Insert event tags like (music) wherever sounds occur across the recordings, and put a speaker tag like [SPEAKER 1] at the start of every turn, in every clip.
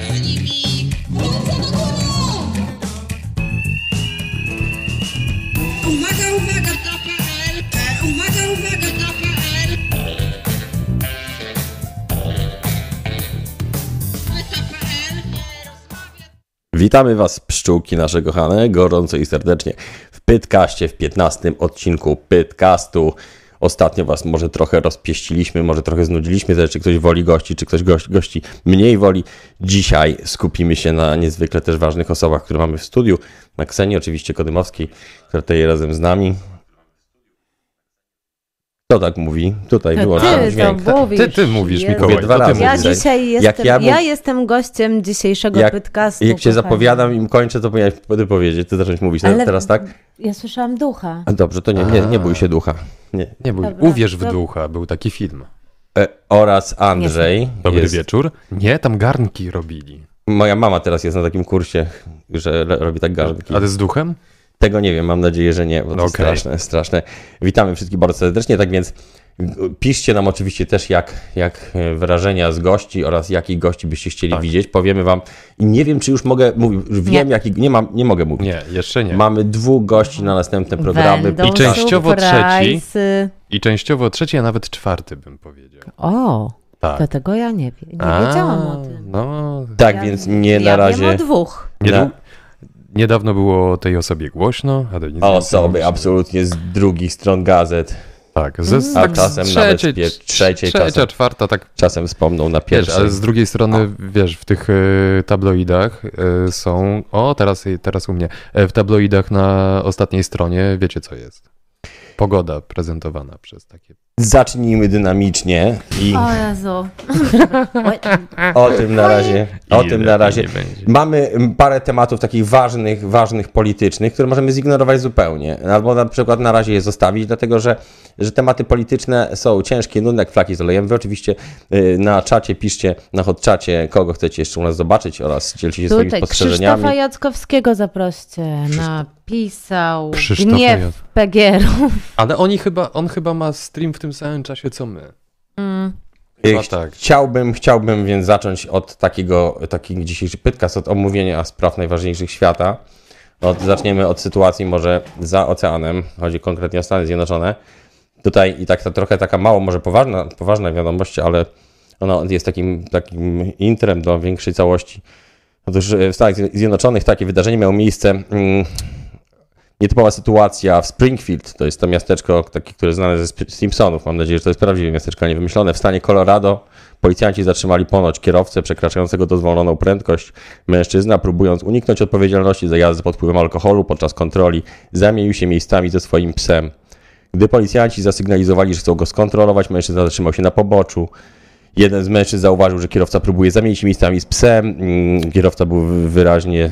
[SPEAKER 1] nimi! Ręce do góry! Uwaga, uwaga, to PL! E, Uwaga, uwaga, to PL! To PL nie rozmawia...
[SPEAKER 2] Witamy Was, pszczółki nasze kochane, gorąco i serdecznie w Pytkaście, w 15 odcinku Pytkastu. Ostatnio Was może trochę rozpieściliśmy, może trochę znudziliśmy, zależy czy ktoś woli gości, czy ktoś gości, gości mniej woli. Dzisiaj skupimy się na niezwykle też ważnych osobach, które mamy w studiu, na Ksenii oczywiście Kodymowskiej, która tutaj razem z nami. Kto tak mówi? Tutaj
[SPEAKER 3] To
[SPEAKER 2] wyłączam
[SPEAKER 3] No ty
[SPEAKER 2] dźwięk.
[SPEAKER 3] to mówisz.
[SPEAKER 4] Ty, ty mówisz,
[SPEAKER 3] Jezu.
[SPEAKER 4] Mikołaj.
[SPEAKER 2] Mówię dwa
[SPEAKER 4] to ty
[SPEAKER 2] razy
[SPEAKER 3] Tak. Ja
[SPEAKER 4] mówisz.
[SPEAKER 2] dzisiaj.
[SPEAKER 3] dzisiaj
[SPEAKER 2] Jak
[SPEAKER 3] jestem,
[SPEAKER 2] ja
[SPEAKER 3] ja,
[SPEAKER 2] bym-
[SPEAKER 3] jestem gościem dzisiejszego
[SPEAKER 2] Jak-
[SPEAKER 3] podcastu.
[SPEAKER 2] Jak się
[SPEAKER 3] kochani.
[SPEAKER 2] zapowiadam i kończę, to powinieneś ty powiedzieć, ty zacząć mówić. No,
[SPEAKER 3] Ale-
[SPEAKER 2] Teraz tak?
[SPEAKER 3] Ja słyszałam ducha.
[SPEAKER 2] A dobrze, to nie, nie, nie bój się ducha. Nie.
[SPEAKER 4] Nie bój,
[SPEAKER 3] Dobra.
[SPEAKER 4] uwierz w
[SPEAKER 3] Dob-
[SPEAKER 4] ducha, był taki film.
[SPEAKER 2] E, oraz Andrzej.
[SPEAKER 4] Dobry
[SPEAKER 2] jest,
[SPEAKER 4] wieczór. Nie, tam garnki robili.
[SPEAKER 2] Moja mama teraz jest na takim kursie, że le- robi tak garnki.
[SPEAKER 4] A ty z duchem?
[SPEAKER 2] Tego nie wiem, mam nadzieję, że nie, bo to
[SPEAKER 4] Okej.
[SPEAKER 2] straszne, straszne. Witamy wszystkich bardzo serdecznie, tak więc y, piszcie nam oczywiście też jak, jak e, wrażenia z gości oraz jakich gości byście chcieli
[SPEAKER 4] Tak.
[SPEAKER 2] widzieć. Powiemy wam i nie wiem, czy już mogę mówić, już wiem,
[SPEAKER 3] Nie.
[SPEAKER 2] jaki, nie, mam, nie mogę mówić.
[SPEAKER 4] Nie, jeszcze nie.
[SPEAKER 2] Mamy dwóch gości na następne programy.
[SPEAKER 3] Będą
[SPEAKER 4] I częściowo trzeci.
[SPEAKER 3] surprise'y.
[SPEAKER 4] I częściowo trzeci, a nawet czwarty bym powiedział.
[SPEAKER 3] O,
[SPEAKER 4] Tak.
[SPEAKER 3] to tego ja nie, wie- nie
[SPEAKER 4] A,
[SPEAKER 3] wiedziałam o tym.
[SPEAKER 4] No,
[SPEAKER 2] Tak,
[SPEAKER 3] Ja-
[SPEAKER 2] więc nie
[SPEAKER 3] ja
[SPEAKER 2] na razie.
[SPEAKER 3] Wiem o
[SPEAKER 2] (laughs)
[SPEAKER 3] dwóch.
[SPEAKER 4] niedłu-
[SPEAKER 2] Na-
[SPEAKER 4] niedawno było o tej osobie głośno. A do nic nie
[SPEAKER 2] Osoby
[SPEAKER 4] mówiliśmy.
[SPEAKER 2] absolutnie z drugich stron gazet.
[SPEAKER 4] Tak, ze,
[SPEAKER 3] Mm.
[SPEAKER 2] A
[SPEAKER 4] tak z
[SPEAKER 2] czasem nawet z pier- trzeciej, czasem.
[SPEAKER 4] trzecia, czwarta, tak
[SPEAKER 2] Czasem wspomną na
[SPEAKER 4] Wiesz,
[SPEAKER 2] pierwszy.
[SPEAKER 4] ale z drugiej strony, wiesz, w tych e, tabloidach e, są. O, teraz, teraz u mnie. E, w tabloidach na ostatniej stronie wiecie, co jest. Pogoda prezentowana przez takie.
[SPEAKER 2] Zacznijmy dynamicznie i
[SPEAKER 3] O
[SPEAKER 2] (laughs)
[SPEAKER 3] Jezu.
[SPEAKER 2] o tym na razie, o tym na razie.
[SPEAKER 4] będzie.
[SPEAKER 2] Mamy mm, parę tematów takich ważnych, ważnych politycznych, które możemy zignorować zupełnie. Albo na przykład na razie je zostawić, dlatego że, że tematy polityczne są ciężkie, nudne jak flaki z olejem. Wy oczywiście y, na czacie piszcie, na hotczacie, kogo chcecie jeszcze u nas zobaczyć oraz dzielcie się swoimi
[SPEAKER 3] Tutaj
[SPEAKER 2] spostrzeżeniami.
[SPEAKER 3] Krzysztofa Jackowskiego zaproście. Napisał
[SPEAKER 4] Krzysztofa
[SPEAKER 3] gniew
[SPEAKER 4] Jack-
[SPEAKER 3] Pegierów.
[SPEAKER 4] Ale oni chyba, on chyba ma stream w tym samym czasie, co my.
[SPEAKER 2] Y,
[SPEAKER 4] A tak.
[SPEAKER 2] Chciałbym, chciałbym więc zacząć od takiego, taki dzisiejszy podcast, od omówienia spraw najważniejszych świata. Od, zaczniemy od sytuacji może za oceanem, chodzi konkretnie o Stany Zjednoczone. Tutaj i tak ta, trochę taka mało może poważna, poważna wiadomość, ale ona jest takim, takim intrem do większej całości. Otóż e, w Stanach Zjednoczonych takie wydarzenie miało miejsce mm, nietypowa sytuacja w Springfield. To jest to miasteczko, takie, które znane ze Sp- Simpsonów. Mam nadzieję, że to jest prawdziwe miasteczko, a nie wymyślone. W stanie Colorado policjanci zatrzymali ponoć kierowcę przekraczającego dozwoloną prędkość. Mężczyzna, próbując uniknąć odpowiedzialności za jazdę pod wpływem alkoholu podczas kontroli, zamienił się miejscami ze swoim psem. Gdy policjanci zasygnalizowali, że chcą go skontrolować, mężczyzna zatrzymał się na poboczu. Jeden z mężczyzn zauważył, że kierowca próbuje zamienić się miejscami z psem. Mm, Kierowca był wy- wyraźnie e,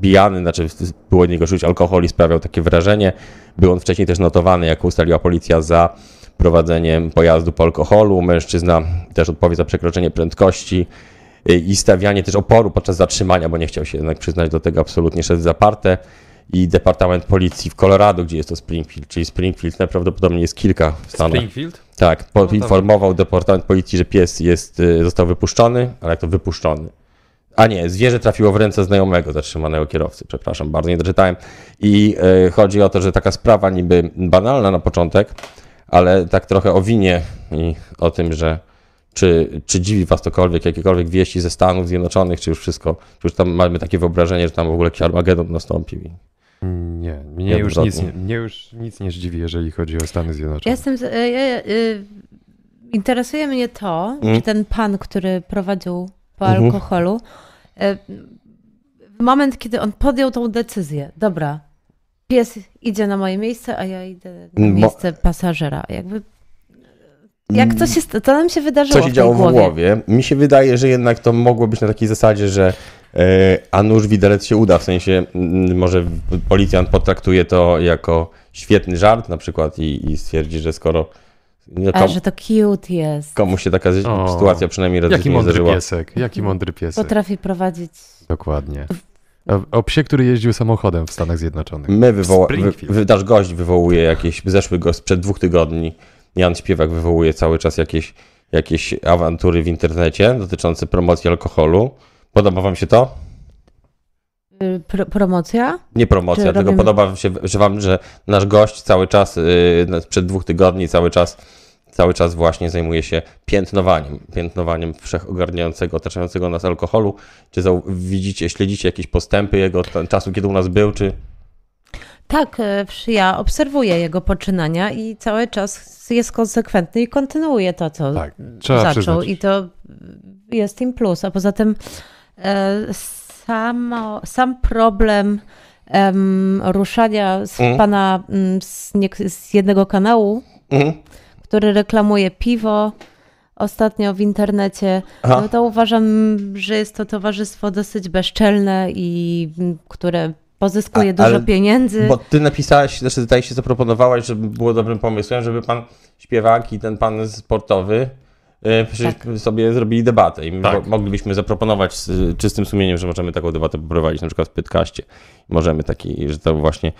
[SPEAKER 2] pijany, znaczy w- było od niego czuć alkohol i sprawiał takie wrażenie. Był on wcześniej też notowany, jak ustaliła policja, za prowadzenie pojazdu po alkoholu. Mężczyzna też odpowie za przekroczenie prędkości e, i stawianie też oporu podczas zatrzymania, bo nie chciał się jednak przyznać do tego, absolutnie szedł zaparte. I Departament Policji w Colorado, gdzie jest to Springfield, czyli Springfield najprawdopodobniej jest kilka w Stanach.
[SPEAKER 4] Springfield?
[SPEAKER 2] Tak, poinformował Departament Policji, że pies jest, y, został wypuszczony, ale jak to wypuszczony? A nie, zwierzę trafiło w ręce znajomego zatrzymanego kierowcy, przepraszam, bardzo nie doczytałem. I y, chodzi o to, że taka sprawa niby banalna na początek, ale tak trochę o winie i o tym, że czy, czy dziwi was cokolwiek, jakiekolwiek wieści ze Stanów Zjednoczonych, czy już wszystko, czy już tam mamy takie wyobrażenie, że tam w ogóle jakiś Armagedon nastąpił. i-
[SPEAKER 4] Nie, mnie już,
[SPEAKER 2] Jednokrotnie.
[SPEAKER 4] nic, nie- mnie już nic nie zdziwi, jeżeli chodzi o Stany Zjednoczone.
[SPEAKER 3] Jestem. z- y, y, y, interesuje mnie to,
[SPEAKER 2] Mm.
[SPEAKER 3] czy ten pan, który prowadził po
[SPEAKER 2] Mhm.
[SPEAKER 3] alkoholu, y, w moment, kiedy on podjął tą decyzję, dobra, pies idzie na moje miejsce, a ja idę na
[SPEAKER 2] Mm, Bo-
[SPEAKER 3] miejsce pasażera. Jakby. Jak to się. sta- Co nam się wydarzyło?
[SPEAKER 2] co się
[SPEAKER 3] w tej
[SPEAKER 2] działo
[SPEAKER 3] głowie?
[SPEAKER 2] w głowie. Mi się wydaje, że jednak to mogło być na takiej zasadzie, że e, a nuż widelec się uda, w sensie mm, może policjant potraktuje to jako świetny żart na przykład i, i stwierdzi, że skoro no,
[SPEAKER 3] A
[SPEAKER 2] kom,
[SPEAKER 3] że to cute jest.
[SPEAKER 2] komuś się taka zy-
[SPEAKER 4] O,
[SPEAKER 2] sytuacja przynajmniej raz w
[SPEAKER 4] Jaki
[SPEAKER 2] życiu nie
[SPEAKER 4] mądry
[SPEAKER 2] zdarzyła.
[SPEAKER 4] piesek, jaki mądry piesek.
[SPEAKER 3] Potrafi prowadzić.
[SPEAKER 4] Dokładnie. O- O psie, który jeździł samochodem w Stanach Zjednoczonych.
[SPEAKER 3] Mm.
[SPEAKER 2] My wywoła, wy,
[SPEAKER 4] Springfield.
[SPEAKER 2] wy, nasz gość wywołuje jakieś, zeszły gość sprzed dwóch tygodni, Jan Śpiewak wywołuje cały czas jakieś, jakieś awantury w internecie dotyczące promocji alkoholu. Podoba wam się to?
[SPEAKER 3] Y, Pro, promocja?
[SPEAKER 2] Nie promocja,
[SPEAKER 3] Czy
[SPEAKER 2] tylko
[SPEAKER 3] robimy-
[SPEAKER 2] podoba wam się że wam, że nasz gość cały czas, yy, no, przed dwóch tygodni cały czas, cały czas właśnie zajmuje się piętnowaniem, piętnowaniem wszechogarniającego, otaczającego nas alkoholu. Czy zau- widzicie, śledzicie jakieś postępy jego ta- czasu, kiedy u nas był, czy...
[SPEAKER 3] Tak, y, przy- ja obserwuję jego poczynania i cały czas jest konsekwentny i kontynuuje to, co
[SPEAKER 4] Tak, trzeba
[SPEAKER 3] zaczął.
[SPEAKER 4] przyznać.
[SPEAKER 3] I to jest im plus. A poza tym e, samo, sam problem em, ruszania z
[SPEAKER 2] Mhm.
[SPEAKER 3] pana mm, z, niek- z jednego kanału,
[SPEAKER 2] Mhm.
[SPEAKER 3] który reklamuje piwo ostatnio w internecie,
[SPEAKER 2] Aha.
[SPEAKER 3] no to uważam, że jest to towarzystwo dosyć bezczelne i mm, które pozyskuje
[SPEAKER 2] A-
[SPEAKER 3] dużo
[SPEAKER 2] ale-
[SPEAKER 3] pieniędzy.
[SPEAKER 2] Bo ty napisałeś, znaczy tutaj się zaproponowałaś, że było dobrym pomysłem, żeby pan śpiewak i ten pan sportowy e, przy- sobie zrobili debatę. I
[SPEAKER 4] Tak.
[SPEAKER 2] mo- moglibyśmy zaproponować z y, czystym sumieniem, że możemy taką debatę poprowadzić na przykład w podcaście. Możemy taki, że to właśnie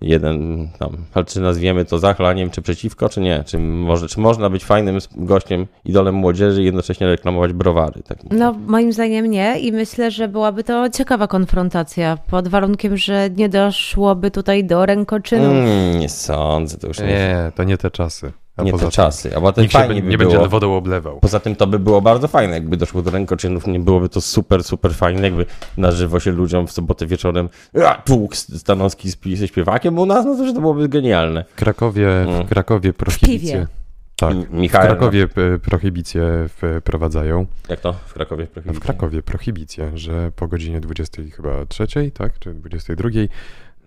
[SPEAKER 2] jeden tam, ale czy nazwiemy to zachlaniem, czy przeciwko, czy nie? Czy, może, czy można być fajnym sp- gościem, idolem młodzieży i jednocześnie reklamować browary? Tak mówię.
[SPEAKER 3] No, moim zdaniem nie i myślę, że byłaby to ciekawa konfrontacja, pod warunkiem, że nie doszłoby tutaj do rękoczynów.
[SPEAKER 2] Mm, nie sądzę, to już nie, nie,
[SPEAKER 4] Nie, to nie te czasy. A
[SPEAKER 2] nie
[SPEAKER 4] poza
[SPEAKER 2] te
[SPEAKER 4] tym
[SPEAKER 2] czasy. A bo ten
[SPEAKER 4] Nikt się
[SPEAKER 2] Tak fajnie
[SPEAKER 4] be-
[SPEAKER 2] by
[SPEAKER 4] nie
[SPEAKER 2] było.
[SPEAKER 4] będzie wodą oblewał.
[SPEAKER 2] Poza tym to by było bardzo fajne, jakby doszło do rękoczynów, nie byłoby to super, super fajne, jakby na żywo się ludziom w sobotę wieczorem "A, tłuk Stanowski z pi- ze śpiewakiem u nas, no to, że to byłoby genialne.
[SPEAKER 4] W Krakowie,
[SPEAKER 2] Mm.
[SPEAKER 4] w Krakowie prohibicję.
[SPEAKER 3] piwie.
[SPEAKER 4] Tak.
[SPEAKER 2] M-
[SPEAKER 4] W
[SPEAKER 2] Michał,
[SPEAKER 4] Krakowie e, prohibicję wprowadzają.
[SPEAKER 2] jak to? W Krakowie?
[SPEAKER 4] W Krakowie prohibicję, że po godzinie 20 chyba trzeciej, tak, czy 22,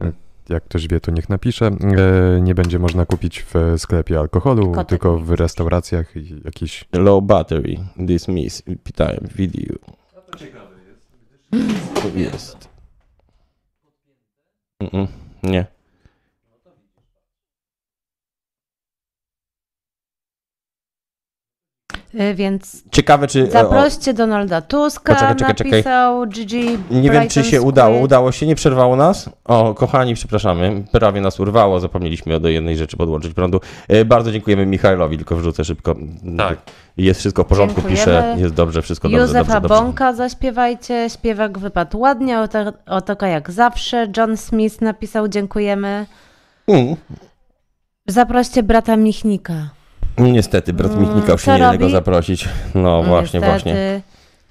[SPEAKER 4] e, jak ktoś wie, to niech napisze, e, nie będzie można kupić w sklepie alkoholu,
[SPEAKER 3] Kotek.
[SPEAKER 4] tylko w restauracjach i jakichś
[SPEAKER 2] Low battery, dismiss, pytałem, video. To ciekawe jest. Jest. Mm-mm, nie.
[SPEAKER 3] Y, Więc
[SPEAKER 2] Ciekawe, czy... e, o-
[SPEAKER 3] zaproście Donalda Tuska,
[SPEAKER 2] Poczekaj, czekaj, czekaj.
[SPEAKER 3] napisał Gigi
[SPEAKER 2] Nie wiem, czy
[SPEAKER 3] Brighton
[SPEAKER 2] się
[SPEAKER 3] Squid.
[SPEAKER 2] udało. Udało się, nie przerwało nas. O, kochani, przepraszamy, prawie nas urwało. Zapomnieliśmy do jednej rzeczy podłączyć prądu. E, Bardzo dziękujemy Michaelowi, tylko wrzucę szybko.
[SPEAKER 4] Tak.
[SPEAKER 2] Jest wszystko w porządku,
[SPEAKER 3] Dziękujemy.
[SPEAKER 2] pisze. Jest dobrze, wszystko dobrze.
[SPEAKER 3] Józefa
[SPEAKER 2] dobrze, dobrze.
[SPEAKER 3] Bąka zaśpiewajcie, śpiewak wypadł ładnie, oto- otoka jak zawsze. John Smith napisał dziękujemy.
[SPEAKER 2] Mm,
[SPEAKER 3] Zaproście brata Michnika.
[SPEAKER 2] niestety, brat Michnika już
[SPEAKER 3] Mm, co
[SPEAKER 2] nie da go
[SPEAKER 3] robi?
[SPEAKER 2] zaprosić. No właśnie,
[SPEAKER 3] Niestety.
[SPEAKER 2] właśnie.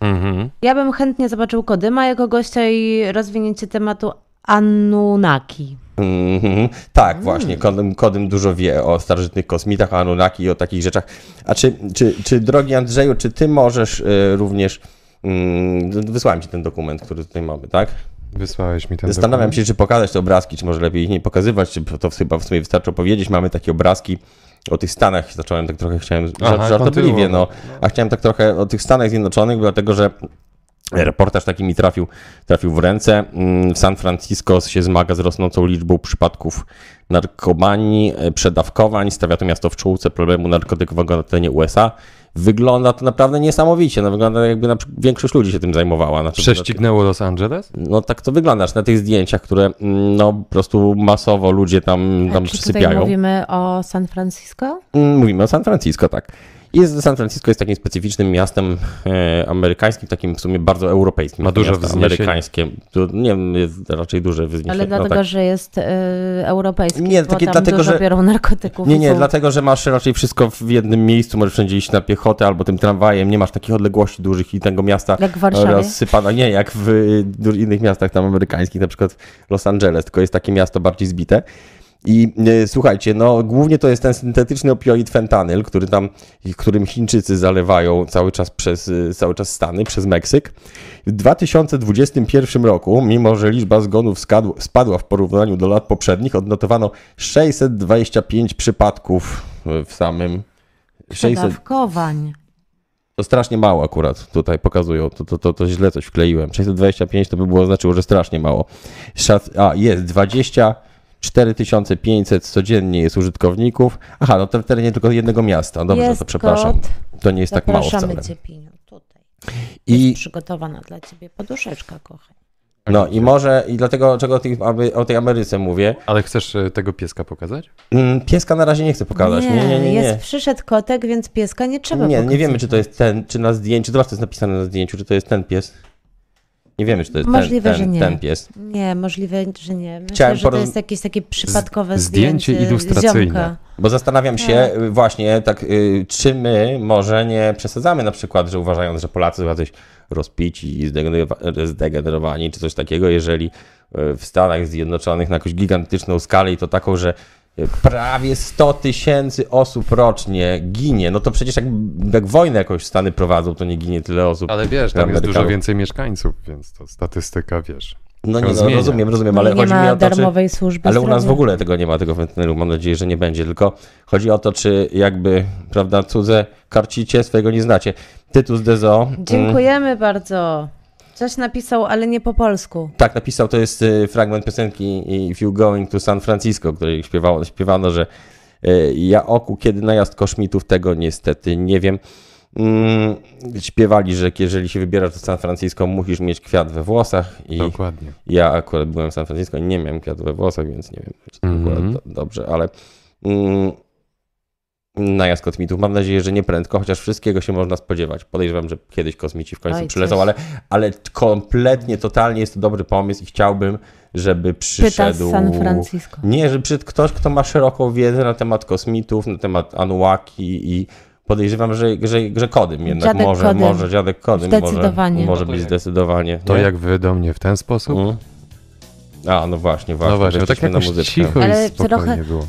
[SPEAKER 2] Mhm.
[SPEAKER 3] Ja bym chętnie zobaczył Kodyma jako gościa i rozwinięcie tematu Anunnaki.
[SPEAKER 2] Mhm,
[SPEAKER 3] Mm.
[SPEAKER 2] tak, właśnie. Kodym, Kodym dużo wie o starożytnych kosmitach, o Anunnaki i o takich rzeczach. A czy, czy, czy drogi Andrzeju, czy ty możesz e, również. Mm, wysłałem ci ten dokument, który tutaj mamy, tak?
[SPEAKER 4] Wysłałeś mi ten
[SPEAKER 2] Zastanawiam
[SPEAKER 4] dokument.
[SPEAKER 2] się, czy pokazać te obrazki, czy może lepiej ich nie pokazywać, czy to chyba w sumie wystarczy opowiedzieć. Mamy takie obrazki o tych Stanach, zacząłem tak trochę, chciałem, Aha,
[SPEAKER 4] Aha,
[SPEAKER 2] żartobliwie, no,
[SPEAKER 4] kontynuuj.
[SPEAKER 2] a chciałem tak trochę o tych Stanach Zjednoczonych, dlatego że reportaż taki mi trafił, trafił w ręce. Mm, San Francisco się zmaga z rosnącą liczbą przypadków narkomanii, e, przedawkowań, stawia to miasto w czołówce problemu narkotykowego na terenie USA. Wygląda to naprawdę niesamowicie, no wygląda jakby na przy- większość ludzi się tym zajmowała. Znaczy,
[SPEAKER 4] Prześcignęło Los Angeles?
[SPEAKER 2] no tak to wyglądasz na tych zdjęciach, które mm, no po prostu masowo ludzie tam, tam
[SPEAKER 3] Czy tutaj
[SPEAKER 2] przysypiają. Mówimy?
[SPEAKER 3] mówimy o San Francisco?
[SPEAKER 2] mówimy o San Francisco, tak. I San Francisco jest takim specyficznym miastem e, amerykańskim, takim w sumie bardzo europejskim.
[SPEAKER 4] Ma
[SPEAKER 2] to
[SPEAKER 4] duże
[SPEAKER 2] miasto
[SPEAKER 4] wzniesienie.
[SPEAKER 2] amerykańskie. To, nie wiem, jest raczej duże wyzniesienie.
[SPEAKER 3] Ale dlatego,
[SPEAKER 2] no, tak.
[SPEAKER 3] że jest y, europejski,
[SPEAKER 2] Nie,
[SPEAKER 3] nie, bo
[SPEAKER 2] takie
[SPEAKER 3] tam
[SPEAKER 2] dlatego,
[SPEAKER 3] dużo
[SPEAKER 2] że-
[SPEAKER 3] biorą narkotyków.
[SPEAKER 2] Nie,
[SPEAKER 3] i
[SPEAKER 2] nie,
[SPEAKER 3] są-
[SPEAKER 2] dlatego, że masz raczej wszystko w jednym miejscu, możesz wszędzie iść na piechotę albo tym tramwajem, nie masz takich odległości dużych i tego miasta
[SPEAKER 3] Jak w Warszawie?
[SPEAKER 2] rozsypana, nie, jak w y, du- innych miastach tam amerykańskich, na przykład Los Angeles, tylko jest takie miasto bardziej zbite. I y, słuchajcie, no głównie to jest ten syntetyczny opioid fentanyl, który tam, którym Chińczycy zalewają cały czas przez, y, cały czas Stany, przez Meksyk. W 2021 roku, mimo że liczba zgonów skadł, spadła w porównaniu do lat poprzednich, odnotowano 625 przypadków y, w samym... 600,
[SPEAKER 3] Przedawkowań.
[SPEAKER 2] to strasznie mało akurat tutaj pokazują. To, to, to, to źle coś wkleiłem. 625 to by było znaczyło, że strasznie mało. Szac... A, jest 24 500 codziennie jest użytkowników. Aha, no to w terenie tylko jednego miasta. Dobrze,
[SPEAKER 3] Jest
[SPEAKER 2] to przepraszam.
[SPEAKER 3] kot.
[SPEAKER 2] To nie jest tak mało
[SPEAKER 3] Zapraszamy
[SPEAKER 2] wcale.
[SPEAKER 3] Cię, Piniu, tutaj.
[SPEAKER 2] I,
[SPEAKER 3] Jest przygotowana dla Ciebie poduszeczka, kochanie.
[SPEAKER 2] no i może, i dlatego czego o tej, aby- o tej Ameryce mówię.
[SPEAKER 4] Ale chcesz e, tego pieska pokazać?
[SPEAKER 2] Mm, Pieska na razie nie chcę pokazać. Nie, nie, nie. nie.
[SPEAKER 3] Jest, przyszedł kotek, więc pieska nie trzeba
[SPEAKER 2] nie,
[SPEAKER 3] pokazywać.
[SPEAKER 2] nie wiemy, czy to jest ten, czy na zdjęciu, zobacz, to jest napisane na zdjęciu, czy to jest ten pies. Nie wiemy, czy to jest ten,
[SPEAKER 3] Możliwe, że
[SPEAKER 2] ten,
[SPEAKER 3] nie.
[SPEAKER 2] ten pies.
[SPEAKER 3] Nie, możliwe, że nie. Myślę,
[SPEAKER 2] Chciałem
[SPEAKER 3] że to
[SPEAKER 2] porozm-
[SPEAKER 3] jest jakieś takie przypadkowe
[SPEAKER 4] zdjęcie
[SPEAKER 3] zdjęcie
[SPEAKER 4] ilustracyjne.
[SPEAKER 3] Ziomka.
[SPEAKER 2] Bo zastanawiam się y, właśnie, tak, y, czy my może nie przesadzamy na przykład, że uważając, że Polacy są jacyś rozpici i zdegenerowa- zdegenerowani, czy coś takiego, jeżeli y, w Stanach Zjednoczonych na jakąś gigantyczną skalę i to taką, że y, prawie 100 tysięcy osób rocznie ginie, no to przecież jak, jak wojnę jakąś Stany prowadzą, to nie ginie tyle osób.
[SPEAKER 4] Ale wiesz, tam jest
[SPEAKER 2] Amerykanów.
[SPEAKER 4] dużo więcej mieszkańców, więc to statystyka, wiesz.
[SPEAKER 2] No nie,
[SPEAKER 4] się
[SPEAKER 2] no,
[SPEAKER 4] zmienia.
[SPEAKER 2] rozumiem, rozumiem,
[SPEAKER 3] No
[SPEAKER 2] ale
[SPEAKER 3] nie
[SPEAKER 2] chodzi
[SPEAKER 3] ma
[SPEAKER 2] mi o to, czy...
[SPEAKER 3] darmowej służby
[SPEAKER 2] Ale u nas w
[SPEAKER 3] zdrowia.
[SPEAKER 2] ogóle tego nie ma, tego fentanylu. Mam nadzieję, że nie będzie. Tylko chodzi o to, czy jakby, prawda, cudze karcicie, swojego nie znacie. Tytus Dezo. Mm,
[SPEAKER 3] Dziękujemy bardzo. Coś napisał, ale nie po polsku.
[SPEAKER 2] tak, napisał, to jest y, fragment piosenki If You Going to San Francisco, której śpiewało, śpiewano, że y, ja oku, kiedy najazd koszmitów, tego niestety nie wiem. Mm, śpiewali, że jeżeli się wybierasz do San Francisco, musisz mieć kwiat we włosach i
[SPEAKER 4] Dokładnie.
[SPEAKER 2] Ja akurat byłem w San Francisco i nie miałem kwiatu we włosach, więc nie wiem, czy to
[SPEAKER 4] Mhm.
[SPEAKER 2] było do, dobrze, ale mm, najazd kosmitów. Mam nadzieję, że nie prędko, chociaż wszystkiego się można spodziewać. Podejrzewam, że kiedyś kosmici w końcu
[SPEAKER 3] Oj,
[SPEAKER 2] przylecą,
[SPEAKER 3] coś.
[SPEAKER 2] ale, ale kompletnie, totalnie jest to dobry pomysł i chciałbym, żeby
[SPEAKER 3] Pyta
[SPEAKER 2] przyszedł...
[SPEAKER 3] z San Francisco.
[SPEAKER 2] Nie, że przyszedł ktoś, kto ma szeroką wiedzę na temat kosmitów, na temat Anuaki i podejrzewam, że, że, że Kodym jednak
[SPEAKER 3] Dziadek
[SPEAKER 2] może,
[SPEAKER 3] Kodym.
[SPEAKER 2] może, dziadek Kodym może,
[SPEAKER 3] Zdecydowanie.
[SPEAKER 2] może
[SPEAKER 4] No to
[SPEAKER 2] być
[SPEAKER 4] jak-
[SPEAKER 2] zdecydowanie.
[SPEAKER 4] To
[SPEAKER 2] nie?
[SPEAKER 4] jak wy do mnie w ten sposób?
[SPEAKER 2] Mm. A, no właśnie, właśnie.
[SPEAKER 4] No właśnie, tak
[SPEAKER 2] weszliśmy na
[SPEAKER 4] jakoś
[SPEAKER 2] muzyczkę.
[SPEAKER 4] cicho
[SPEAKER 3] Ale
[SPEAKER 4] i spokojnie
[SPEAKER 3] trochę- Tak,
[SPEAKER 4] było.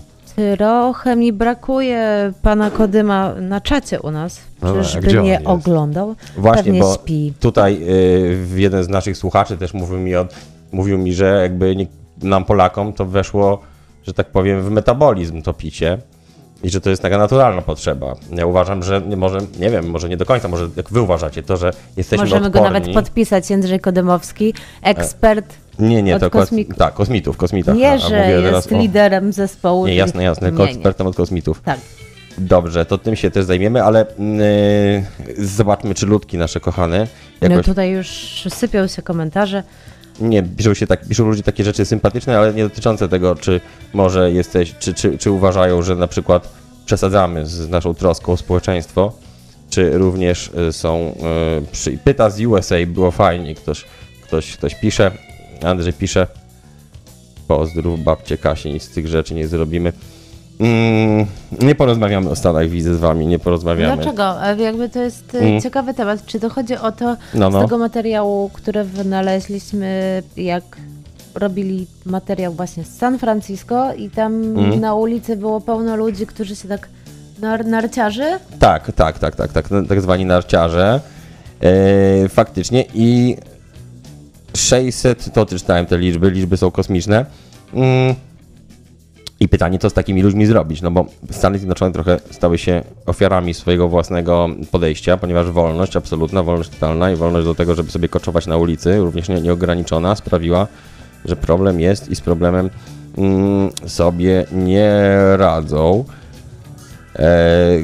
[SPEAKER 3] Trochę mi brakuje pana Kodyma na czacie u nas.
[SPEAKER 4] No tak,
[SPEAKER 3] Czyżby
[SPEAKER 4] gdzie on
[SPEAKER 3] nie
[SPEAKER 4] jest?
[SPEAKER 3] oglądał?
[SPEAKER 2] Właśnie,
[SPEAKER 3] Pewnie
[SPEAKER 2] bo-
[SPEAKER 3] śpi.
[SPEAKER 2] Tutaj y, jeden z naszych słuchaczy też mówił mi, od, mówił mi że jakby nie, nam Polakom to weszło, że tak powiem, w metabolizm to picie. I że to jest taka naturalna potrzeba. Ja uważam, że nie, może, nie wiem, może nie do końca, może jak wy uważacie, to, że jesteśmy
[SPEAKER 3] Możemy go
[SPEAKER 2] odporni.
[SPEAKER 3] nawet podpisać, Jędrzej Kodymowski, ekspert.
[SPEAKER 2] Nie, nie,
[SPEAKER 3] od
[SPEAKER 2] to kos...
[SPEAKER 3] kosmików.
[SPEAKER 2] tak, kosmitów, kosmitach. a- a
[SPEAKER 3] Nie, że
[SPEAKER 2] mówię teraz
[SPEAKER 3] jest
[SPEAKER 2] o-
[SPEAKER 3] liderem zespołu.
[SPEAKER 2] Nie, jasne, jasne, tylko
[SPEAKER 3] Nie, nie.
[SPEAKER 2] ekspertem od kosmitów.
[SPEAKER 3] Tak.
[SPEAKER 2] Dobrze, to tym się też zajmiemy, ale yy, zobaczmy, czy ludki nasze kochane
[SPEAKER 3] No
[SPEAKER 2] jakoś,
[SPEAKER 3] tutaj już sypią się komentarze.
[SPEAKER 2] nie, piszą, się tak, piszą ludzie takie rzeczy sympatyczne, ale nie dotyczące tego, czy może jesteś, czy, czy, czy uważają, że na przykład przesadzamy z naszą troską o społeczeństwo, czy również y, są, y, przy, pyta z USA, było fajnie, ktoś, ktoś, ktoś pisze, Andrzej pisze, pozdrów babcie Kasi, nic z tych rzeczy nie zrobimy. Mm, nie porozmawiamy o Stanach, widzę z wami, nie porozmawiamy.
[SPEAKER 3] Dlaczego? E, Jakby to jest e,
[SPEAKER 2] Mm.
[SPEAKER 3] ciekawy temat. Czy to chodzi o to
[SPEAKER 2] No, no.
[SPEAKER 3] z tego materiału, który wynaleźliśmy, jak robili materiał właśnie z San Francisco i tam
[SPEAKER 2] Mm.
[SPEAKER 3] na ulicy było pełno ludzi, którzy się tak nar- narciarzy?
[SPEAKER 2] Tak, tak, tak, tak, tak, tak zwani narciarze. E, faktycznie i 600, to też czytałem te liczby, liczby są kosmiczne. Mm. I pytanie, co z takimi ludźmi zrobić? No bo Stany Zjednoczone trochę stały się ofiarami swojego własnego podejścia, ponieważ wolność absolutna, wolność totalna i wolność do tego, żeby sobie koczować na ulicy, również nie- nieograniczona, sprawiła, że problem jest i z problemem mm, sobie nie radzą.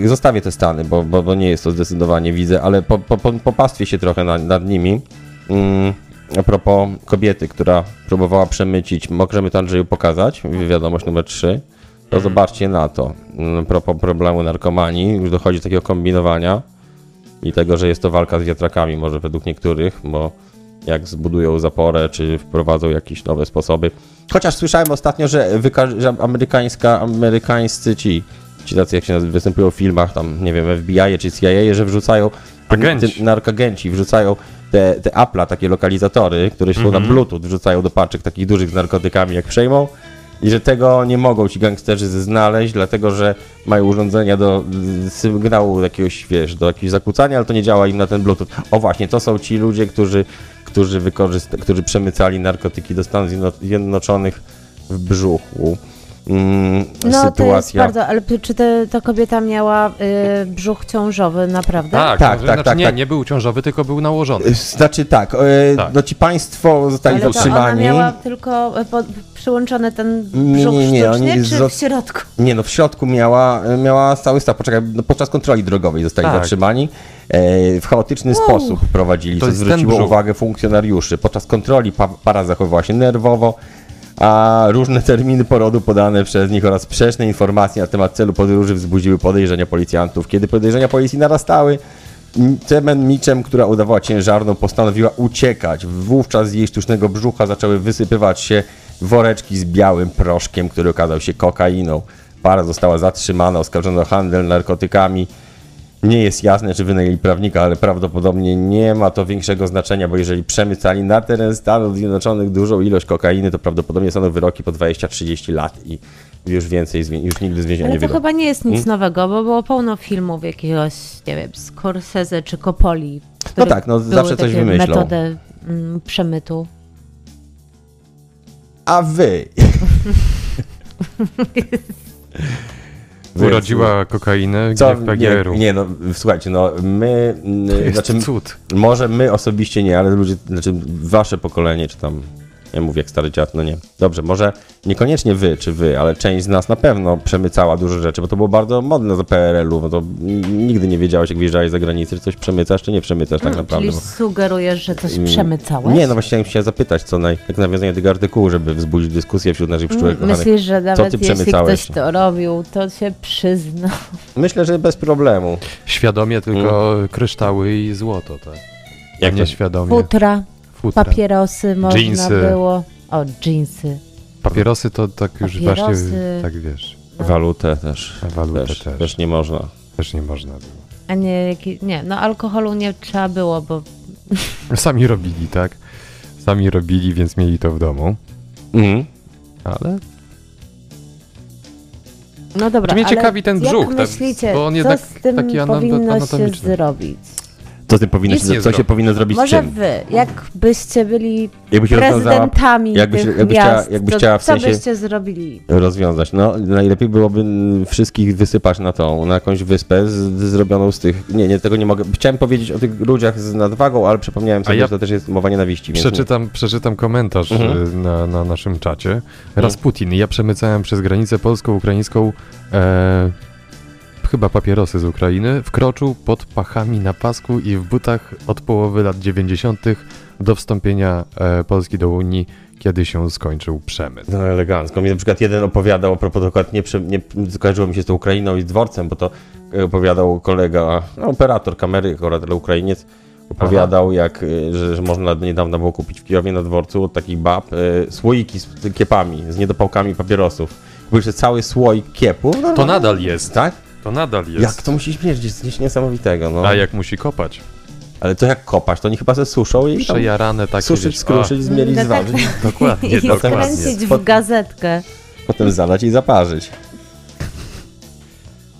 [SPEAKER 2] E, zostawię te Stany, bo, bo, bo nie jest to zdecydowanie widzę, ale po, po, po, popastwię się trochę nad, nad nimi. Mm, a propos kobiety, która próbowała przemycić, możemy to Andrzeju pokazać, wi- wiadomość numer 3. To zobaczcie na to. Mm, A propos problemu narkomanii, już dochodzi do takiego kombinowania i tego, że jest to walka z wiatrakami, może według niektórych, bo jak zbudują zaporę, czy wprowadzą jakieś nowe sposoby. Chociaż słyszałem ostatnio, że, wyka- że amerykańska, amerykańscy ci, ci tacy jak się nazy- występują w filmach, tam nie wiem, FBI czy CIA, że wrzucają
[SPEAKER 4] Agenci.
[SPEAKER 2] te narkogenci, wrzucają te, te apla, takie lokalizatory, które są na bluetooth, wrzucają do paczek takich dużych z narkotykami, jak przejmą. I że tego nie mogą ci gangsterzy znaleźć, dlatego że mają urządzenia do y, sygnału jakiegoś, wiesz, do jakiegoś zakłócania, ale to nie działa im na ten Bluetooth. O właśnie, to są ci ludzie, którzy, którzy, wykorzyst- którzy przemycali narkotyki do Stanów Zjedno- Zjednoczonych w brzuchu. Mm,
[SPEAKER 3] No to jest
[SPEAKER 2] sytuacja.
[SPEAKER 3] bardzo, ale p- czy te, ta kobieta miała y, brzuch ciążowy, naprawdę?
[SPEAKER 2] Tak,
[SPEAKER 4] Tak, tak,
[SPEAKER 2] tak,
[SPEAKER 4] tak, znaczy,
[SPEAKER 2] tak,
[SPEAKER 4] nie,
[SPEAKER 2] tak.
[SPEAKER 4] nie był ciążowy, tylko był nałożony.
[SPEAKER 2] Znaczy tak, e,
[SPEAKER 4] Tak.
[SPEAKER 2] no ci państwo zostali
[SPEAKER 3] Ale to ona
[SPEAKER 2] zatrzymani.
[SPEAKER 3] miała tylko y, pod- przyłączony ten
[SPEAKER 2] Nie,
[SPEAKER 3] brzuch
[SPEAKER 2] nie, nie,
[SPEAKER 3] sztucznie,
[SPEAKER 2] oni
[SPEAKER 3] czy
[SPEAKER 2] zo-
[SPEAKER 3] w środku?
[SPEAKER 2] Nie no, w środku miała, miała cały staw. Poczekaj, no, podczas kontroli drogowej zostali
[SPEAKER 4] Tak.
[SPEAKER 2] zatrzymani. E, w chaotyczny sposób prowadzili,
[SPEAKER 4] To
[SPEAKER 2] co
[SPEAKER 4] jest ten
[SPEAKER 2] zwróciło
[SPEAKER 4] brzuch.
[SPEAKER 2] uwagę funkcjonariuszy. Podczas kontroli pa para zachowywała się nerwowo, a różne (laughs) terminy porodu podane przez nich oraz sprzeczne informacje na temat celu podróży wzbudziły podejrzenia policjantów. Kiedy podejrzenia policji narastały, Cemen Miczem, która udawała ciężarną, postanowiła uciekać. Wówczas z jej sztucznego brzucha zaczęły wysypywać się woreczki z białym proszkiem, który okazał się kokainą. Para została zatrzymana, oskarżona o handel narkotykami. Nie jest jasne, czy wynajęli prawnika, ale prawdopodobnie nie ma to większego znaczenia, bo jeżeli przemycali na teren Stanów Zjednoczonych dużą ilość kokainy, to prawdopodobnie są wyroki po 20-30 lat i już więcej, z więzi- już nigdy z więzienia
[SPEAKER 3] Ale
[SPEAKER 2] nie Hmm?
[SPEAKER 3] to
[SPEAKER 2] wyjdą.
[SPEAKER 3] chyba nie jest nic nowego, bo było pełno filmów jakiegoś, nie wiem, Scorsese czy Coppoli. które
[SPEAKER 2] tak, no
[SPEAKER 3] były
[SPEAKER 2] zawsze coś
[SPEAKER 3] takie
[SPEAKER 2] wymyślą.
[SPEAKER 3] metodę mm, przemytu.
[SPEAKER 2] A wy! Więc-
[SPEAKER 4] (laughs) Urodziła kokainę,
[SPEAKER 2] Co?
[SPEAKER 4] gdzie w
[SPEAKER 2] Nie,
[SPEAKER 4] PGR-u.
[SPEAKER 2] nie, no słuchajcie, no my, mm,
[SPEAKER 4] To jest
[SPEAKER 2] znaczy,
[SPEAKER 4] cud.
[SPEAKER 2] może my osobiście nie, ale ludzie, znaczy wasze pokolenie, czy tam, nie mówię jak stary dziad, no nie. Dobrze, może niekoniecznie wy, czy wy, ale część z nas na pewno przemycała dużo rzeczy, bo to było bardzo modne do PRL-u, bo to n- nigdy nie wiedziałeś, jak wyjeżdżałeś za granicę, czy coś przemycasz, czy nie przemycasz tak naprawdę.
[SPEAKER 3] Czyli
[SPEAKER 2] bo-
[SPEAKER 3] sugerujesz, że coś
[SPEAKER 2] Mm,
[SPEAKER 3] przemycałeś?
[SPEAKER 2] Nie, no właśnie chciałem się zapytać, co naj, jak nawiązanie do tego artykułu, żeby wzbudzić dyskusję wśród naszych pszczółek
[SPEAKER 3] Mm,
[SPEAKER 2] kochanych.
[SPEAKER 3] Myślisz, że nawet jeśli
[SPEAKER 2] przemycałeś?
[SPEAKER 3] ktoś to robił, to się przyzna.
[SPEAKER 2] Myślę, że bez problemu.
[SPEAKER 4] Świadomie tylko kryształy i złoto, tak?
[SPEAKER 2] Jak to,
[SPEAKER 4] nieświadomie.
[SPEAKER 3] Futra,
[SPEAKER 4] Futra.
[SPEAKER 3] papierosy można
[SPEAKER 4] Dżinsy.
[SPEAKER 3] było. O, dżinsy.
[SPEAKER 4] Papierosy to tak już
[SPEAKER 3] Papierosy.
[SPEAKER 4] właśnie, tak wiesz,
[SPEAKER 2] walutę też.
[SPEAKER 4] na walutę
[SPEAKER 2] Też,
[SPEAKER 4] też,
[SPEAKER 2] też.
[SPEAKER 4] też.
[SPEAKER 2] nie można.
[SPEAKER 4] nie można było.
[SPEAKER 3] A nie, jaki, nie, no alkoholu nie trzeba było, bo
[SPEAKER 4] Sami robili, tak? Sami robili, więc mieli to w domu,
[SPEAKER 2] Mhm.
[SPEAKER 4] ale
[SPEAKER 3] No dobra,
[SPEAKER 4] Znaczy mnie
[SPEAKER 3] ale
[SPEAKER 4] ciekawi ten
[SPEAKER 3] Jak
[SPEAKER 4] brzuch, ten-
[SPEAKER 3] myślicie,
[SPEAKER 4] bo on jednak
[SPEAKER 3] co z tym
[SPEAKER 4] taki ana-
[SPEAKER 3] powinno się
[SPEAKER 4] anatomiczny.
[SPEAKER 3] zrobić?
[SPEAKER 2] Co, ty powinno,
[SPEAKER 4] Nic
[SPEAKER 2] się-
[SPEAKER 4] nie
[SPEAKER 2] co się
[SPEAKER 4] zrobię.
[SPEAKER 2] powinno zrobić z
[SPEAKER 3] Może
[SPEAKER 2] czym?
[SPEAKER 3] wy, jakbyście byli
[SPEAKER 2] Jakby się rozwiązała,
[SPEAKER 3] prezydentami
[SPEAKER 2] jakby się-
[SPEAKER 3] tych
[SPEAKER 2] jakby chciała-
[SPEAKER 3] miast,
[SPEAKER 2] jakby
[SPEAKER 3] to
[SPEAKER 2] chciała w
[SPEAKER 3] co
[SPEAKER 2] sensie-
[SPEAKER 3] byście zrobili?
[SPEAKER 2] rozwiązać. No, najlepiej byłoby mm, wszystkich wysypać na tą, na jakąś wyspę z, zrobioną z tych... Nie, nie, tego nie mogę... Chciałem powiedzieć o tych ludziach z nadwagą, ale przypomniałem sobie,
[SPEAKER 4] ja-
[SPEAKER 2] że to też jest mowa nienawiści. Więc Mhm. nie.
[SPEAKER 4] Przeczytam, przeczytam komentarz y, na, na naszym czacie.
[SPEAKER 2] Mhm.
[SPEAKER 4] Rasputin, ja przemycałem przez granicę polsko-ukraińską e, chyba papierosy z Ukrainy, wkroczył pod pachami na pasku i w butach od połowy lat 90. do wstąpienia e, Polski do Unii, kiedy się skończył przemyt.
[SPEAKER 2] No elegancko. Mi na przykład jeden opowiadał, a propos dokładnie, nie, przy- nie skojarzyło mi się z tą Ukrainą i z dworcem, bo to e, opowiadał kolega, no, operator kamery, akurat ale Ukrainiec, opowiadał jak, e, że, że można do niedawna było kupić w Kijowie na dworcu od takich bab e, słoiki z kiepami, z niedopałkami papierosów. Kupisz cały słoik kiepów. No,
[SPEAKER 4] To nadal jest.
[SPEAKER 2] Tak?
[SPEAKER 4] To nadal jest.
[SPEAKER 2] Jak to musi śmierdzić? Jest Coś niesamowitego, no.
[SPEAKER 4] A jak musi kopać?
[SPEAKER 2] Ale to jak kopać? To oni chyba ze suszą i tam
[SPEAKER 4] Przejarane takie.
[SPEAKER 2] suszyć,
[SPEAKER 4] wiesz, a,
[SPEAKER 2] skruszyć, zmielić,
[SPEAKER 3] No tak.
[SPEAKER 2] zważyć, (laughs)
[SPEAKER 4] Dokładnie,
[SPEAKER 3] I
[SPEAKER 4] dokładnie.
[SPEAKER 3] skręcić
[SPEAKER 2] Pod-
[SPEAKER 3] w gazetkę.
[SPEAKER 2] potem zalać i zaparzyć.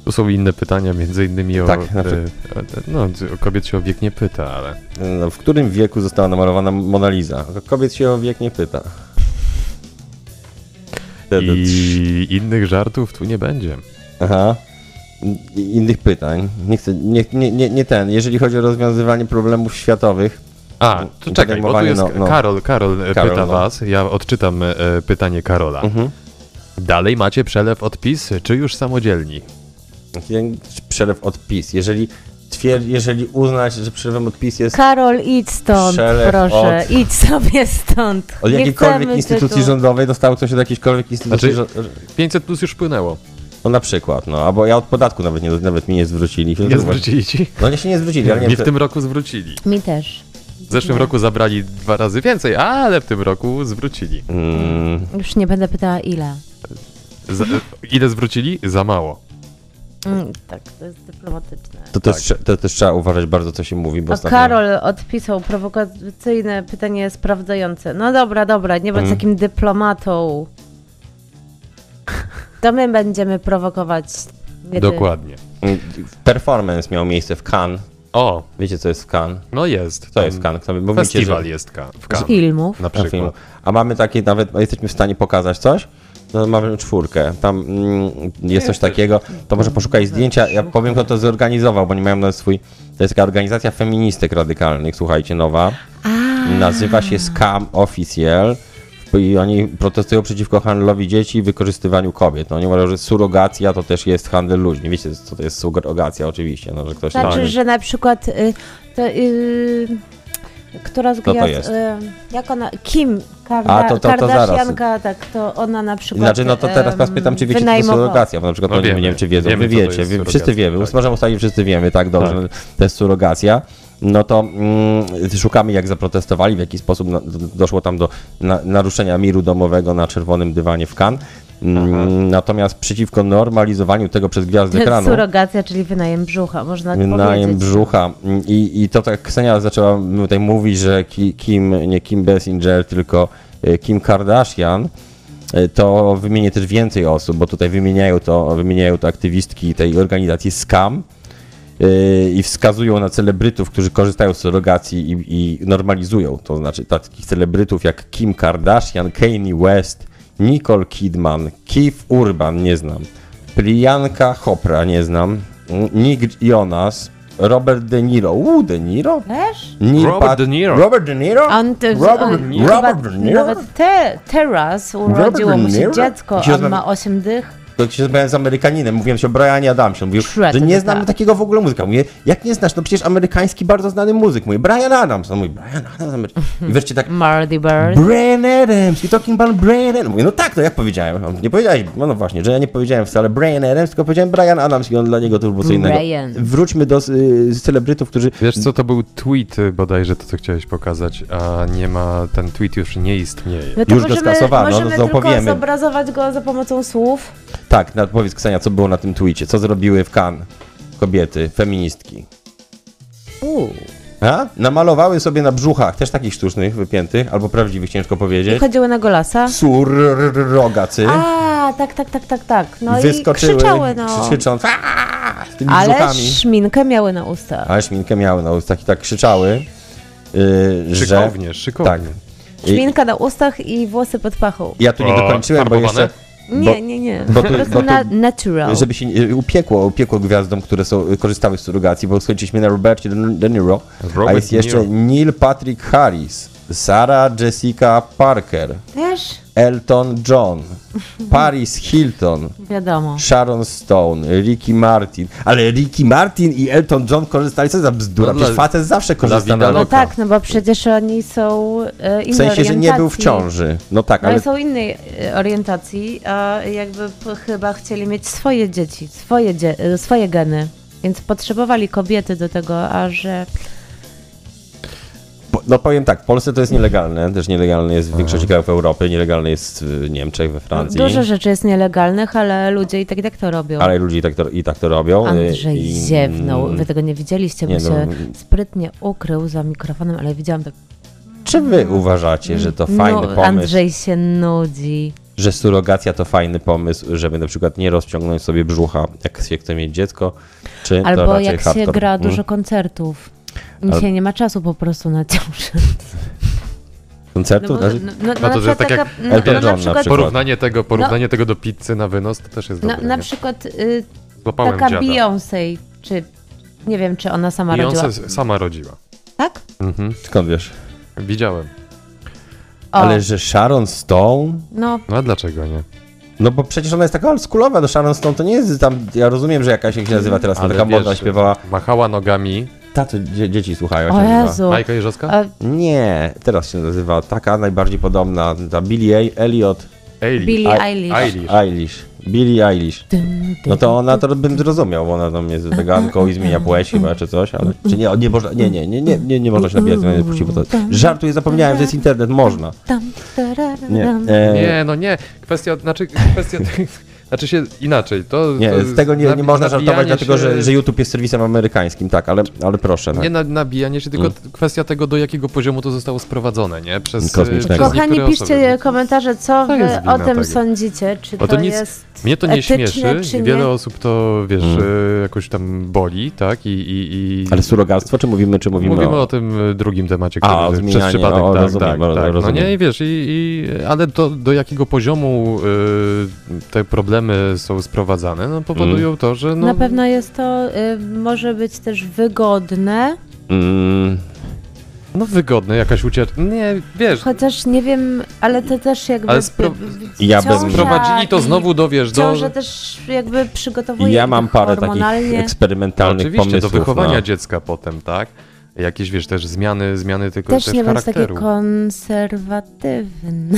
[SPEAKER 4] Tu są inne pytania, między innymi o,
[SPEAKER 2] Tak,
[SPEAKER 4] e,
[SPEAKER 2] znaczy-
[SPEAKER 4] e, no, o kobiet się o wiek nie pyta, ale...
[SPEAKER 2] No, w którym wieku została namalowana Mona Lisa? Kobiet się o wiek nie pyta. Wtedy trz-
[SPEAKER 4] I innych żartów tu nie będzie.
[SPEAKER 2] Aha. I- Innych pytań. Nie, chcę, nie, nie, nie, nie ten. Jeżeli chodzi o rozwiązywanie problemów światowych,
[SPEAKER 4] A, to
[SPEAKER 2] to
[SPEAKER 4] czekaj, bo tu
[SPEAKER 2] zajmowanie,
[SPEAKER 4] jest
[SPEAKER 2] no, no.
[SPEAKER 4] Karol, Karol, e,
[SPEAKER 2] Karol,
[SPEAKER 4] pyta
[SPEAKER 2] no. Mhm.
[SPEAKER 4] was, ja odczytam e, e, pytanie Karola. Dalej macie przelew odpis, czy już samodzielni?
[SPEAKER 2] przelew odpis. Jeżeli, twier- jeżeli uznać, że przelewem odpis jest
[SPEAKER 3] Karol, idź stąd,
[SPEAKER 2] Przelew
[SPEAKER 3] proszę,
[SPEAKER 2] od-
[SPEAKER 3] idź sobie stąd.
[SPEAKER 2] od
[SPEAKER 3] Nie
[SPEAKER 2] jakiejkolwiek
[SPEAKER 3] chcemy
[SPEAKER 2] instytucji
[SPEAKER 3] tytułu.
[SPEAKER 2] rządowej, dostało coś od jakiejkolwiek instytucji
[SPEAKER 4] Znaczy-
[SPEAKER 2] rządowej.
[SPEAKER 4] 500 plus już wpłynęło.
[SPEAKER 2] No na przykład, no. Albo ja od podatku nawet, nie, nawet mi nie zwrócili.
[SPEAKER 4] Nie zwrócili ci?
[SPEAKER 2] No nie się nie zwrócili, ale nie
[SPEAKER 4] Mi
[SPEAKER 2] wiem,
[SPEAKER 4] w
[SPEAKER 2] czy-
[SPEAKER 4] tym roku zwrócili.
[SPEAKER 3] Mi też.
[SPEAKER 4] W zeszłym roku zabrali dwa razy więcej, ale w tym roku zwrócili.
[SPEAKER 2] Mm.
[SPEAKER 3] Już nie będę pytała ile.
[SPEAKER 4] Za, e, ile zwrócili? Za mało.
[SPEAKER 3] Mm, tak, to jest dyplomatyczne.
[SPEAKER 2] To też,
[SPEAKER 4] Tak.
[SPEAKER 2] trze- to też trzeba uważać bardzo, co się mówi, bo
[SPEAKER 3] O,
[SPEAKER 2] ostatnio-
[SPEAKER 3] Karol odpisał prowokacyjne pytanie sprawdzające. No dobra, dobra, nie
[SPEAKER 2] Mm.
[SPEAKER 3] bądź takim dyplomatą. To my będziemy prowokować. nie ty.
[SPEAKER 4] Dokładnie.
[SPEAKER 2] Mm, Performance miał miejsce w Cannes.
[SPEAKER 4] O,
[SPEAKER 2] Wiecie, co jest w Cannes?
[SPEAKER 4] no jest.
[SPEAKER 2] Co
[SPEAKER 4] Tam
[SPEAKER 2] jest w Cannes? Kto- Bo mówicie,
[SPEAKER 4] Festiwal
[SPEAKER 2] że-
[SPEAKER 4] jest ka- w Cannes,
[SPEAKER 3] Filmów.
[SPEAKER 4] na
[SPEAKER 2] na film.
[SPEAKER 4] przykład.
[SPEAKER 2] A mamy takie, nawet jesteśmy w stanie pokazać coś? No, mamy czwórkę. Tam mm, jest coś takiego. To może poszukaj zdjęcia. Ja powiem, kto to zorganizował, bo nie mają na swój. To jest taka organizacja feministek radykalnych, słuchajcie, nowa. Nazywa się Scam Officiel. I oni protestują przeciwko handlowi dzieci i wykorzystywaniu kobiet. No, oni mówią, że surogacja to też jest handel ludźmi. Wiecie, co to jest surogacja, oczywiście. No, że ktoś
[SPEAKER 3] Znaczy,
[SPEAKER 2] tam-
[SPEAKER 3] że na przykład y, to, y, która z
[SPEAKER 2] Kto to
[SPEAKER 3] gwiazd,
[SPEAKER 2] jest?
[SPEAKER 3] e, jak ona, Kim Karda,
[SPEAKER 2] A, to- to- to zaraz.
[SPEAKER 3] Kardashianka, tak, to ona na przykład
[SPEAKER 2] Znaczy, no to teraz was
[SPEAKER 3] em,
[SPEAKER 2] pytam, czy wiecie, co to jest
[SPEAKER 3] wynajmowała.
[SPEAKER 2] surrogacja, bo na przykład
[SPEAKER 4] No
[SPEAKER 2] no, nie
[SPEAKER 4] wiemy.
[SPEAKER 2] wiem, czy wiedzą.
[SPEAKER 4] Wiemy,
[SPEAKER 2] Wy
[SPEAKER 4] co to
[SPEAKER 2] wiecie,
[SPEAKER 4] jest
[SPEAKER 2] wy, wszyscy
[SPEAKER 4] surrogacja,
[SPEAKER 2] wiemy.
[SPEAKER 4] tak.
[SPEAKER 2] Usmażam ustali, wszyscy wiemy, tak, dobrze, to jest surrogacja. No to mm, szukamy, jak zaprotestowali, w jaki sposób na, do- doszło tam do na, naruszenia miru domowego na czerwonym dywanie w Cannes. Mm, natomiast przeciwko normalizowaniu tego przez gwiazdy ekranu,
[SPEAKER 3] (laughs) Surrogacja, czyli wynajem brzucha, można
[SPEAKER 2] wynajem
[SPEAKER 3] powiedzieć. tak.
[SPEAKER 2] brzucha. Mm, I, I to tak Ksenia zaczęła tutaj mówić, że ki, Kim, nie Kim Basinger, tylko y, Kim Kardashian, y, to wymienię też więcej osób, bo tutaj wymieniają to, wymieniają to aktywistki tej organizacji SCAM y, i wskazują na celebrytów, którzy korzystają z surrogacji i, i normalizują, to znaczy takich celebrytów jak Kim Kardashian, Kanye West, Nicole Kidman, Keith Urban, nie znam, Priyanka Chopra, nie znam, Nick Jonas, Robert De Niro, uuu, De Niro?
[SPEAKER 3] Też?
[SPEAKER 2] Neil
[SPEAKER 4] Robert De Niro.
[SPEAKER 2] Robert De Niro?
[SPEAKER 3] A On, te,
[SPEAKER 2] Robert,
[SPEAKER 3] on,
[SPEAKER 2] De Niro.
[SPEAKER 3] chyba
[SPEAKER 2] Robert De Niro?
[SPEAKER 3] Nawet te, teraz urodziło
[SPEAKER 2] Robert
[SPEAKER 3] mu
[SPEAKER 2] De
[SPEAKER 3] się
[SPEAKER 2] Niro?
[SPEAKER 3] dziecko,
[SPEAKER 2] Gdzie
[SPEAKER 3] a
[SPEAKER 2] znam-
[SPEAKER 3] ma 8 dych.
[SPEAKER 2] To się zbrałem z Amerykaninem, mówiłem się o Brianie Adamsie, on mówił,
[SPEAKER 3] Shred,
[SPEAKER 2] że nie
[SPEAKER 3] tak.
[SPEAKER 2] znamy takiego w ogóle muzyka. Mówię, jak nie znasz, no przecież amerykański bardzo znany muzyk. Mówię, Brian Adams. On mówi, Brian Adams. Amery- I wreszcie tak,
[SPEAKER 3] Mardy Bird.
[SPEAKER 2] Brian Adams, you talking about Brian Adams. Mówię, no tak, to ja powiedziałem. On, Nie powiedziałeś, no, no właśnie, że ja nie powiedziałem wcale Brian Adams, tylko powiedziałem Brian Adams i on dla niego to już było co innego.
[SPEAKER 3] Brian.
[SPEAKER 2] Wróćmy do y, celebrytów, którzy...
[SPEAKER 4] Wiesz co, to był tweet y, bodajże, to co chciałeś pokazać, a nie ma, ten tweet już nie istnieje.
[SPEAKER 3] No to
[SPEAKER 2] Już go
[SPEAKER 3] możemy,
[SPEAKER 2] skasowano, no
[SPEAKER 3] możemy
[SPEAKER 2] to
[SPEAKER 3] tylko
[SPEAKER 2] powiemy.
[SPEAKER 3] zobrazować go za pomocą słów.
[SPEAKER 2] Tak, na, powiedz Ksenia, co było na tym tweetie, co zrobiły w Cannes kobiety, feministki. A? Namalowały sobie na brzuchach, też takich sztucznych, wypiętych, albo prawdziwych, ciężko
[SPEAKER 3] I
[SPEAKER 2] powiedzieć.
[SPEAKER 3] chodziły na golasa.
[SPEAKER 2] Surrogacy.
[SPEAKER 3] A, tak, tak, tak, tak, tak. No
[SPEAKER 2] Wyskoczyły,
[SPEAKER 3] i krzyczały, no.
[SPEAKER 2] krzycząc, "Aaa!" z tymi
[SPEAKER 3] Ale
[SPEAKER 2] brzuchami.
[SPEAKER 3] szminkę miały na ustach.
[SPEAKER 2] Ale szminkę miały na ustach i tak krzyczały, yy, że...
[SPEAKER 4] Szykownie, szykownie.
[SPEAKER 2] Tak. I,
[SPEAKER 3] Szminka na ustach i włosy pod pachą.
[SPEAKER 2] ja tu nie
[SPEAKER 4] O,
[SPEAKER 2] dokończyłem, bo
[SPEAKER 4] farbowane?
[SPEAKER 2] jeszcze...
[SPEAKER 3] Nie, nie, nie.
[SPEAKER 2] bo
[SPEAKER 3] Po
[SPEAKER 2] tu-
[SPEAKER 3] prostu
[SPEAKER 2] bo tu-
[SPEAKER 3] na, natural.
[SPEAKER 2] Żeby się nie- e, upiekło, upiekło gwiazdom, które są, e, korzystały z surrogacji, bo skończyliśmy na Robercie De- De Niro, a
[SPEAKER 4] Robert
[SPEAKER 2] jest
[SPEAKER 4] De
[SPEAKER 2] jeszcze
[SPEAKER 4] Niro.
[SPEAKER 2] Neil Patrick Harris, Sarah Jessica Parker,
[SPEAKER 3] Wiesz?
[SPEAKER 2] Elton John,
[SPEAKER 4] (laughs)
[SPEAKER 2] Paris Hilton,
[SPEAKER 3] Wiadomo. No
[SPEAKER 2] Sharon Stone, Ricky Martin. Ale Ricky Martin i Elton John korzystali, co za bzdura,
[SPEAKER 4] No dla-
[SPEAKER 2] przecież facet zawsze korzysta
[SPEAKER 4] Davida
[SPEAKER 2] na
[SPEAKER 3] No
[SPEAKER 4] Loka.
[SPEAKER 3] tak, no bo przecież oni są e, innej
[SPEAKER 2] W sensie, że nie był w
[SPEAKER 3] orientacji.
[SPEAKER 2] ciąży. No tak,
[SPEAKER 3] No, Ale
[SPEAKER 2] ale
[SPEAKER 3] są innej e, orientacji, a jakby p- chyba chcieli mieć swoje dzieci, swoje, dzie- e, swoje geny. Więc potrzebowali kobiety do tego, a że
[SPEAKER 2] Po- No powiem tak, w Polsce to jest nielegalne, też nielegalne jest w większości krajów Europy, nielegalne jest w Niemczech, we Francji.
[SPEAKER 3] dużo rzeczy jest nielegalnych, ale ludzie i tak i tak to robią.
[SPEAKER 2] Ale ludzie i tak to, i tak to robią. y,
[SPEAKER 3] Andrzej
[SPEAKER 2] i, mm,
[SPEAKER 3] ziewnął. Wy tego nie widzieliście, bo
[SPEAKER 2] nie, no.
[SPEAKER 3] się sprytnie ukrył za mikrofonem, ale widziałam tak.
[SPEAKER 2] Czy wy uważacie, że to fajny
[SPEAKER 3] no,
[SPEAKER 2] pomysł,
[SPEAKER 3] Andrzej się nudzi.
[SPEAKER 2] że surrogacja to fajny pomysł, żeby na przykład nie rozciągnąć sobie brzucha, jak się chce mieć dziecko, czy to
[SPEAKER 3] Albo
[SPEAKER 2] raczej
[SPEAKER 3] jak się
[SPEAKER 2] hardcore?
[SPEAKER 3] gra
[SPEAKER 2] Mm.
[SPEAKER 3] dużo koncertów. Dzisiaj nie ma czasu po prostu na ciążę.
[SPEAKER 2] No koncertu? Znaczy-
[SPEAKER 3] no,
[SPEAKER 4] to, że
[SPEAKER 3] na przykład
[SPEAKER 4] tak jak
[SPEAKER 3] no,
[SPEAKER 2] Elton
[SPEAKER 3] no,
[SPEAKER 2] John na
[SPEAKER 3] na przykład,
[SPEAKER 2] przykład.
[SPEAKER 4] Porównanie tego, porównanie tego do pizzy na wynos to też jest
[SPEAKER 3] no,
[SPEAKER 4] dobre.
[SPEAKER 3] na
[SPEAKER 4] nie?
[SPEAKER 3] przykład y,
[SPEAKER 4] Złapałem
[SPEAKER 3] taka
[SPEAKER 4] dziada.
[SPEAKER 3] Beyoncé, czy nie wiem, czy ona sama rodziła.
[SPEAKER 4] Beyoncé sama rodziła.
[SPEAKER 3] Tak?
[SPEAKER 4] Mhm.
[SPEAKER 2] Skąd wiesz?
[SPEAKER 4] Widziałem.
[SPEAKER 3] O,
[SPEAKER 2] Ale że Sharon Stone?
[SPEAKER 3] no,
[SPEAKER 4] No a dlaczego nie?
[SPEAKER 2] No bo przecież ona jest taka oldschoolowa, do Sharon Stone to nie jest tam, ja rozumiem, że jakaś jak się nazywa teraz,
[SPEAKER 4] Ale
[SPEAKER 2] taka modna
[SPEAKER 4] wiesz,
[SPEAKER 2] śpiewała.
[SPEAKER 4] Machała nogami.
[SPEAKER 2] Tato, dzie- dzieci słuchają. jak
[SPEAKER 3] o
[SPEAKER 2] się nazywa.
[SPEAKER 3] Jezu.
[SPEAKER 4] Majka Jeżowska?
[SPEAKER 3] No. A
[SPEAKER 2] Nie, teraz się nazywa taka najbardziej podobna, ta Billie Elliot
[SPEAKER 4] Eili.
[SPEAKER 3] Billie
[SPEAKER 2] A-
[SPEAKER 3] Eilish.
[SPEAKER 4] Eilish.
[SPEAKER 2] Eilish. Billie Eilish.
[SPEAKER 3] Dym, dym.
[SPEAKER 2] No to ona to bym zrozumiał, bo ona tam jest weganką i zmienia płeć chyba czy coś, ale czy nie, o, nie można, nie, nie, nie, nie, nie, nie można się nabijać zmiany płci, bo to żartuję, zapomniałem, że jest internet, można.
[SPEAKER 3] Tam, tarara,
[SPEAKER 2] Nie,
[SPEAKER 3] tam.
[SPEAKER 2] e,
[SPEAKER 4] Nie, no nie. Kwestia, znaczy
[SPEAKER 3] (laughs)
[SPEAKER 4] kwestia... znaczy się inaczej. To,
[SPEAKER 2] nie,
[SPEAKER 4] to
[SPEAKER 2] z tego nie, nie
[SPEAKER 4] nabi-
[SPEAKER 2] można żartować,
[SPEAKER 4] nabijanie
[SPEAKER 2] dlatego
[SPEAKER 4] się-
[SPEAKER 2] że, że YouTube jest serwisem amerykańskim, tak, ale, ale proszę.
[SPEAKER 4] Nie
[SPEAKER 2] Tak. Mm.
[SPEAKER 4] na, nabijanie się, tylko t- kwestia tego, do jakiego poziomu to zostało sprowadzone, nie? Przez, e,
[SPEAKER 2] Kosmicznego.
[SPEAKER 4] przez
[SPEAKER 3] Kochani,
[SPEAKER 4] niektóre
[SPEAKER 3] piszcie
[SPEAKER 4] osoby.
[SPEAKER 3] komentarze, co
[SPEAKER 4] To jest
[SPEAKER 3] wy
[SPEAKER 4] wina
[SPEAKER 3] o tym
[SPEAKER 4] tego.
[SPEAKER 3] sądzicie. Czy
[SPEAKER 4] Bo
[SPEAKER 3] to,
[SPEAKER 4] to nic-
[SPEAKER 3] jest
[SPEAKER 4] Mnie to nie
[SPEAKER 3] etyczne,
[SPEAKER 4] śmieszy,
[SPEAKER 3] czy nie?
[SPEAKER 4] wiele osób to, wiesz, e, jakoś tam boli, tak? I, i, i...
[SPEAKER 2] Mm. Ale surrogactwo, czy mówimy, czy mówimy,
[SPEAKER 4] Mówimy
[SPEAKER 2] o...
[SPEAKER 4] o tym y, drugim temacie, który
[SPEAKER 2] A, o
[SPEAKER 4] przez
[SPEAKER 2] zmianie,
[SPEAKER 4] przypadek,
[SPEAKER 2] o,
[SPEAKER 4] tak,
[SPEAKER 2] rozumiem,
[SPEAKER 4] tak,
[SPEAKER 2] o,
[SPEAKER 4] tak.
[SPEAKER 2] rozumiem.
[SPEAKER 4] No nie, i wiesz, i, i, ale to, do jakiego poziomu y, te problemy są sprowadzane, no powodują
[SPEAKER 2] Mm.
[SPEAKER 4] to, że no,
[SPEAKER 3] Na pewno jest to, y, może być też wygodne,
[SPEAKER 2] Mm,
[SPEAKER 4] no wygodne, jakaś ucieczka, nie, wiesz,
[SPEAKER 3] chociaż nie wiem, ale to też jakby...
[SPEAKER 4] Ale spro-
[SPEAKER 2] Ja bym-
[SPEAKER 3] ciąża
[SPEAKER 4] sprowadzili to
[SPEAKER 3] i-
[SPEAKER 4] znowu do, wiesz, do...
[SPEAKER 3] Ciąża też jakby przygotowuje
[SPEAKER 2] ja
[SPEAKER 3] ich
[SPEAKER 2] mam parę takich
[SPEAKER 3] hormonalnie.
[SPEAKER 2] eksperymentalnych
[SPEAKER 4] Oczywiście, do
[SPEAKER 2] pomysłów. no.
[SPEAKER 4] wychowania
[SPEAKER 2] na-
[SPEAKER 4] dziecka potem, tak? Jakieś, wiesz, też zmiany, zmiany tylko też,
[SPEAKER 3] Też nie bądź taki
[SPEAKER 4] charakteru.
[SPEAKER 3] konserwatywny.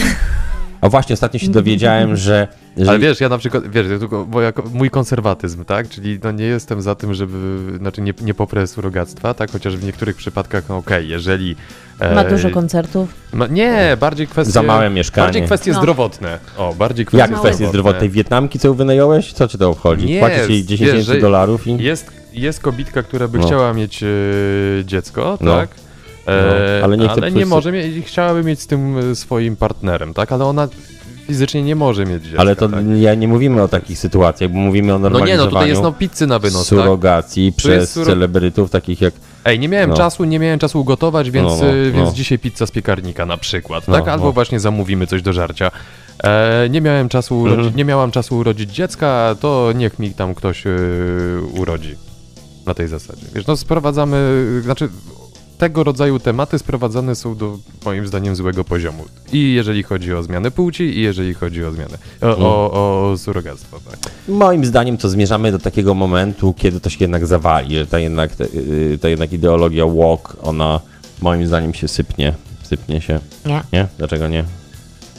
[SPEAKER 2] A właśnie ostatnio się dowiedziałem, że. że
[SPEAKER 4] Ale wiesz, ja na przykład, wiesz, ja tylko, bo jako mój konserwatyzm, tak? Czyli no nie jestem za tym, żeby, znaczy nie, nie poprę surrogactwa, tak? Chociaż w niektórych przypadkach, no okej, jeżeli... e,
[SPEAKER 3] Ma dużo koncertów.
[SPEAKER 4] ma- Nie, bardziej kwestie...
[SPEAKER 2] Za małe mieszkanie.
[SPEAKER 4] Bardziej kwestie
[SPEAKER 3] No.
[SPEAKER 4] zdrowotne. O, bardziej kwestie
[SPEAKER 2] jak kwestie zdrowotnej Wietnamki, co wynająłeś? Co cię to obchodzi?
[SPEAKER 4] Nie,
[SPEAKER 2] Płacisz jej 10
[SPEAKER 4] wiesz,
[SPEAKER 2] tysięcy
[SPEAKER 4] że-
[SPEAKER 2] dolarów i.
[SPEAKER 4] Jest, jest kobitka, która by
[SPEAKER 2] No.
[SPEAKER 4] chciała mieć e, dziecko,
[SPEAKER 2] No.
[SPEAKER 4] tak? E,
[SPEAKER 2] No, ale
[SPEAKER 4] ale
[SPEAKER 2] nie
[SPEAKER 4] nie,
[SPEAKER 2] chce płysy.
[SPEAKER 4] może mieć, chciałaby mieć z tym e, swoim partnerem, tak? Ale ona fizycznie nie może mieć dziecka.
[SPEAKER 2] Ale to
[SPEAKER 4] tak?
[SPEAKER 2] ja nie mówimy o takich sytuacjach, bo mówimy o
[SPEAKER 4] No nie,
[SPEAKER 2] normalizowaniu
[SPEAKER 4] no tutaj jest no pizzy na wynos, tak?
[SPEAKER 2] surrogacji przez
[SPEAKER 4] suro-
[SPEAKER 2] celebrytów takich jak
[SPEAKER 4] Ej, nie miałem
[SPEAKER 2] No.
[SPEAKER 4] czasu, nie miałem czasu ugotować, więc,
[SPEAKER 2] No, no,
[SPEAKER 4] y, więc
[SPEAKER 2] no.
[SPEAKER 4] dzisiaj pizza z piekarnika na przykład,
[SPEAKER 2] No,
[SPEAKER 4] tak? Albo
[SPEAKER 2] no.
[SPEAKER 4] właśnie zamówimy coś do żarcia. E, nie miałem czasu urodzi- nie miałam czasu urodzić dziecka, to niech mi tam ktoś y, urodzi. Na tej zasadzie. Wiesz, no sprowadzamy, znaczy tego rodzaju tematy sprowadzane są do moim zdaniem złego poziomu. I jeżeli chodzi o zmianę płci, i jeżeli chodzi o zmianę, o, o, o surrogactwo, tak.
[SPEAKER 2] Moim zdaniem to zmierzamy do takiego momentu, kiedy to się jednak zawali, że ta jednak, te- yy, ta jednak ideologia walk, ona moim zdaniem się sypnie. Sypnie się.
[SPEAKER 3] Nie.
[SPEAKER 2] Nie? Dlaczego nie?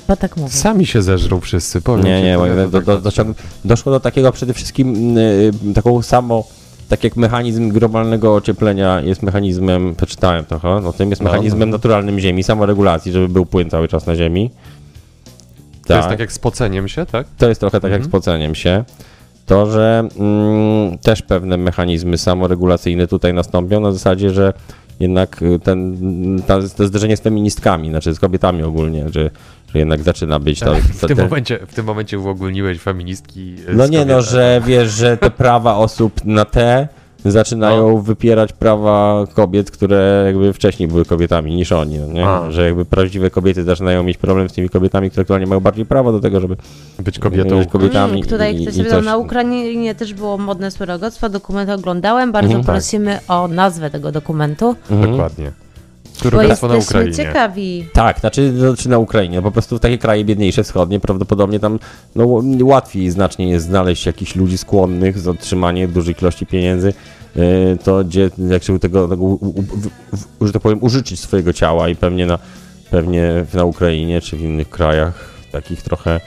[SPEAKER 3] Bo tak mówię.
[SPEAKER 4] Sami się zeżrą wszyscy, powiem
[SPEAKER 2] Nie,
[SPEAKER 4] ci,
[SPEAKER 2] nie,
[SPEAKER 4] to
[SPEAKER 2] moim
[SPEAKER 4] ja to
[SPEAKER 2] zdaniem do,
[SPEAKER 4] tak-
[SPEAKER 2] do, do, doszło do takiego przede wszystkim yy, taką samo, tak jak mechanizm globalnego ocieplenia jest mechanizmem, przeczytałem trochę o tym, jest
[SPEAKER 4] No.
[SPEAKER 2] mechanizmem naturalnym Ziemi, samoregulacji, żeby był płyn cały czas na Ziemi.
[SPEAKER 4] To jest tak jak z poceniem się, tak?
[SPEAKER 2] To jest trochę tak jak z poceniem się. To, że mm, też pewne mechanizmy samoregulacyjne tutaj nastąpią na zasadzie, że jednak y, ten, ta, to zderzenie z feministkami, znaczy z kobietami ogólnie, że, że jednak zaczyna być ta, ta,
[SPEAKER 4] Tak, W tym,
[SPEAKER 2] te-
[SPEAKER 4] momencie, w tym momencie uogólniłeś feministki. e,
[SPEAKER 2] No
[SPEAKER 4] z
[SPEAKER 2] nie no,
[SPEAKER 4] kobietami.
[SPEAKER 2] że wiesz, że te prawa osób na te zaczynają
[SPEAKER 4] No.
[SPEAKER 2] wypierać prawa kobiet, które jakby wcześniej były kobietami niż oni, no nie?
[SPEAKER 4] A.
[SPEAKER 2] że jakby prawdziwe kobiety zaczynają mieć problem z tymi kobietami, które aktualnie mają bardziej prawo do tego, żeby
[SPEAKER 4] Być kobietą.
[SPEAKER 2] być kobietami
[SPEAKER 3] Mm, tutaj
[SPEAKER 2] i-
[SPEAKER 3] ktoś
[SPEAKER 2] i
[SPEAKER 3] powiedział,
[SPEAKER 2] coś.
[SPEAKER 3] na Ukrainie też było modne surrogactwo, dokument oglądałem, bardzo
[SPEAKER 2] Mhm.
[SPEAKER 3] prosimy o nazwę tego dokumentu,
[SPEAKER 4] Dokładnie.
[SPEAKER 3] bo
[SPEAKER 4] Surrogactwo na
[SPEAKER 3] jesteśmy
[SPEAKER 4] Ukrainie.
[SPEAKER 3] ciekawi.
[SPEAKER 2] Tak, znaczy, znaczy na Ukrainie. Po prostu takie kraje biedniejsze wschodnie prawdopodobnie tam no, ł- łatwiej znacznie jest znaleźć jakichś ludzi skłonnych za otrzymanie dużych ilości pieniędzy. yy, To gdzie, jak się tego, tego u, u, w- w- że tak powiem, użyczyć swojego ciała i pewnie na, pewnie na Ukrainie czy w innych krajach takich trochę,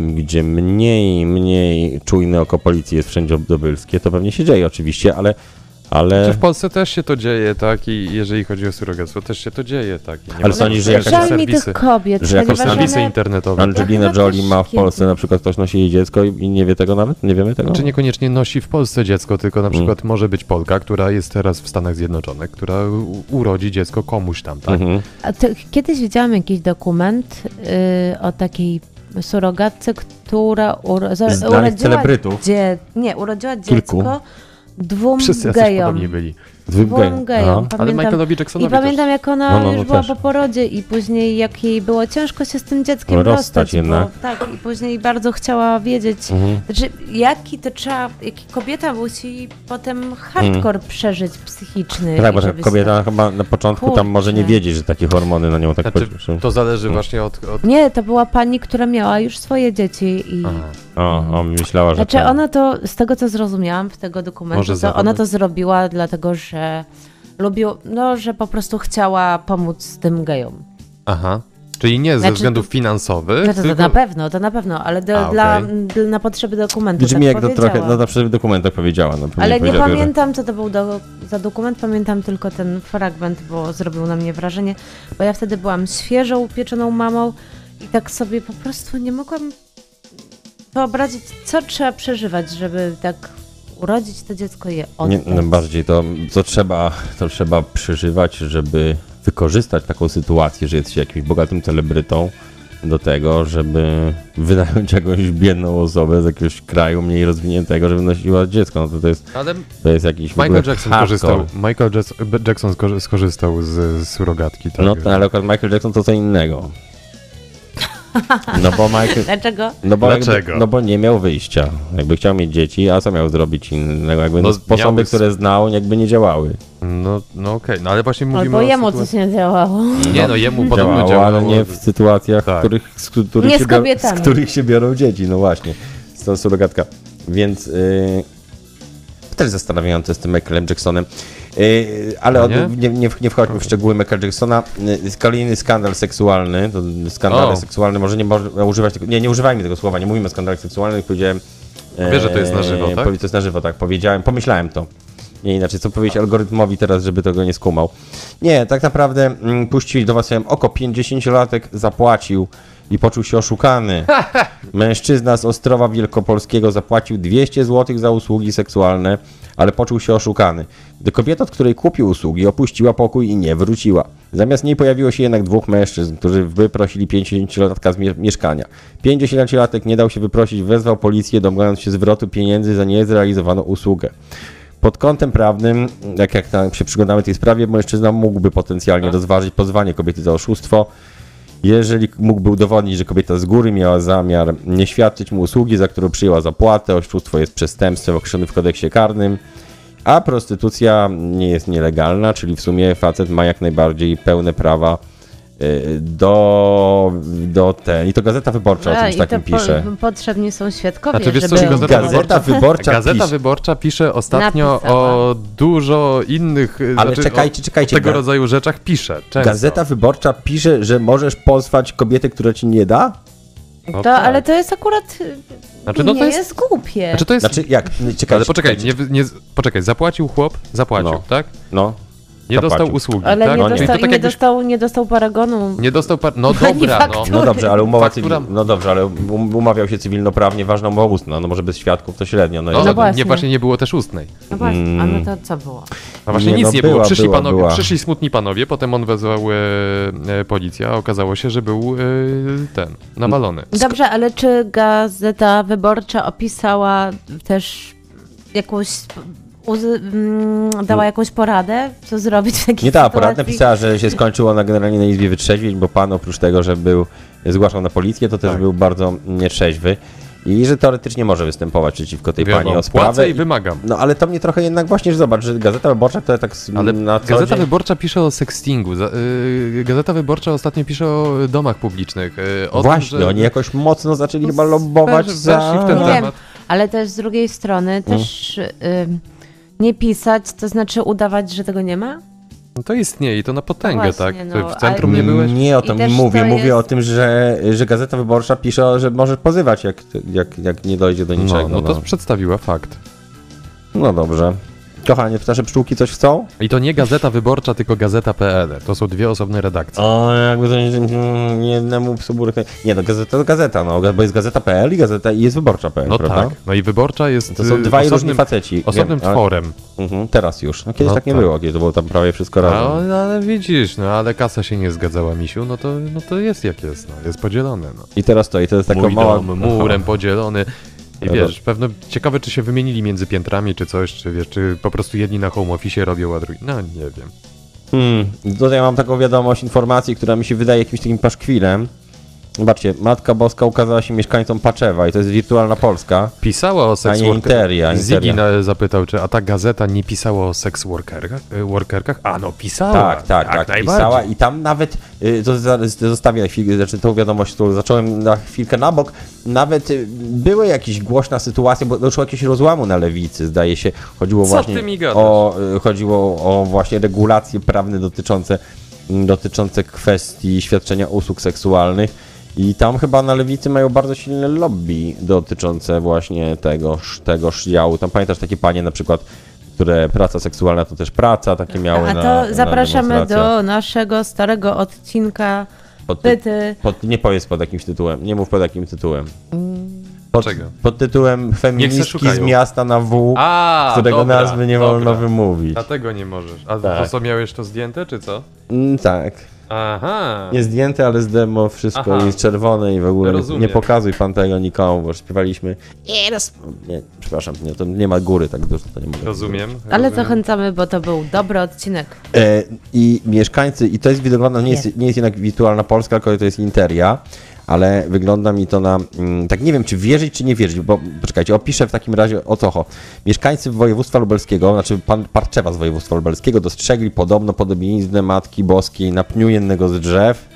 [SPEAKER 2] gdzie mniej, mniej czujne oko policji jest wszędzie obdobylskie, to pewnie się dzieje oczywiście, ale, ale
[SPEAKER 4] Czy w Polsce też się to dzieje, tak? I jeżeli chodzi o surrogactwo, też się to dzieje, tak? I nie
[SPEAKER 2] Ale
[SPEAKER 4] ma
[SPEAKER 2] sądzisz, że
[SPEAKER 4] też
[SPEAKER 2] jakaś-
[SPEAKER 3] Żal mi
[SPEAKER 4] serwisy,
[SPEAKER 3] tych kobiet,
[SPEAKER 2] że jakoś
[SPEAKER 3] ponieważ
[SPEAKER 4] serwisy
[SPEAKER 3] one...
[SPEAKER 4] internetowe. tak?
[SPEAKER 2] Angelina
[SPEAKER 3] Chyba
[SPEAKER 2] Jolie
[SPEAKER 3] też
[SPEAKER 2] ma w Polsce na przykład ktoś nosi jej dziecko i, i nie wie tego nawet? Nie wiemy tego?
[SPEAKER 4] tak? Czy niekoniecznie nosi w Polsce dziecko, tylko
[SPEAKER 2] Mm.
[SPEAKER 4] na przykład może być Polka, która jest teraz w Stanach Zjednoczonych, która u- urodzi dziecko komuś tam, tak?
[SPEAKER 2] Mhm.
[SPEAKER 3] A to, kiedyś widziałam jakiś dokument y, o takiej surogatce, która uro... za-
[SPEAKER 2] Znanych celebrytów.
[SPEAKER 3] Dzie... Nie, urodziła dziecko
[SPEAKER 2] Kilku.
[SPEAKER 3] dwóm
[SPEAKER 4] Wszyscy jacyś
[SPEAKER 3] gejom.
[SPEAKER 4] podobnie byli.
[SPEAKER 2] Zwykłym
[SPEAKER 3] Dwóm
[SPEAKER 2] Aha.
[SPEAKER 3] gejom.
[SPEAKER 4] Ale
[SPEAKER 3] Pamiętam,
[SPEAKER 4] Michaelowi
[SPEAKER 3] I
[SPEAKER 4] Jacksonowi też.
[SPEAKER 3] pamiętam, jak ona
[SPEAKER 2] No, no, no
[SPEAKER 3] już była
[SPEAKER 2] też.
[SPEAKER 3] po porodzie i później jak jej było ciężko się z tym dzieckiem
[SPEAKER 2] No, Rozstać
[SPEAKER 3] rozstać.
[SPEAKER 2] jednak. Mhm.
[SPEAKER 3] Bo, tak, i później bardzo chciała wiedzieć, znaczy, jaki to trzeba, jaki kobieta musi potem hardcore przeżyć psychiczny.
[SPEAKER 2] Mhm. Tak, bo
[SPEAKER 3] żeby
[SPEAKER 2] że
[SPEAKER 3] się-
[SPEAKER 2] kobieta chyba na początku tam może nie
[SPEAKER 3] Kurczę.
[SPEAKER 2] wiedzieć, że takie hormony na nią tak
[SPEAKER 4] Znaczy,
[SPEAKER 2] znaczy,
[SPEAKER 4] to zależy właśnie od... od...
[SPEAKER 3] Nie, to była pani, która miała już swoje dzieci i...
[SPEAKER 4] Aha.
[SPEAKER 2] O, o, myślała, że tak.
[SPEAKER 3] Znaczy
[SPEAKER 2] ten.
[SPEAKER 3] ona to, z tego co zrozumiałam w tego dokumentu,
[SPEAKER 4] Może
[SPEAKER 3] to
[SPEAKER 4] zachować-
[SPEAKER 3] ona to zrobiła dlatego, że lubiła, no, że po prostu chciała pomóc tym gejom.
[SPEAKER 4] Aha. Czyli nie ze
[SPEAKER 3] Znaczy,
[SPEAKER 4] względów finansowych,
[SPEAKER 3] No to, to
[SPEAKER 4] tylko...
[SPEAKER 3] na pewno, to na pewno, ale do,
[SPEAKER 4] A,
[SPEAKER 3] dla,
[SPEAKER 4] okej.
[SPEAKER 3] dla, na potrzeby dokumentu
[SPEAKER 2] Brzmi
[SPEAKER 3] tak
[SPEAKER 2] jak to
[SPEAKER 3] powiedziała.
[SPEAKER 2] trochę, no na przykład w dokumentach powiedziała. No, pewnie
[SPEAKER 3] Ale nie
[SPEAKER 2] powiedziała, że-
[SPEAKER 3] pamiętam, co to był do, za dokument, pamiętam tylko ten fragment, bo zrobił na mnie wrażenie, bo ja wtedy byłam świeżo upieczoną mamą i tak sobie po prostu nie mogłam wyobrazić, co trzeba przeżywać, żeby tak urodzić to dziecko i je
[SPEAKER 2] Nie,
[SPEAKER 3] oddać.
[SPEAKER 2] no bardziej to, co trzeba, to trzeba przeżywać, żeby wykorzystać taką sytuację, że jesteś jakimś bogatym celebrytą do tego, żeby (laughs) wynająć jakąś biedną osobę z jakiegoś kraju mniej rozwiniętego, żeby nosiła dziecko. No to, to jest,
[SPEAKER 4] Ale
[SPEAKER 2] to jest jakiś w
[SPEAKER 4] Michael
[SPEAKER 2] ogóle
[SPEAKER 4] Jackson
[SPEAKER 2] hardcore.
[SPEAKER 4] korzystał, Michael Jacks- Jackson skorzy- skorzystał z, z surogatki. Tak?
[SPEAKER 2] No tak, ale akurat Michael Jackson to co innego. No bo Michael...
[SPEAKER 3] Dlaczego?
[SPEAKER 2] No bo, jakby,
[SPEAKER 4] Dlaczego?
[SPEAKER 2] no bo nie miał wyjścia. Jakby chciał mieć dzieci, a co miał zrobić innego? Jakby no,
[SPEAKER 4] No,
[SPEAKER 2] sposoby,
[SPEAKER 4] miałby-
[SPEAKER 2] które znał, jakby nie działały.
[SPEAKER 4] No, no okej, no ale właśnie mówimy
[SPEAKER 3] Albo
[SPEAKER 4] o
[SPEAKER 3] jemu
[SPEAKER 4] sytuacji-
[SPEAKER 3] coś nie działało.
[SPEAKER 4] Nie no, jemu podobno
[SPEAKER 2] Działało,
[SPEAKER 4] działało.
[SPEAKER 2] ale nie w sytuacjach,
[SPEAKER 4] Tak.
[SPEAKER 2] w których, z, których
[SPEAKER 3] Nie z
[SPEAKER 2] się biorą, z
[SPEAKER 3] kobietami.
[SPEAKER 2] których się biorą dzieci. No właśnie, to y, surogatka. Więc yy, też zastanawiające z tym Michaelem Jacksonem. Yy, ale
[SPEAKER 4] No
[SPEAKER 2] od,
[SPEAKER 4] nie?
[SPEAKER 2] nie, nie, w- nie wchodźmy w szczegóły Michael Jacksona. Yy, Kolejny skandal seksualny, to skandal
[SPEAKER 4] O.
[SPEAKER 2] seksualny, może nie można używać tego, nie, nie używajmy tego słowa, nie mówimy o skandalach seksualnych, powiedziałem... e,
[SPEAKER 4] Wiesz, że to jest na żywo, tak?
[SPEAKER 2] powie- To jest na żywo, tak, powiedziałem, pomyślałem to. Nie inaczej, co powiedzieć algorytmowi teraz, żeby tego nie skumał. Nie, tak naprawdę mm, puścili do was ja oko, 50-latek zapłacił i poczuł się
[SPEAKER 4] (laughs)
[SPEAKER 2] oszukany. Mężczyzna z Ostrowa Wielkopolskiego zapłacił 200 zł za usługi seksualne, ale poczuł się oszukany. Gdy kobieta, od której kupił usługi, opuściła pokój i nie wróciła. Zamiast niej pojawiło się jednak dwóch mężczyzn, którzy wyprosili 50-latka z mie- mieszkania. 50-latek nie dał się wyprosić, wezwał policję, domagając się zwrotu pieniędzy za niezrealizowaną usługę. Pod kątem prawnym, jak, jak tam się przyglądamy tej sprawie, mężczyzna mógłby potencjalnie rozważyć pozwanie kobiety za oszustwo, jeżeli mógłby udowodnić, że kobieta z góry miała zamiar nie świadczyć mu usługi, za którą przyjęła zapłatę, oszustwo jest przestępstwem określonym w kodeksie karnym, a prostytucja nie jest nielegalna, czyli w sumie facet ma jak najbardziej pełne prawa y, do, do ten. I to Gazeta Wyborcza o
[SPEAKER 3] A,
[SPEAKER 2] czymś
[SPEAKER 3] E, i
[SPEAKER 2] takim
[SPEAKER 3] to po-
[SPEAKER 2] pisze.
[SPEAKER 3] Potrzebni są świadkowie,
[SPEAKER 4] Znaczy, wiesz co,
[SPEAKER 3] żeby...
[SPEAKER 4] Gazeta
[SPEAKER 2] Gazeta Wyborcza,
[SPEAKER 4] Gazeta
[SPEAKER 2] pisze.
[SPEAKER 4] Wyborcza pisze ostatnio
[SPEAKER 3] Napisała.
[SPEAKER 4] o dużo innych y,
[SPEAKER 2] Ale
[SPEAKER 4] znaczy,
[SPEAKER 2] czekajcie,
[SPEAKER 4] o
[SPEAKER 2] czekajcie.
[SPEAKER 4] tego
[SPEAKER 2] Ga-
[SPEAKER 4] rodzaju rzeczach pisze. Często.
[SPEAKER 2] Gazeta Wyborcza pisze, że możesz pozwać kobietę, która ci nie da?
[SPEAKER 4] No
[SPEAKER 3] To,
[SPEAKER 4] tak.
[SPEAKER 3] ale to jest akurat...
[SPEAKER 4] Znaczy, no
[SPEAKER 3] nie
[SPEAKER 4] to
[SPEAKER 3] jest...
[SPEAKER 4] jest-
[SPEAKER 3] głupie.
[SPEAKER 4] Znaczy to jest.
[SPEAKER 2] Znaczy jak? Czekajcie,
[SPEAKER 4] ale poczekaj,
[SPEAKER 2] czekajcie.
[SPEAKER 4] nie, nie, poczekaj, zapłacił chłop, zapłacił,
[SPEAKER 2] No.
[SPEAKER 4] tak?
[SPEAKER 2] No.
[SPEAKER 4] Nie
[SPEAKER 2] Zapłacił.
[SPEAKER 4] dostał usługi,
[SPEAKER 3] Ale
[SPEAKER 4] tak?
[SPEAKER 3] nie,
[SPEAKER 2] No nie.
[SPEAKER 4] Czyli
[SPEAKER 3] dostał,
[SPEAKER 4] to tak
[SPEAKER 3] nie,
[SPEAKER 4] jakbyś
[SPEAKER 3] dostał, nie dostał paragonu.
[SPEAKER 4] nie dostał par... No dobra, no.
[SPEAKER 3] faktu.
[SPEAKER 2] No dobrze, ale umowa
[SPEAKER 4] Faktura-
[SPEAKER 2] cywilna. No dobrze, ale um- umawiał się cywilnoprawnie, ważna umowa ustna. No może bez świadków to średnio. No,
[SPEAKER 4] No,
[SPEAKER 2] no,
[SPEAKER 3] No właśnie.
[SPEAKER 4] Nie, właśnie nie było też ustnej.
[SPEAKER 3] No właśnie, a no to co było?
[SPEAKER 4] No właśnie
[SPEAKER 2] Nie,
[SPEAKER 4] nic
[SPEAKER 2] no
[SPEAKER 4] nie
[SPEAKER 2] była,
[SPEAKER 4] było. Przyszli
[SPEAKER 2] była,
[SPEAKER 4] panowie,
[SPEAKER 2] była.
[SPEAKER 4] przyszli smutni panowie, potem on wezwał e, e, policja, a okazało się, że był e, ten, nawalony.
[SPEAKER 3] Dobrze, ale czy Gazeta Wyborcza opisała też jakąś... Uzy... mm,
[SPEAKER 4] No.
[SPEAKER 3] Dała jakąś poradę, co zrobić w takiej
[SPEAKER 2] nie ta
[SPEAKER 3] sytuacji?
[SPEAKER 2] aparat napisała, że się skończyło na generalnie na izbie wytrzeźwień, bo pan oprócz tego, że był zgłaszał na policję, to też
[SPEAKER 4] Tak.
[SPEAKER 2] był bardzo nietrzeźwy. I że teoretycznie może występować przeciwko tej pani o
[SPEAKER 4] Pani
[SPEAKER 2] sprawę.
[SPEAKER 4] płacę i wymagam.
[SPEAKER 2] No ale to mnie trochę jednak właśnie, że zobacz, że Gazeta Wyborcza, która tak s-
[SPEAKER 4] Ale
[SPEAKER 2] na co
[SPEAKER 4] Gazeta
[SPEAKER 2] dzień...
[SPEAKER 4] Wyborcza pisze o sextingu. Za, y, Gazeta Wyborcza ostatnio pisze o domach publicznych. y, o
[SPEAKER 2] Właśnie,
[SPEAKER 4] tym, że...
[SPEAKER 2] oni jakoś mocno zaczęli chyba lobować
[SPEAKER 4] weszli No,
[SPEAKER 2] za...
[SPEAKER 4] w ten
[SPEAKER 3] Nie
[SPEAKER 4] temat. Mm.
[SPEAKER 3] wiem, ale też z drugiej strony też ym, nie pisać, to znaczy udawać, że tego nie ma?
[SPEAKER 4] No To istnieje i to na potęgę,
[SPEAKER 3] Właśnie,
[SPEAKER 4] tak?
[SPEAKER 3] no,
[SPEAKER 4] w centrum
[SPEAKER 3] ale-
[SPEAKER 4] nie byłeś?
[SPEAKER 2] Nie o
[SPEAKER 3] I
[SPEAKER 2] tym
[SPEAKER 3] też
[SPEAKER 2] mówię.
[SPEAKER 3] to
[SPEAKER 2] Mówię
[SPEAKER 3] jest-
[SPEAKER 2] o tym, że, że Gazeta Wyborcza pisze, że może pozywać, jak, jak, jak nie dojdzie do niczego.
[SPEAKER 4] No, no to przedstawiła fakt.
[SPEAKER 2] no dobrze. Kochanie, nasze pszczółki coś chcą?
[SPEAKER 4] I to nie Gazeta Wyborcza, tylko Gazeta.pl. To są dwie osobne redakcje.
[SPEAKER 2] O, jakby to mm, jednemu psu burek... Nie, no gazeta to gazeta, no, bo jest gazeta.pl i gazeta i jest wyborcza.pl,
[SPEAKER 4] No
[SPEAKER 2] prawda?
[SPEAKER 4] tak. No i Wyborcza jest
[SPEAKER 2] To są
[SPEAKER 4] y,
[SPEAKER 2] dwaj różni
[SPEAKER 4] osobnym,
[SPEAKER 2] faceci.
[SPEAKER 4] osobnym
[SPEAKER 2] Wiem, tak. ale-
[SPEAKER 4] tworem.
[SPEAKER 2] Mhm, teraz już. No kiedyś
[SPEAKER 4] No
[SPEAKER 2] tak nie
[SPEAKER 4] tak.
[SPEAKER 2] było, kiedy było tam prawie wszystko
[SPEAKER 4] A,
[SPEAKER 2] razem.
[SPEAKER 4] No, ale widzisz, no ale kasa się nie zgadzała, misiu, no to, no to jest jak jest, no, jest podzielone. No.
[SPEAKER 2] I teraz to, i to jest taka
[SPEAKER 4] Mój
[SPEAKER 2] mała...
[SPEAKER 4] dom
[SPEAKER 2] (laughs)
[SPEAKER 4] murem podzielony. I
[SPEAKER 2] No
[SPEAKER 4] wiesz, pewno ciekawe, czy się wymienili między piętrami, czy coś, czy wiesz, czy po prostu jedni na home office robią, a drugi, no nie wiem.
[SPEAKER 2] Hmm, tutaj mam taką wiadomość, informacji, która mi się wydaje jakimś takim paszkwilem. Zobaczcie, Matka Boska ukazała się mieszkańcom Paczewa i to jest wirtualna Polska.
[SPEAKER 4] Pisała o
[SPEAKER 2] A
[SPEAKER 4] seks
[SPEAKER 2] nie Interia,
[SPEAKER 4] Zigi
[SPEAKER 2] Interia.
[SPEAKER 4] na- zapytał, czy a ta gazeta nie pisała o seks workerkach? e, workerkach? A no pisała.
[SPEAKER 2] Tak, tak, tak,
[SPEAKER 4] najbardziej.
[SPEAKER 2] pisała i tam nawet, y, to za- z- zostawię na chwilę, znaczy tą wiadomość, którą zacząłem na chwilkę na bok, nawet y, były jakieś głośna sytuacja, bo doszło jakiegoś rozłamu na lewicy, zdaje się, chodziło
[SPEAKER 4] Co
[SPEAKER 2] właśnie
[SPEAKER 4] ty mi gadasz?
[SPEAKER 2] o, y, chodziło o właśnie regulacje prawne dotyczące, m, dotyczące kwestii świadczenia usług seksualnych i tam chyba na lewicy mają bardzo silne lobby dotyczące właśnie tegoż, tegoż działu. Tam pamiętasz takie panie na przykład, które praca seksualna to też praca, takie miały
[SPEAKER 3] A
[SPEAKER 2] na
[SPEAKER 3] to
[SPEAKER 2] na
[SPEAKER 3] zapraszamy
[SPEAKER 2] demonstracjach.
[SPEAKER 3] do naszego starego odcinka
[SPEAKER 2] Pod, ty,
[SPEAKER 3] Pyty.
[SPEAKER 2] pod, nie powiedz pod jakim tytułem, nie mów pod jakim tytułem. Pod,
[SPEAKER 4] Dlaczego?
[SPEAKER 2] pod tytułem feministki z
[SPEAKER 4] szukają.
[SPEAKER 2] miasta na W,
[SPEAKER 4] A,
[SPEAKER 2] którego
[SPEAKER 4] dobra,
[SPEAKER 2] nazwy nie
[SPEAKER 4] dobra.
[SPEAKER 2] wolno wymówić.
[SPEAKER 4] Dlatego nie możesz. A
[SPEAKER 2] Tak.
[SPEAKER 4] po co miałeś to zdjęte, czy co?
[SPEAKER 2] Mm, tak.
[SPEAKER 4] Aha.
[SPEAKER 2] Nie zdjęte, ale z demo wszystko
[SPEAKER 4] Aha.
[SPEAKER 2] jest czerwone i w ogóle nie,
[SPEAKER 4] Rozumiem.
[SPEAKER 2] nie pokazuj pan tego nikomu, bo śpiewaliśmy. Nie, roz... nie przepraszam, nie, to nie ma góry tak dużo, to nie mogę.
[SPEAKER 4] Rozumiem.
[SPEAKER 3] Ale
[SPEAKER 4] rozumiem.
[SPEAKER 3] zachęcamy, bo to był dobry odcinek.
[SPEAKER 2] E, I mieszkańcy, i to jest widoglądna, nie jest, nie jest jednak wirtualna Polska, tylko to jest Interia, ale wygląda mi to na. Mm, tak nie wiem, czy wierzyć, czy nie wierzyć, bo poczekajcie, opiszę w takim razie o co. cho- Mieszkańcy województwa lubelskiego, znaczy pan Parczewa z województwa lubelskiego, dostrzegli podobno podobiznę Matki Boskiej na pniu jednego z drzew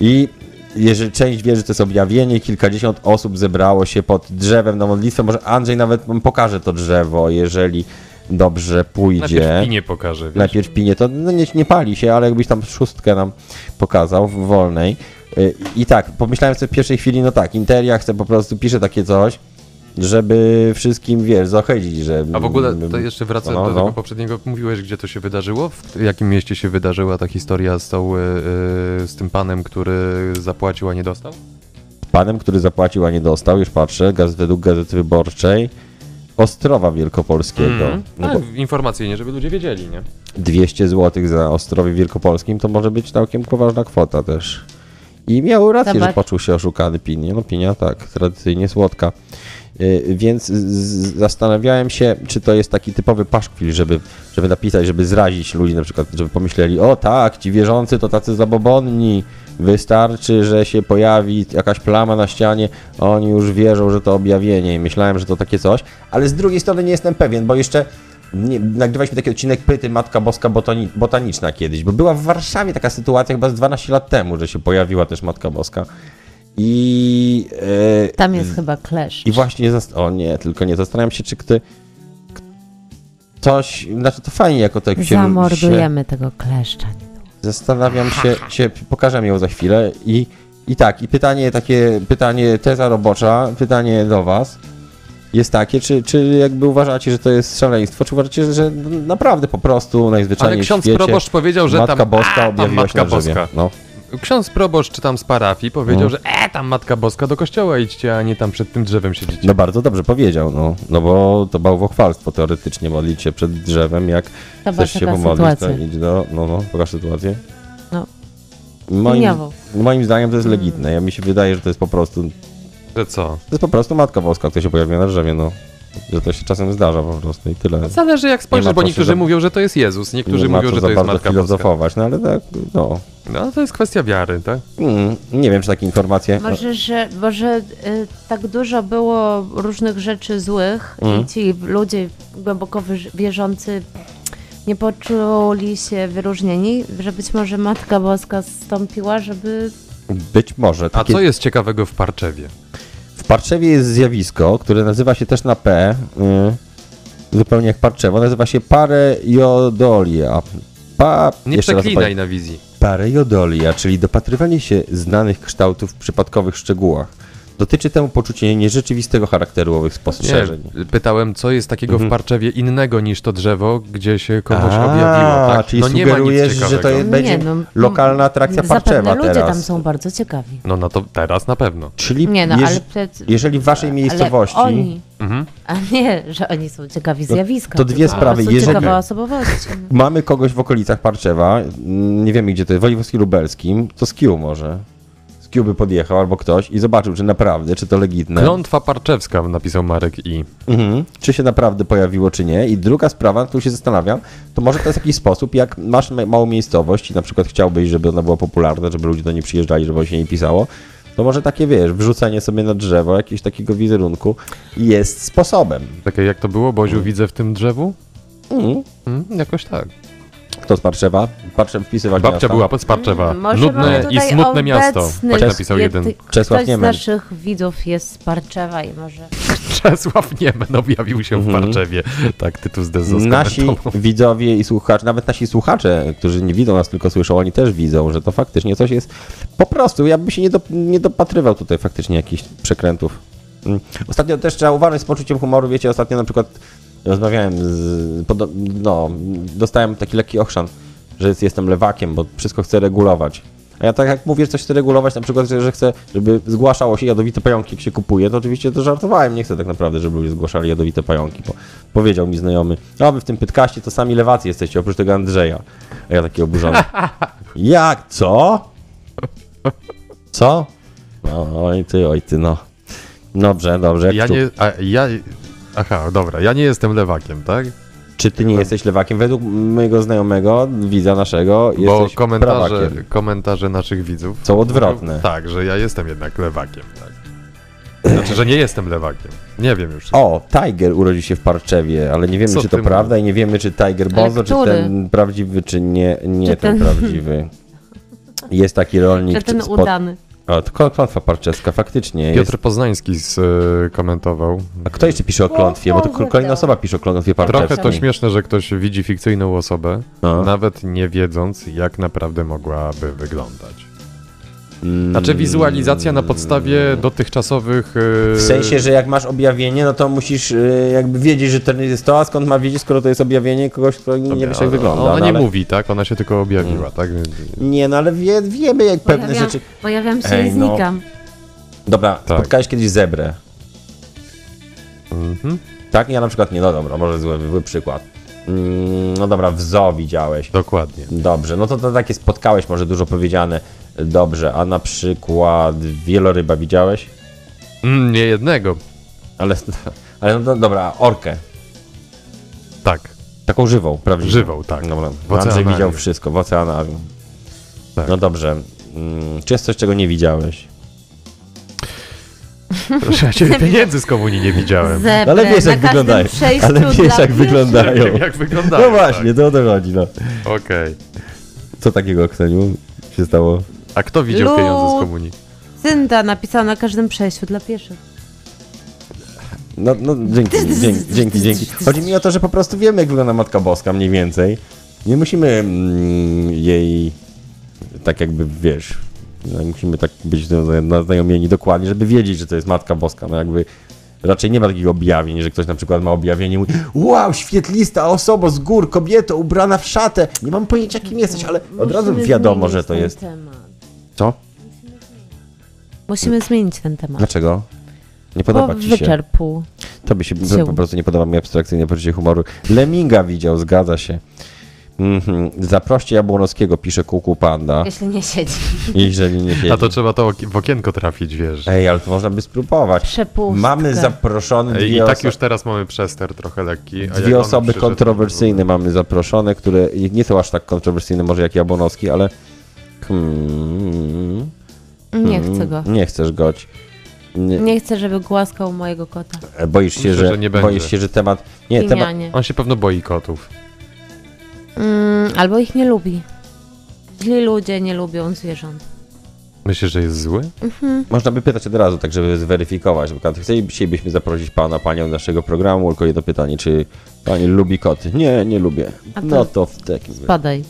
[SPEAKER 2] i. Jeżeli część wierzy, to jest objawienie, kilkadziesiąt osób zebrało się pod drzewem na modlitwę. Może Andrzej nawet wam pokaże to drzewo, jeżeli dobrze pójdzie.
[SPEAKER 4] Najpierw pinie pokaże, wiesz.
[SPEAKER 2] Najpierw pinie, to no nie, nie pali się, ale jakbyś tam szóstkę nam pokazał w wolnej. Y, I tak, pomyślałem sobie w pierwszej chwili, no tak, Interia chce po prostu, pisze takie coś, żeby wszystkim, wiesz, zachodzić, że...
[SPEAKER 4] A w ogóle to jeszcze wracam
[SPEAKER 2] No,
[SPEAKER 4] do tego
[SPEAKER 2] no.
[SPEAKER 4] poprzedniego. Mówiłeś, gdzie to się wydarzyło? W jakim mieście się wydarzyła ta historia z, tą, y, y, z tym panem, który zapłacił, a nie dostał?
[SPEAKER 2] Panem, który zapłacił, a nie dostał, już patrzę, gaz, według Gazety Wyborczej, Ostrowa Wielkopolskiego. No
[SPEAKER 4] No,
[SPEAKER 2] bo
[SPEAKER 4] Informacyjnie, żeby ludzie wiedzieli, nie?
[SPEAKER 2] 200 zł za Ostrowie Wielkopolskim to może być całkiem poważna kwota też. I miał rację,
[SPEAKER 3] Zobacz.
[SPEAKER 2] że poczuł się oszukany pinie. No pinia tak, tradycyjnie słodka. Y, Więc z- z- zastanawiałem się, czy to jest taki typowy paszkwil, żeby, żeby napisać, żeby zrazić ludzi, na przykład, żeby pomyśleli, o tak, ci wierzący to tacy zabobonni, wystarczy, że się pojawi jakaś plama na ścianie, oni już wierzą, że to objawienie i myślałem, że to takie coś, ale z drugiej strony nie jestem pewien, bo jeszcze nie, nagrywaliśmy taki odcinek Pyty Matka Boska Botoni- Botaniczna kiedyś, bo była w Warszawie taka sytuacja chyba z 12 lat temu, że się pojawiła też Matka Boska i... e,
[SPEAKER 3] Tam jest chyba klesz.
[SPEAKER 2] i właśnie, zast- o nie, tylko nie, zastanawiam się, czy ktoś, ktoś, znaczy to fajnie jako to jak się, się
[SPEAKER 3] Zamordujemy tego kleszcza.
[SPEAKER 2] zastanawiam się, się, pokażę ją za chwilę i, i tak, i pytanie takie, pytanie, teza robocza, pytanie do was jest takie, czy, czy jakby uważacie, że to jest szaleństwo, czy uważacie, że, że naprawdę po prostu najzwyczajniej
[SPEAKER 4] Ale
[SPEAKER 2] w
[SPEAKER 4] ksiądz
[SPEAKER 2] świecie
[SPEAKER 4] proboszcz powiedział, że
[SPEAKER 2] Matka
[SPEAKER 4] tam- a,
[SPEAKER 2] Boska
[SPEAKER 4] tam
[SPEAKER 2] objawiła się
[SPEAKER 4] Matka
[SPEAKER 2] na drzewie.
[SPEAKER 4] Boska.
[SPEAKER 2] No.
[SPEAKER 4] Ksiądz proboszcz czy tam z parafii powiedział, że e, tam Matka Boska do kościoła idźcie, a nie tam przed tym drzewem siedzicie.
[SPEAKER 2] no bardzo dobrze powiedział, no, no bo to bałwochwalstwo teoretycznie, modlić się przed drzewem, jak
[SPEAKER 3] To była
[SPEAKER 2] Chcesz się
[SPEAKER 3] taka
[SPEAKER 2] pomodlić, tak?
[SPEAKER 3] sytuacja.
[SPEAKER 2] to idź do... No, no, pokaż sytuację.
[SPEAKER 3] No.
[SPEAKER 2] Moim,
[SPEAKER 3] Gniawo.
[SPEAKER 2] moim zdaniem to jest legitne. Ja mi się wydaje, że to jest po prostu...
[SPEAKER 4] Że co?
[SPEAKER 2] To jest po prostu Matka Boska, która się pojawiła na drzewie, no. Że to się czasem zdarza po prostu i tyle.
[SPEAKER 4] Zależy jak
[SPEAKER 2] No. ma
[SPEAKER 4] spojrzysz,
[SPEAKER 2] co
[SPEAKER 4] bo
[SPEAKER 2] się
[SPEAKER 4] niektórzy
[SPEAKER 2] za-
[SPEAKER 4] mówią, że to jest Jezus, niektórzy
[SPEAKER 2] nie ma
[SPEAKER 4] mówią,
[SPEAKER 2] co
[SPEAKER 4] że
[SPEAKER 2] za
[SPEAKER 4] to jest
[SPEAKER 2] bardzo
[SPEAKER 4] Matka Boska.
[SPEAKER 2] filozofować, no ale tak, no.
[SPEAKER 4] No to jest kwestia wiary, tak?
[SPEAKER 2] Mm, nie wiem, czy takie informacje...
[SPEAKER 3] Może, że, może y, tak dużo było różnych rzeczy złych
[SPEAKER 2] Mm.
[SPEAKER 3] i ci ludzie głęboko wyż- wierzący nie poczuli się wyróżnieni, że być może Matka Boska zstąpiła, żeby...
[SPEAKER 2] Być może.
[SPEAKER 4] A
[SPEAKER 2] Takie
[SPEAKER 4] co jest ciekawego w Parczewie?
[SPEAKER 2] W Parczewie jest zjawisko, które nazywa się też na P, y, zupełnie jak Parczewo, nazywa się parejodolia. Pa...
[SPEAKER 4] Nie
[SPEAKER 2] jeszcze raz
[SPEAKER 4] przeklinaj na wizji.
[SPEAKER 2] Parejodolia, czyli dopatrywanie się znanych kształtów w przypadkowych szczegółach. Dotyczy temu poczucie nierzeczywistego charakteru owych spostrzeżeń.
[SPEAKER 4] Nie, pytałem, co jest takiego w Parczewie innego niż to drzewo, gdzie się komuś
[SPEAKER 2] Mhm. A,
[SPEAKER 4] objawiło. Tak?
[SPEAKER 2] czyli
[SPEAKER 4] no nie ma nic
[SPEAKER 2] sugerujesz,
[SPEAKER 4] ciekawego.
[SPEAKER 2] że to jest,
[SPEAKER 3] Nie,
[SPEAKER 2] będzie
[SPEAKER 3] no,
[SPEAKER 2] lokalna atrakcja
[SPEAKER 3] Zapewne
[SPEAKER 2] parczewa
[SPEAKER 3] ludzie
[SPEAKER 2] teraz.
[SPEAKER 3] tam są bardzo ciekawi.
[SPEAKER 4] No, no to teraz na pewno.
[SPEAKER 2] Czyli
[SPEAKER 3] Nie no,
[SPEAKER 2] jeż-
[SPEAKER 3] ale... przed-
[SPEAKER 2] jeżeli w waszej miejscowości... No,
[SPEAKER 3] Ale oni,
[SPEAKER 4] Mhm.
[SPEAKER 3] a nie, że oni są ciekawi zjawiska.
[SPEAKER 2] to dwie
[SPEAKER 3] tylko po
[SPEAKER 2] sprawy.
[SPEAKER 3] prostu
[SPEAKER 2] Jeżeli-
[SPEAKER 3] Ciekawa osobowość.
[SPEAKER 2] Mamy kogoś w okolicach Parczewa, mm, nie wiemy gdzie to jest, w województwie lubelskim, to z Kiu może. Z Kiu by podjechał albo ktoś i zobaczył, czy naprawdę, czy to legitne.
[SPEAKER 4] Klątwa parczewska napisał Marek I.
[SPEAKER 2] Mhm. Czy się naprawdę pojawiło, czy nie. I druga sprawa, nad którą się zastanawiam, to może to jest jakiś sposób, jak masz ma- małą miejscowość i na przykład chciałbyś, żeby ona była popularna, żeby ludzie do niej przyjeżdżali, żeby o się nie pisało, to może takie, wiesz, wrzucenie sobie na drzewo jakiegoś takiego wizerunku jest sposobem.
[SPEAKER 4] Takie jak to było, Boziu,
[SPEAKER 2] Mm.
[SPEAKER 4] widzę w tym drzewu?
[SPEAKER 2] Mhm.
[SPEAKER 4] Mm, jakoś tak.
[SPEAKER 2] Kto z Parczewa? Patrzę wpisywać
[SPEAKER 4] Babcia
[SPEAKER 2] miasta.
[SPEAKER 4] była pod Parczewa.
[SPEAKER 3] Mm, Może mamy
[SPEAKER 4] Nudne i
[SPEAKER 3] tutaj
[SPEAKER 4] smutne miasto.
[SPEAKER 3] obecnych-
[SPEAKER 4] Tak napisał
[SPEAKER 3] je-
[SPEAKER 4] jeden. (laughs)
[SPEAKER 3] ty-
[SPEAKER 2] Czesław
[SPEAKER 3] Ktoś z
[SPEAKER 2] Niemen.
[SPEAKER 3] naszych widzów jest z Parczewa i może...
[SPEAKER 4] Czesław Niemen objawił się w Parczewie. Tak, tytuł z Dezo
[SPEAKER 2] Mhm.
[SPEAKER 4] (laughs)
[SPEAKER 2] Nasi widzowie i słuchacze, nawet nasi słuchacze, którzy nie widzą nas, tylko słyszą, oni też widzą, że to faktycznie coś jest. Po prostu, ja bym się nie, do, nie dopatrywał tutaj faktycznie jakichś przekrętów. Mm. Ostatnio też trzeba uważać z poczuciem humoru. Wiecie, ostatnio na przykład rozmawiałem z. Podo, no, dostałem taki lekki ochrzan, że jest- jestem lewakiem, bo wszystko chcę regulować. A ja tak jak mówię, że coś chcę regulować, na przykład, że, że chcę, żeby zgłaszało się jadowite pająki, jak się kupuje, to oczywiście to żartowałem. Nie chcę tak naprawdę, żeby ludzie zgłaszali jadowite pająki, bo powiedział mi znajomy, a wy w tym podcaście to sami lewacy jesteście, oprócz tego Andrzeja. A ja taki oburzony. Jak? Co? Co? No, oj ty, oj ty, no. Dobrze, dobrze. Jak
[SPEAKER 4] Ja
[SPEAKER 2] tu?
[SPEAKER 4] nie... A, ja, aha, dobra, ja nie jestem lewakiem, tak?
[SPEAKER 2] Czy ty nie jesteś lewakiem? Według mojego znajomego, widza naszego,
[SPEAKER 4] Bo
[SPEAKER 2] jesteś
[SPEAKER 4] komentarze,
[SPEAKER 2] prawakiem.
[SPEAKER 4] komentarze naszych widzów
[SPEAKER 2] Są odwrotne.
[SPEAKER 4] Tak, że ja jestem jednak lewakiem, tak. Znaczy, że nie jestem lewakiem. Nie wiem już.
[SPEAKER 2] O, Tiger urodził się w Parczewie, ale nie wiemy,
[SPEAKER 4] Co
[SPEAKER 2] czy to
[SPEAKER 4] ty
[SPEAKER 2] prawda i nie wiemy, czy Tiger Bozo, czy
[SPEAKER 3] który?
[SPEAKER 2] ten prawdziwy, czy nie, nie
[SPEAKER 3] Czy
[SPEAKER 2] ten,
[SPEAKER 3] ten-
[SPEAKER 2] prawdziwy. Jest taki rolnik
[SPEAKER 3] Czy ten
[SPEAKER 2] spod,
[SPEAKER 3] udany.
[SPEAKER 2] O, to klą- klątwa parczeska, faktycznie. Jest.
[SPEAKER 4] Piotr Poznański z, e, komentował.
[SPEAKER 2] A kto jeszcze pisze o klątwie? Bo to kol- kolejna osoba pisze o klątwie parczeskiej.
[SPEAKER 4] Trochę to śmieszne, że ktoś widzi fikcyjną osobę,
[SPEAKER 2] No.
[SPEAKER 4] nawet nie wiedząc, jak naprawdę mogłaby wyglądać.
[SPEAKER 2] Mm.
[SPEAKER 4] Znaczy wizualizacja na podstawie dotychczasowych... e,
[SPEAKER 2] W sensie, że jak masz objawienie, no to musisz y, jakby wiedzieć, że to nie jest to, a skąd ma wiedzieć, skoro to jest objawienie kogoś, kto nie wiesz jak wygląda.
[SPEAKER 4] Ona
[SPEAKER 2] no,
[SPEAKER 4] nie
[SPEAKER 2] ale- Mm.
[SPEAKER 4] mówi, tak? Ona się tylko objawiła, tak?
[SPEAKER 2] Nie, no ale wie, wiemy jak pewne
[SPEAKER 3] Pojawiam,
[SPEAKER 2] rzeczy.
[SPEAKER 3] pojawiam się
[SPEAKER 2] Ej,
[SPEAKER 3] i
[SPEAKER 2] no.
[SPEAKER 3] znikam.
[SPEAKER 2] Dobra,
[SPEAKER 4] Tak.
[SPEAKER 2] spotkałeś kiedyś zebrę.
[SPEAKER 4] Mhm.
[SPEAKER 2] Tak? Ja na przykład nie, no dobra, może zły, zły przykład. Mm, no dobra, w zoo widziałeś.
[SPEAKER 4] Dokładnie.
[SPEAKER 2] Dobrze, no to, to takie spotkałeś, może dużo powiedziane. Dobrze, a na przykład wieloryba widziałeś?
[SPEAKER 4] Mm, nie jednego.
[SPEAKER 2] Ale, (laughs) ale no, dobra, orkę.
[SPEAKER 4] Tak.
[SPEAKER 2] Taką żywą, prawdziwą.
[SPEAKER 4] Żywą, tak.
[SPEAKER 2] Dobra,
[SPEAKER 4] W
[SPEAKER 2] Andrzej
[SPEAKER 4] oceanarium.
[SPEAKER 2] widział wszystko, w oceanarium.
[SPEAKER 4] Tak.
[SPEAKER 2] No dobrze, mm, czy jest coś, czego nie widziałeś?
[SPEAKER 4] Proszę, ja ciebie pieniędzy z komunii nie widziałem.
[SPEAKER 3] Zebrę,
[SPEAKER 2] Ale wiesz,
[SPEAKER 3] na
[SPEAKER 2] jak
[SPEAKER 3] każdym
[SPEAKER 2] wyglądają.
[SPEAKER 3] przejściu
[SPEAKER 2] Ale
[SPEAKER 3] dla
[SPEAKER 2] wiesz, jak
[SPEAKER 3] pieszych.
[SPEAKER 4] Nie
[SPEAKER 2] wyglądają.
[SPEAKER 4] wiem, (laughs) jak tak, wygląda.
[SPEAKER 2] No właśnie, to o to chodzi. No.
[SPEAKER 4] Tak. Okej.
[SPEAKER 2] Co takiego, Kseniu, się stało?
[SPEAKER 4] A kto widział
[SPEAKER 3] Lud.
[SPEAKER 4] pieniądze z komunii?
[SPEAKER 3] Synda napisała na każdym przejściu dla pieszych.
[SPEAKER 2] No, no
[SPEAKER 3] (laughs)
[SPEAKER 2] dzięki, dzięki, dzięki, dzięki. Chodzi mi o to, że po prostu wiemy, jak wygląda Matka Boska mniej więcej. Nie musimy mm, jej tak jakby, wiesz, no, musimy tak być zna- naznajomieni dokładnie, żeby wiedzieć, że to jest Matka Boska. No jakby raczej nie ma takich objawień, że ktoś na przykład ma objawienie i mówi wow, świetlista osoba z gór, kobieto ubrana w szatę. Nie mam pojęcia, kim jesteś, ale od razu
[SPEAKER 3] Musimy
[SPEAKER 2] wiadomo,
[SPEAKER 3] zmienić
[SPEAKER 2] że to
[SPEAKER 3] ten
[SPEAKER 2] jest...
[SPEAKER 3] temat.
[SPEAKER 2] Co?
[SPEAKER 3] Musimy zmienić ten temat.
[SPEAKER 2] Dlaczego? Nie
[SPEAKER 3] Bo
[SPEAKER 2] podoba ci się.
[SPEAKER 3] wyczerpł.
[SPEAKER 2] Tobie się
[SPEAKER 3] Wziął.
[SPEAKER 2] po prostu nie podoba mi abstrakcyjne poczucie humoru. Leminga widział, zgadza się. Mhm. Zaproście Jabłonowskiego, pisze Kuku Panda,
[SPEAKER 3] Jeśli nie siedzi.
[SPEAKER 2] jeżeli nie siedzi.
[SPEAKER 4] A to trzeba to oki- w okienko trafić, wiesz.
[SPEAKER 2] Ej, ale to można by spróbować.
[SPEAKER 3] Przepustkę.
[SPEAKER 2] Mamy zaproszone
[SPEAKER 4] Ej, I
[SPEAKER 2] dwie,
[SPEAKER 4] tak
[SPEAKER 2] oso-
[SPEAKER 4] już teraz mamy przester trochę lekki. a jak
[SPEAKER 2] dwie
[SPEAKER 4] on
[SPEAKER 2] osoby
[SPEAKER 4] przyszedł, to
[SPEAKER 2] kontrowersyjne mamy zaproszone, które nie są aż tak kontrowersyjne może jak Jabłonowski, ale hmm,
[SPEAKER 3] Nie chcę go.
[SPEAKER 2] nie chcesz goć. Nie,
[SPEAKER 3] Nie chcę, żeby głaskał mojego kota.
[SPEAKER 2] Boisz się,
[SPEAKER 4] Myślę,
[SPEAKER 2] że,
[SPEAKER 4] że nie będzie.
[SPEAKER 2] boisz się, że temat... Nie, temat,
[SPEAKER 3] Pinianie.
[SPEAKER 4] On się pewno boi kotów.
[SPEAKER 3] Mm, albo ich nie lubi. Źli ludzie nie lubią zwierząt.
[SPEAKER 4] Myślisz, że jest zły?
[SPEAKER 2] Można by pytać od razu, tak żeby zweryfikować. Na przykład Chcielibyśmy zaprosić pana, panią do naszego programu, tylko jedno pytanie, czy pani lubi koty? Nie, nie lubię.
[SPEAKER 3] A to-
[SPEAKER 2] No to w takim razie.
[SPEAKER 3] Padaj.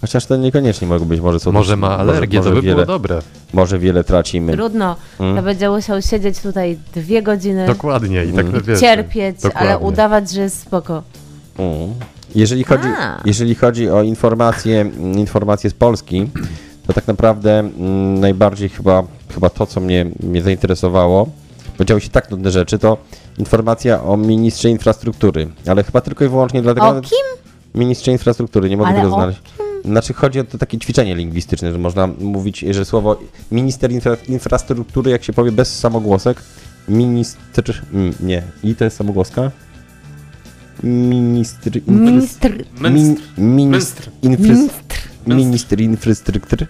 [SPEAKER 2] Chociaż to niekoniecznie mogą być, może są...
[SPEAKER 4] Może
[SPEAKER 2] też-
[SPEAKER 4] ma alergię,
[SPEAKER 2] może,
[SPEAKER 4] to by
[SPEAKER 2] może
[SPEAKER 4] było
[SPEAKER 2] wiele,
[SPEAKER 4] dobre.
[SPEAKER 3] Tak.
[SPEAKER 2] Może wiele tracimy.
[SPEAKER 3] Trudno.
[SPEAKER 2] Mm.
[SPEAKER 3] To będzie musiał siedzieć tutaj dwie godziny,
[SPEAKER 4] Dokładnie i tak wiesz,
[SPEAKER 3] cierpieć,
[SPEAKER 4] dokładnie.
[SPEAKER 3] ale udawać, że jest spoko.
[SPEAKER 2] Mm. Jeżeli chodzi,
[SPEAKER 3] A.
[SPEAKER 2] jeżeli chodzi o informacje, mm, informacje z Polski, to tak naprawdę mm, najbardziej chyba, chyba to, co mnie, mnie zainteresowało, bo działy się tak nudne rzeczy, to informacja o ministrze infrastruktury, ale chyba tylko i wyłącznie dlatego...
[SPEAKER 3] O kim?
[SPEAKER 2] Ministrze infrastruktury, nie mogę
[SPEAKER 3] Ale
[SPEAKER 2] tego
[SPEAKER 3] o
[SPEAKER 2] znaleźć. Znaczy chodzi o to takie ćwiczenie lingwistyczne, że można mówić, że słowo minister infra infrastruktury, jak się powie bez samogłosek, ministr, mm, nie, i to jest samogłoska? Ministr, infras-
[SPEAKER 3] Ministr.
[SPEAKER 2] min, ministr, infras-
[SPEAKER 3] Ministr.
[SPEAKER 2] ministr
[SPEAKER 3] (laughs)
[SPEAKER 2] infrastruktury,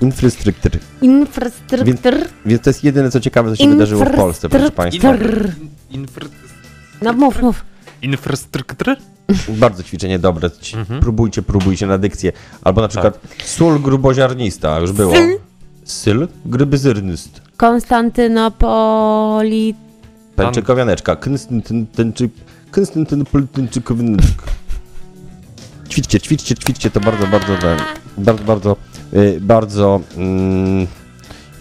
[SPEAKER 2] infrastruktury.
[SPEAKER 3] Infrastruktur.
[SPEAKER 2] Więc to jest jedyne, co ciekawe, co się wydarzyło w Polsce, proszę Państwa.
[SPEAKER 3] Infrastruktur. No mów, mów.
[SPEAKER 4] Infrastruktury?
[SPEAKER 2] Bardzo ćwiczenie dobre. Ci- Próbujcie, próbujcie na dykcję. Albo na przykład sól gruboziarnista, już było.
[SPEAKER 3] Syl.
[SPEAKER 2] Syl grybyzyrnyst.
[SPEAKER 3] Konstantynopolit.
[SPEAKER 2] Tańczykowianeczka. Knstntntęczy- knstntntpltęczykowineczk. Ćwiczcie, ćwiczcie, ćwiczcie. To bardzo, bardzo, da- bardzo, bardzo, y, bardzo... mm,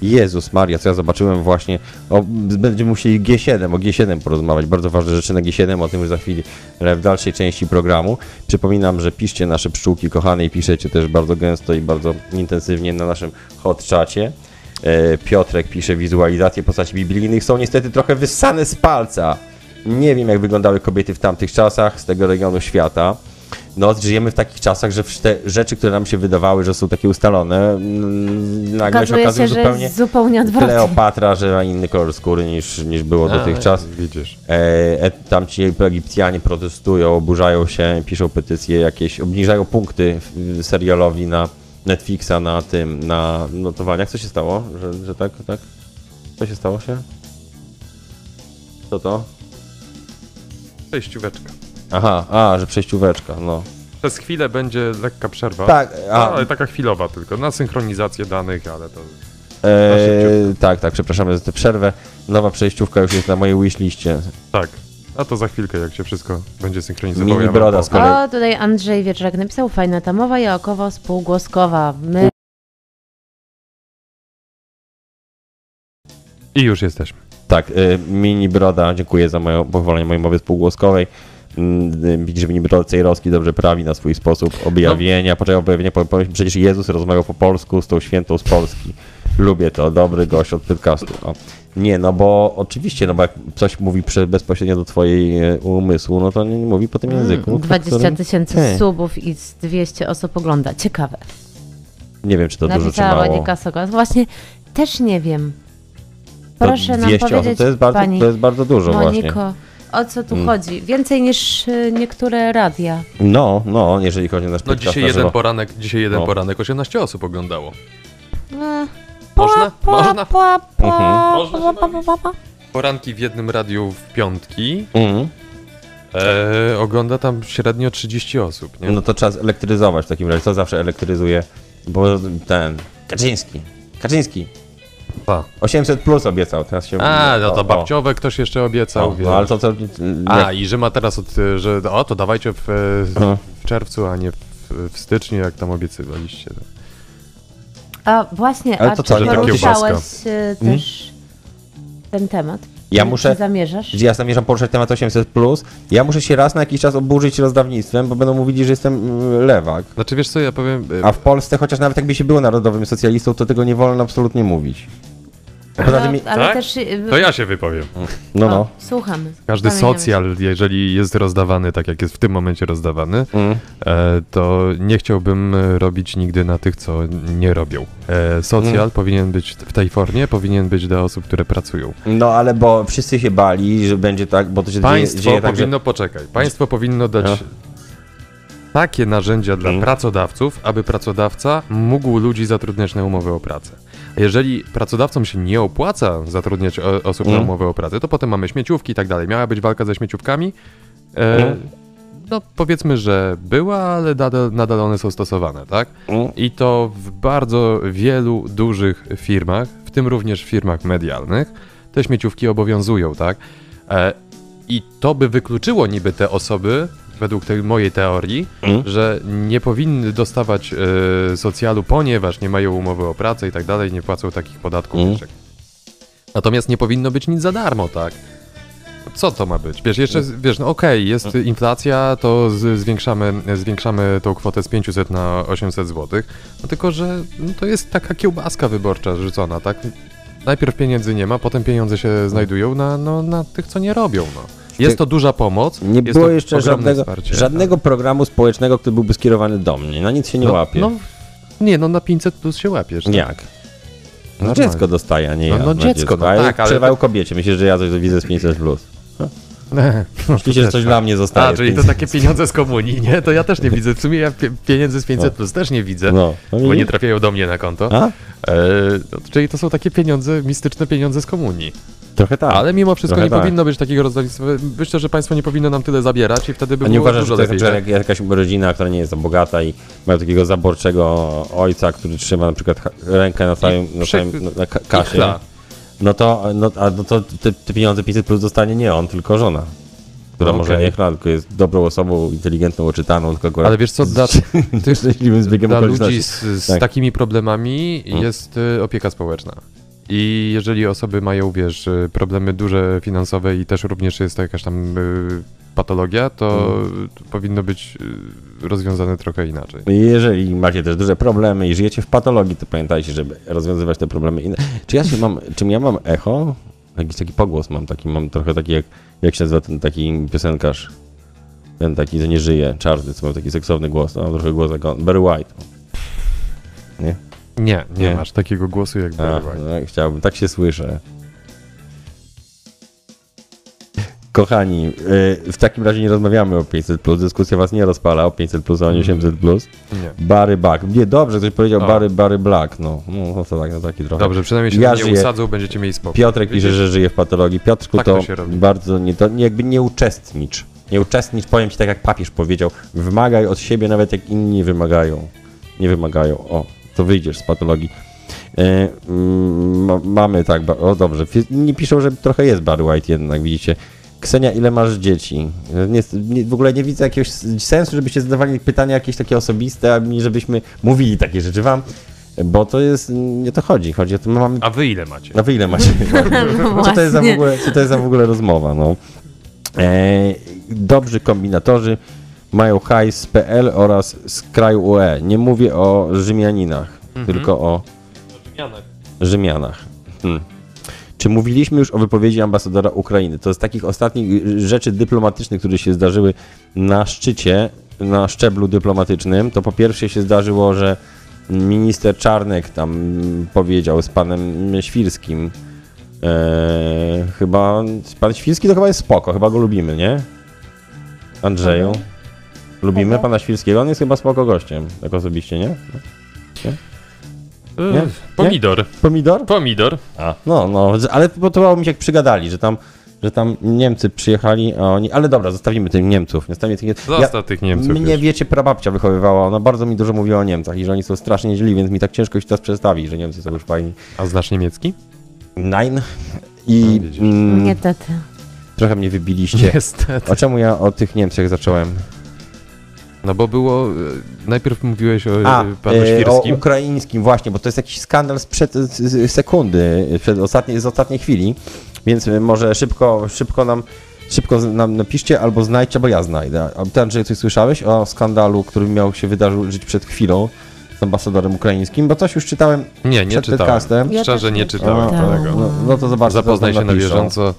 [SPEAKER 2] Jezus Maria, co ja zobaczyłem właśnie. O, będziemy musieli G7, o G7 porozmawiać. Bardzo ważne rzeczy na G7, o tym już za chwilę ale w dalszej części programu. Przypominam, że piszcie nasze pszczółki kochane i piszecie też bardzo gęsto i bardzo intensywnie na naszym hot czacie. E, Piotrek pisze, wizualizacje postaci biblijnych są niestety trochę wyssane z palca. Nie wiem, jak wyglądały kobiety w tamtych czasach z tego regionu świata. No, żyjemy w takich czasach, że te rzeczy, które nam się wydawały, że są takie ustalone, mm, nagle się
[SPEAKER 3] Okazuje
[SPEAKER 2] okazują
[SPEAKER 3] się, że
[SPEAKER 2] zupełnie
[SPEAKER 3] jest zupełnie odwrotnie.
[SPEAKER 2] Kleopatra, że ma inny kolor skóry niż, niż było dotychczas.
[SPEAKER 4] Widzisz.
[SPEAKER 2] E, e, tam ci Egipcjanie protestują, oburzają się, piszą petycje jakieś, obniżają punkty w- serialowi na Netflixa na tym, na notowaniach. Co się stało? Że, że tak, tak? Co się stało się? Co to?
[SPEAKER 4] Przejścióweczka.
[SPEAKER 2] Aha, a, że przejścióweczka, no.
[SPEAKER 4] Przez chwilę będzie lekka przerwa.
[SPEAKER 2] Tak, a,
[SPEAKER 4] ale taka chwilowa tylko, na synchronizację danych, ale to...
[SPEAKER 2] E,
[SPEAKER 4] szybciutko.
[SPEAKER 2] tak, tak, przepraszamy za tę przerwę. Nowa przejściówka już jest na mojej wishliście.
[SPEAKER 4] Tak. A to za chwilkę, jak się wszystko będzie synchronizowało.
[SPEAKER 2] Mini
[SPEAKER 4] ja wam
[SPEAKER 2] broda
[SPEAKER 4] powiem.
[SPEAKER 2] z kolei.
[SPEAKER 3] O, tutaj Andrzej Wieczrak napisał, fajna ta mowa jakowo spółgłoskowa. My
[SPEAKER 4] I już jesteśmy.
[SPEAKER 2] Tak, y, Mini Broda, dziękuję za moją, pochwalenie mojej mowy spółgłoskowej. Mm, y, Widzisz, Mini Broda Cejrowski dobrze prawi na swój sposób objawienia. No. Poczekaj, objawienia, po- po- przecież Jezus rozmawiał po polsku z tą świętą z Polski. Lubię to, dobry gość od podcastu. No. Nie, no bo oczywiście, no bo jak coś mówi prze, bezpośrednio do twojej e, umysłu, no to nie, nie mówi po tym języku. Tak,
[SPEAKER 3] Mm,
[SPEAKER 2] po
[SPEAKER 3] 20
[SPEAKER 2] którym-
[SPEAKER 3] tysięcy
[SPEAKER 2] Hej.
[SPEAKER 3] subów i z 200 osób ogląda. Ciekawe.
[SPEAKER 2] Nie wiem, czy to dużo czy
[SPEAKER 3] Napisała pani
[SPEAKER 2] mało.
[SPEAKER 3] Kasoga. Właśnie też nie wiem.
[SPEAKER 2] To
[SPEAKER 3] Proszę nam
[SPEAKER 2] 200 osób,
[SPEAKER 3] powiedzieć,
[SPEAKER 2] to jest bardzo,
[SPEAKER 3] pani
[SPEAKER 2] to jest bardzo dużo właśnie. Mm.
[SPEAKER 3] Moniko, o co tu chodzi? Więcej niż y, niektóre radia.
[SPEAKER 2] No, no, jeżeli chodzi o nasz
[SPEAKER 4] No
[SPEAKER 2] podcast
[SPEAKER 4] dzisiaj
[SPEAKER 2] na
[SPEAKER 4] jeden
[SPEAKER 2] żywo.
[SPEAKER 4] poranek, dzisiaj jeden
[SPEAKER 2] No.
[SPEAKER 4] poranek 18 osób oglądało.
[SPEAKER 3] E,
[SPEAKER 4] Można?
[SPEAKER 3] Pa,
[SPEAKER 4] Można?
[SPEAKER 3] Pa, pa,
[SPEAKER 2] Mhm.
[SPEAKER 4] Można
[SPEAKER 3] pa,
[SPEAKER 4] się
[SPEAKER 3] pa, pa, pa, pa.
[SPEAKER 4] Poranki w jednym radiu w piątki
[SPEAKER 2] Mhm.
[SPEAKER 4] e, ogląda tam średnio 30 osób, nie?
[SPEAKER 2] No to trzeba zelektryzować w takim razie. Co zawsze elektryzuje? Bo ten. Kaczyński. Kaczyński.
[SPEAKER 4] Pa.
[SPEAKER 2] tak. 800 plus obiecał. Teraz się.
[SPEAKER 4] A, no
[SPEAKER 2] o,
[SPEAKER 4] to
[SPEAKER 2] o.
[SPEAKER 4] babciowe ktoś jeszcze obiecał,
[SPEAKER 2] O,
[SPEAKER 4] wiesz.
[SPEAKER 2] No ale to co.
[SPEAKER 4] A,
[SPEAKER 2] jak-
[SPEAKER 4] i że ma teraz, od, y, że o, to dawajcie w, e,
[SPEAKER 2] Mhm.
[SPEAKER 4] w czerwcu, a nie w, w styczniu, jak tam obiecywaliście.
[SPEAKER 3] A właśnie,
[SPEAKER 2] Ale
[SPEAKER 3] a
[SPEAKER 2] to
[SPEAKER 3] to
[SPEAKER 2] co,
[SPEAKER 3] czy
[SPEAKER 2] że
[SPEAKER 4] taka
[SPEAKER 3] poruszałeś
[SPEAKER 4] kiełbaska?
[SPEAKER 3] y, też ten temat?
[SPEAKER 2] Mm. Ja
[SPEAKER 3] Czy-
[SPEAKER 2] muszę-
[SPEAKER 3] Czy zamierzasz?
[SPEAKER 2] Ja zamierzam poruszać temat 800 plus. Ja muszę się raz na jakiś czas oburzyć rozdawnictwem, bo będą mówili, że jestem mm, lewak.
[SPEAKER 4] Znaczy, wiesz co, ja powiem... e,
[SPEAKER 2] A w Polsce, chociaż nawet jakby się było narodowym socjalistą, to tego nie wolno absolutnie mówić. Poza tym,
[SPEAKER 3] No, ale
[SPEAKER 4] Tak?
[SPEAKER 3] też... y,
[SPEAKER 4] To ja się wypowiem.
[SPEAKER 2] no,
[SPEAKER 3] o,
[SPEAKER 2] no.
[SPEAKER 3] Słuchamy.
[SPEAKER 4] Każdy
[SPEAKER 3] Pamiętamy.
[SPEAKER 4] socjal, jeżeli jest rozdawany tak, jak jest w tym momencie rozdawany,
[SPEAKER 2] Mm.
[SPEAKER 4] e, to nie chciałbym e, robić nigdy na tych, co nie robią. E, Socjal
[SPEAKER 2] Mm.
[SPEAKER 4] powinien być w tej formie, powinien być dla osób, które pracują.
[SPEAKER 2] No, ale bo wszyscy się bali, że będzie tak, bo to się
[SPEAKER 4] Państwo
[SPEAKER 2] dzieje, dzieje tak, że...
[SPEAKER 4] powinno, poczekaj, państwo powinno dać
[SPEAKER 2] No.
[SPEAKER 4] takie narzędzia dla
[SPEAKER 2] Mm.
[SPEAKER 4] pracodawców, aby pracodawca mógł ludzi zatrudniać na umowę o pracę. A jeżeli pracodawcom się nie opłaca zatrudniać o, osób na
[SPEAKER 2] Mm.
[SPEAKER 4] umowę o pracę, to potem mamy śmieciówki i tak dalej. Miała być walka ze śmieciówkami. E,
[SPEAKER 2] Mm.
[SPEAKER 4] No powiedzmy, że była, ale nadal, nadal one są stosowane, tak?
[SPEAKER 2] Mm.
[SPEAKER 4] I to w bardzo wielu dużych firmach, w tym również w firmach medialnych, te śmieciówki obowiązują, tak? E, I to by wykluczyło niby te osoby, według tej mojej teorii,
[SPEAKER 2] Mm.
[SPEAKER 4] że nie powinny dostawać e, socjalu, ponieważ nie mają umowy o pracę i tak dalej, nie płacą takich podatków.
[SPEAKER 2] Mm.
[SPEAKER 4] jeszcze. Natomiast nie powinno być nic za darmo, tak? Co to ma być? Wiesz, jeszcze, wiesz, no okej, jest inflacja, to z, zwiększamy, zwiększamy tą kwotę z 500 na 800 zł, no tylko, że no, to jest taka kiełbaska wyborcza rzucona, tak? Najpierw pieniędzy nie ma, potem pieniądze się znajdują na, no, na tych, co nie robią, no. Jest to duża pomoc,
[SPEAKER 2] Nie
[SPEAKER 4] jest
[SPEAKER 2] było
[SPEAKER 4] to
[SPEAKER 2] jeszcze
[SPEAKER 4] ogromne
[SPEAKER 2] żadnego,
[SPEAKER 4] wsparcie, Tak.
[SPEAKER 2] żadnego programu społecznego, który byłby skierowany do mnie. Na nic się nie
[SPEAKER 4] no,
[SPEAKER 2] łapie.
[SPEAKER 4] No, nie, no na 500 plus się łapiesz. tak,
[SPEAKER 2] Jak? No
[SPEAKER 4] Normalnie.
[SPEAKER 2] dziecko dostaje, a nie
[SPEAKER 4] No,
[SPEAKER 2] ja.
[SPEAKER 4] no dziecko, no
[SPEAKER 2] A ja
[SPEAKER 4] tak, ale-
[SPEAKER 2] Przerwał kobiecie. Myślisz, że ja coś widzę z 500 plus. Myślicie, że coś dla mnie zostaje.
[SPEAKER 4] (laughs) tak. A,
[SPEAKER 2] z
[SPEAKER 4] czyli to tak-
[SPEAKER 2] 500+.
[SPEAKER 4] takie pieniądze z komunii, nie? To ja też nie widzę. W sumie ja pie- pieniędzy z 500 plus też nie widzę,
[SPEAKER 2] No. No
[SPEAKER 4] bo nie
[SPEAKER 2] widzisz?
[SPEAKER 4] trafiają do mnie na konto.
[SPEAKER 2] A?
[SPEAKER 4] E, no, czyli to są takie pieniądze, mistyczne pieniądze z komunii.
[SPEAKER 2] Trochę tak.
[SPEAKER 4] Ale mimo wszystko
[SPEAKER 2] trochę
[SPEAKER 4] nie
[SPEAKER 2] tak.
[SPEAKER 4] powinno być takiego rozdawnictwa. Myślę, że państwo nie powinno nam tyle zabierać i wtedy by
[SPEAKER 2] A nie
[SPEAKER 4] było
[SPEAKER 2] uważasz, że
[SPEAKER 4] dużo
[SPEAKER 2] to jest na
[SPEAKER 4] lepiej. tak.
[SPEAKER 2] przykład jak jakaś rodzina, która nie jest za bogata i ma takiego zaborczego ojca, który trzyma na przykład ha- rękę na całym, na
[SPEAKER 4] przy-
[SPEAKER 2] całym na- na ka-
[SPEAKER 4] i
[SPEAKER 2] kasie,
[SPEAKER 4] chla.
[SPEAKER 2] no to, no, a, no to te, te pieniądze 500 plus dostanie nie on, tylko żona. Która
[SPEAKER 4] No
[SPEAKER 2] może
[SPEAKER 4] okej.
[SPEAKER 2] nie chla, tylko jest dobrą osobą, inteligentną, oczytaną, tylko akurat
[SPEAKER 4] Ale wiesz
[SPEAKER 2] (laughs)
[SPEAKER 4] co, dla,
[SPEAKER 2] Ty szczęśliwym zbiegiem
[SPEAKER 4] dla
[SPEAKER 2] okoliczności.
[SPEAKER 4] ludzi z, z
[SPEAKER 2] Tak. Mm.
[SPEAKER 4] takimi problemami jest y, opieka społeczna. I jeżeli osoby mają, wiesz, y, problemy duże finansowe i też również jest to jakaś tam y, patologia, to
[SPEAKER 2] Mm.
[SPEAKER 4] to powinno być y, rozwiązane trochę inaczej.
[SPEAKER 2] Jeżeli macie też duże problemy i żyjecie w patologii, to pamiętajcie, żeby rozwiązywać te problemy. inna- Czy ja się mam, czym ja mam echo? Jakiś taki pogłos mam taki, mam trochę taki jak, jak się nazywa ten taki piosenkarz. Ten taki, co nie żyje, czarny, co ma taki seksowny głos. No, mam trochę głos jak on. Barry White.
[SPEAKER 4] Nie, nie,
[SPEAKER 2] Nie.
[SPEAKER 4] masz takiego głosu jak
[SPEAKER 2] A,
[SPEAKER 4] Barry White.
[SPEAKER 2] no, chciałbym, tak się słyszę. Kochani, y, w takim razie nie rozmawiamy o 500+, dyskusja was nie rozpala o 500+, a
[SPEAKER 4] Mm.
[SPEAKER 2] o 800+.
[SPEAKER 4] Nie.
[SPEAKER 2] Barry Black. Nie, dobrze, ktoś powiedział
[SPEAKER 4] O.
[SPEAKER 2] Barry, Barry Black. No, no, no to tak, no taki trochę.
[SPEAKER 4] Dobrze, przynajmniej się
[SPEAKER 2] Ja
[SPEAKER 4] tam nie
[SPEAKER 2] żyję.
[SPEAKER 4] usadzą, będziecie mieli spokój.
[SPEAKER 2] Piotrek pisze, że żyje w patologii. Piotrku,
[SPEAKER 4] Tak
[SPEAKER 2] to,
[SPEAKER 4] to się robi.
[SPEAKER 2] bardzo nie, to nie- jakby nie uczestnicz. Nie uczestnicz, powiem ci tak jak papież powiedział. Wymagaj od siebie, nawet jak inni wymagają. Nie wymagają. O, to wyjdziesz z patologii. E, mm, ma- mamy tak, ba- o dobrze, Fi- nie piszą, że trochę jest Barry White jednak, widzicie. Ksenia, ile masz dzieci? E, Nie, nie, w ogóle nie widzę jakiegoś s- sensu, żebyście zadawali pytania jakieś takie osobiste, a mi żebyśmy mówili takie rzeczy wam, bo to jest, nie o to chodzi, chodzi o to, my mamy...
[SPEAKER 4] A wy ile macie?
[SPEAKER 2] A wy ile macie? Co to, jest za w ogóle, co to jest za w ogóle rozmowa, no. E, dobrzy kombinatorzy mają hajs z PL oraz z kraju UE. Nie mówię o Rzymianinach, tylko o Rzymianach. Hmm. Czy mówiliśmy już o wypowiedzi ambasadora Ukrainy? To z takich ostatnich y, rzeczy dyplomatycznych, które się zdarzyły na szczycie, na szczeblu dyplomatycznym, to po pierwsze się zdarzyło, że minister Czarnek tam mm, powiedział z panem Świrskim. Eee, chyba pan Świrski to chyba jest spoko, chyba go lubimy, nie? Andrzeju. Lubimy pana Świrskiego, on jest chyba spoko gościem, tak osobiście, nie?
[SPEAKER 4] E,
[SPEAKER 2] Nie?
[SPEAKER 4] Pomidor.
[SPEAKER 2] Pomidor?
[SPEAKER 4] Pomidor.
[SPEAKER 2] No, no, z- ale podobało mi się, jak przygadali, że tam, że tam Niemcy przyjechali, a oni... Ale dobra, zostawimy tych Niemców. Zostawimy tych Niemców.
[SPEAKER 4] Zostaw tych Niemców
[SPEAKER 2] Mnie,
[SPEAKER 4] już.
[SPEAKER 2] wiecie, prababcia wychowywała, ona bardzo mi dużo mówiła o Niemcach i że oni są strasznie źli, więc mi tak ciężko się teraz przestawi, że Niemcy są już fajni.
[SPEAKER 4] A znasz niemiecki?
[SPEAKER 2] Nein. I
[SPEAKER 4] No, widzisz.
[SPEAKER 2] mm,
[SPEAKER 3] Niestety.
[SPEAKER 2] trochę mnie wybiliście.
[SPEAKER 4] (laughs) Niestety.
[SPEAKER 2] A czemu ja o tych Niemcach zacząłem?
[SPEAKER 4] No bo było... e, Najpierw mówiłeś o
[SPEAKER 2] A,
[SPEAKER 4] A, panu
[SPEAKER 2] e, o
[SPEAKER 4] y, Świrskim.
[SPEAKER 2] ukraińskim, właśnie, bo to jest jakiś skandal sprzed z, z sekundy, przed ostatniej, z ostatniej chwili, więc e, może szybko, szybko nam szybko z- nam napiszcie albo znajdźcie, bo ja znajdę. A Ty, Andrzej, coś słyszałeś o skandalu, który miał się wydarzyć przed chwilą z ambasadorem ukraińskim? Bo coś już czytałem
[SPEAKER 4] Nie, nie
[SPEAKER 2] przed
[SPEAKER 4] czytałem.
[SPEAKER 2] podcastem.
[SPEAKER 3] Ja
[SPEAKER 4] Szczerze
[SPEAKER 3] też
[SPEAKER 4] nie
[SPEAKER 3] nie
[SPEAKER 4] czytałem
[SPEAKER 3] czytałem.
[SPEAKER 4] tego.
[SPEAKER 2] no, no to zobacz.
[SPEAKER 4] Tak, Zapoznaj
[SPEAKER 2] co
[SPEAKER 4] się
[SPEAKER 2] tam
[SPEAKER 4] na
[SPEAKER 2] napiszą.
[SPEAKER 4] bieżąco,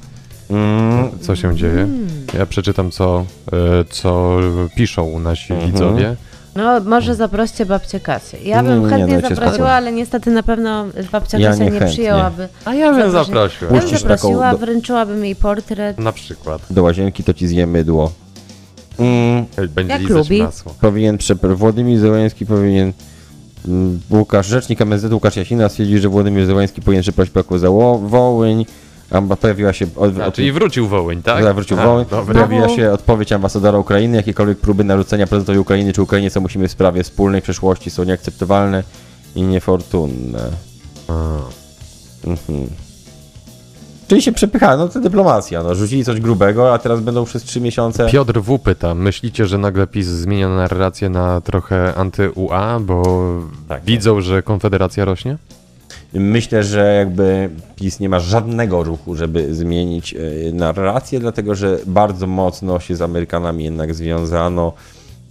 [SPEAKER 2] Mm,
[SPEAKER 4] co się dzieje.
[SPEAKER 3] Hmm.
[SPEAKER 4] Ja przeczytam, co, e, co piszą nasi
[SPEAKER 2] Mhm.
[SPEAKER 4] widzowie.
[SPEAKER 3] No, może zaproście babcię Kasię. Ja bym
[SPEAKER 2] Mm, Nie,
[SPEAKER 3] chętnie
[SPEAKER 2] dajcie
[SPEAKER 3] zaprosiła,
[SPEAKER 2] spokój.
[SPEAKER 3] ale niestety na pewno babcia
[SPEAKER 2] Ja
[SPEAKER 3] Kasia nie,
[SPEAKER 2] niechętnie.
[SPEAKER 3] przyjęłaby.
[SPEAKER 4] A ja bym
[SPEAKER 3] Zaproszę-
[SPEAKER 4] zaprosił.
[SPEAKER 3] Ja bym
[SPEAKER 2] Puścisz
[SPEAKER 3] zaprosiła,
[SPEAKER 2] taką do-
[SPEAKER 3] wręczyłabym jej portret.
[SPEAKER 4] Na przykład. e,
[SPEAKER 2] do łazienki to ci zje mydło. Mm,
[SPEAKER 4] Będzie
[SPEAKER 3] Jak
[SPEAKER 4] lizać
[SPEAKER 3] lubi.
[SPEAKER 4] masło.
[SPEAKER 2] powinien przepr- Władimir Zełański powinien mm, Łukasz, rzecznik MSZ Łukasz Jasina stwierdził, że Władimir Zełański powinien przeprosić Paku za Ło- Wołyń. Amba pojawiła się od,
[SPEAKER 4] A,
[SPEAKER 2] od,
[SPEAKER 4] czyli Znaczy, wrócił Wołyń, tak?
[SPEAKER 2] zawrócił
[SPEAKER 4] A,
[SPEAKER 2] Wołyń.
[SPEAKER 4] dobra.
[SPEAKER 2] Pojawiła
[SPEAKER 3] Znowu.
[SPEAKER 2] się odpowiedź ambasadora Ukrainy. Jakiekolwiek próby narzucenia prezydentowi Ukrainy czy Ukrainie, co musimy w sprawie wspólnej przeszłości, są nieakceptowalne i niefortunne. Mhm. Czyli się przepycha, no to dyplomacja. No. Rzucili coś grubego, a teraz będą przez trzy miesiące.
[SPEAKER 4] Piotr W. pyta, myślicie, że nagle PiS zmienia narrację na trochę anty-UA, bo
[SPEAKER 2] Tak,
[SPEAKER 4] widzą, że Konfederacja rośnie?
[SPEAKER 2] Myślę, że jakby PiS nie ma żadnego ruchu, żeby zmienić e, narrację, dlatego że bardzo mocno się z Amerykanami jednak związano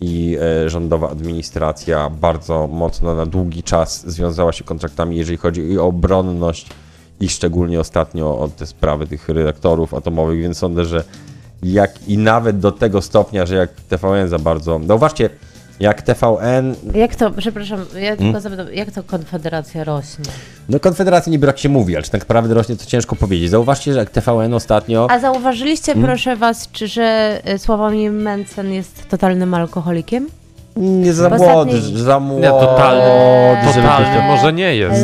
[SPEAKER 2] i e, rządowa administracja bardzo mocno na długi czas związała się kontraktami, jeżeli chodzi o obronność i szczególnie ostatnio o te sprawy tych redaktorów atomowych, więc sądzę, że jak i nawet do tego stopnia, że jak TVN za bardzo. Zauważcie, jak TVN
[SPEAKER 3] Jak to, przepraszam,
[SPEAKER 2] Mm.
[SPEAKER 3] ja tylko zapytam, jak to Konfederacja rośnie?
[SPEAKER 2] No Konfederacji niby jak się mówi, ale czy tak naprawdę rośnie to ciężko powiedzieć. Zauważcie, że jak TVN ostatnio...
[SPEAKER 3] A zauważyliście,
[SPEAKER 2] Mm.
[SPEAKER 3] proszę was, czy, że y, Sławomir Mencen jest totalnym alkoholikiem?
[SPEAKER 2] Nie za
[SPEAKER 3] w
[SPEAKER 2] młody,
[SPEAKER 3] ostatniej-
[SPEAKER 2] za młody...
[SPEAKER 4] Nie, Mm. totalny,
[SPEAKER 2] żeby ktoś
[SPEAKER 4] totalny
[SPEAKER 2] tam-
[SPEAKER 4] może nie jest.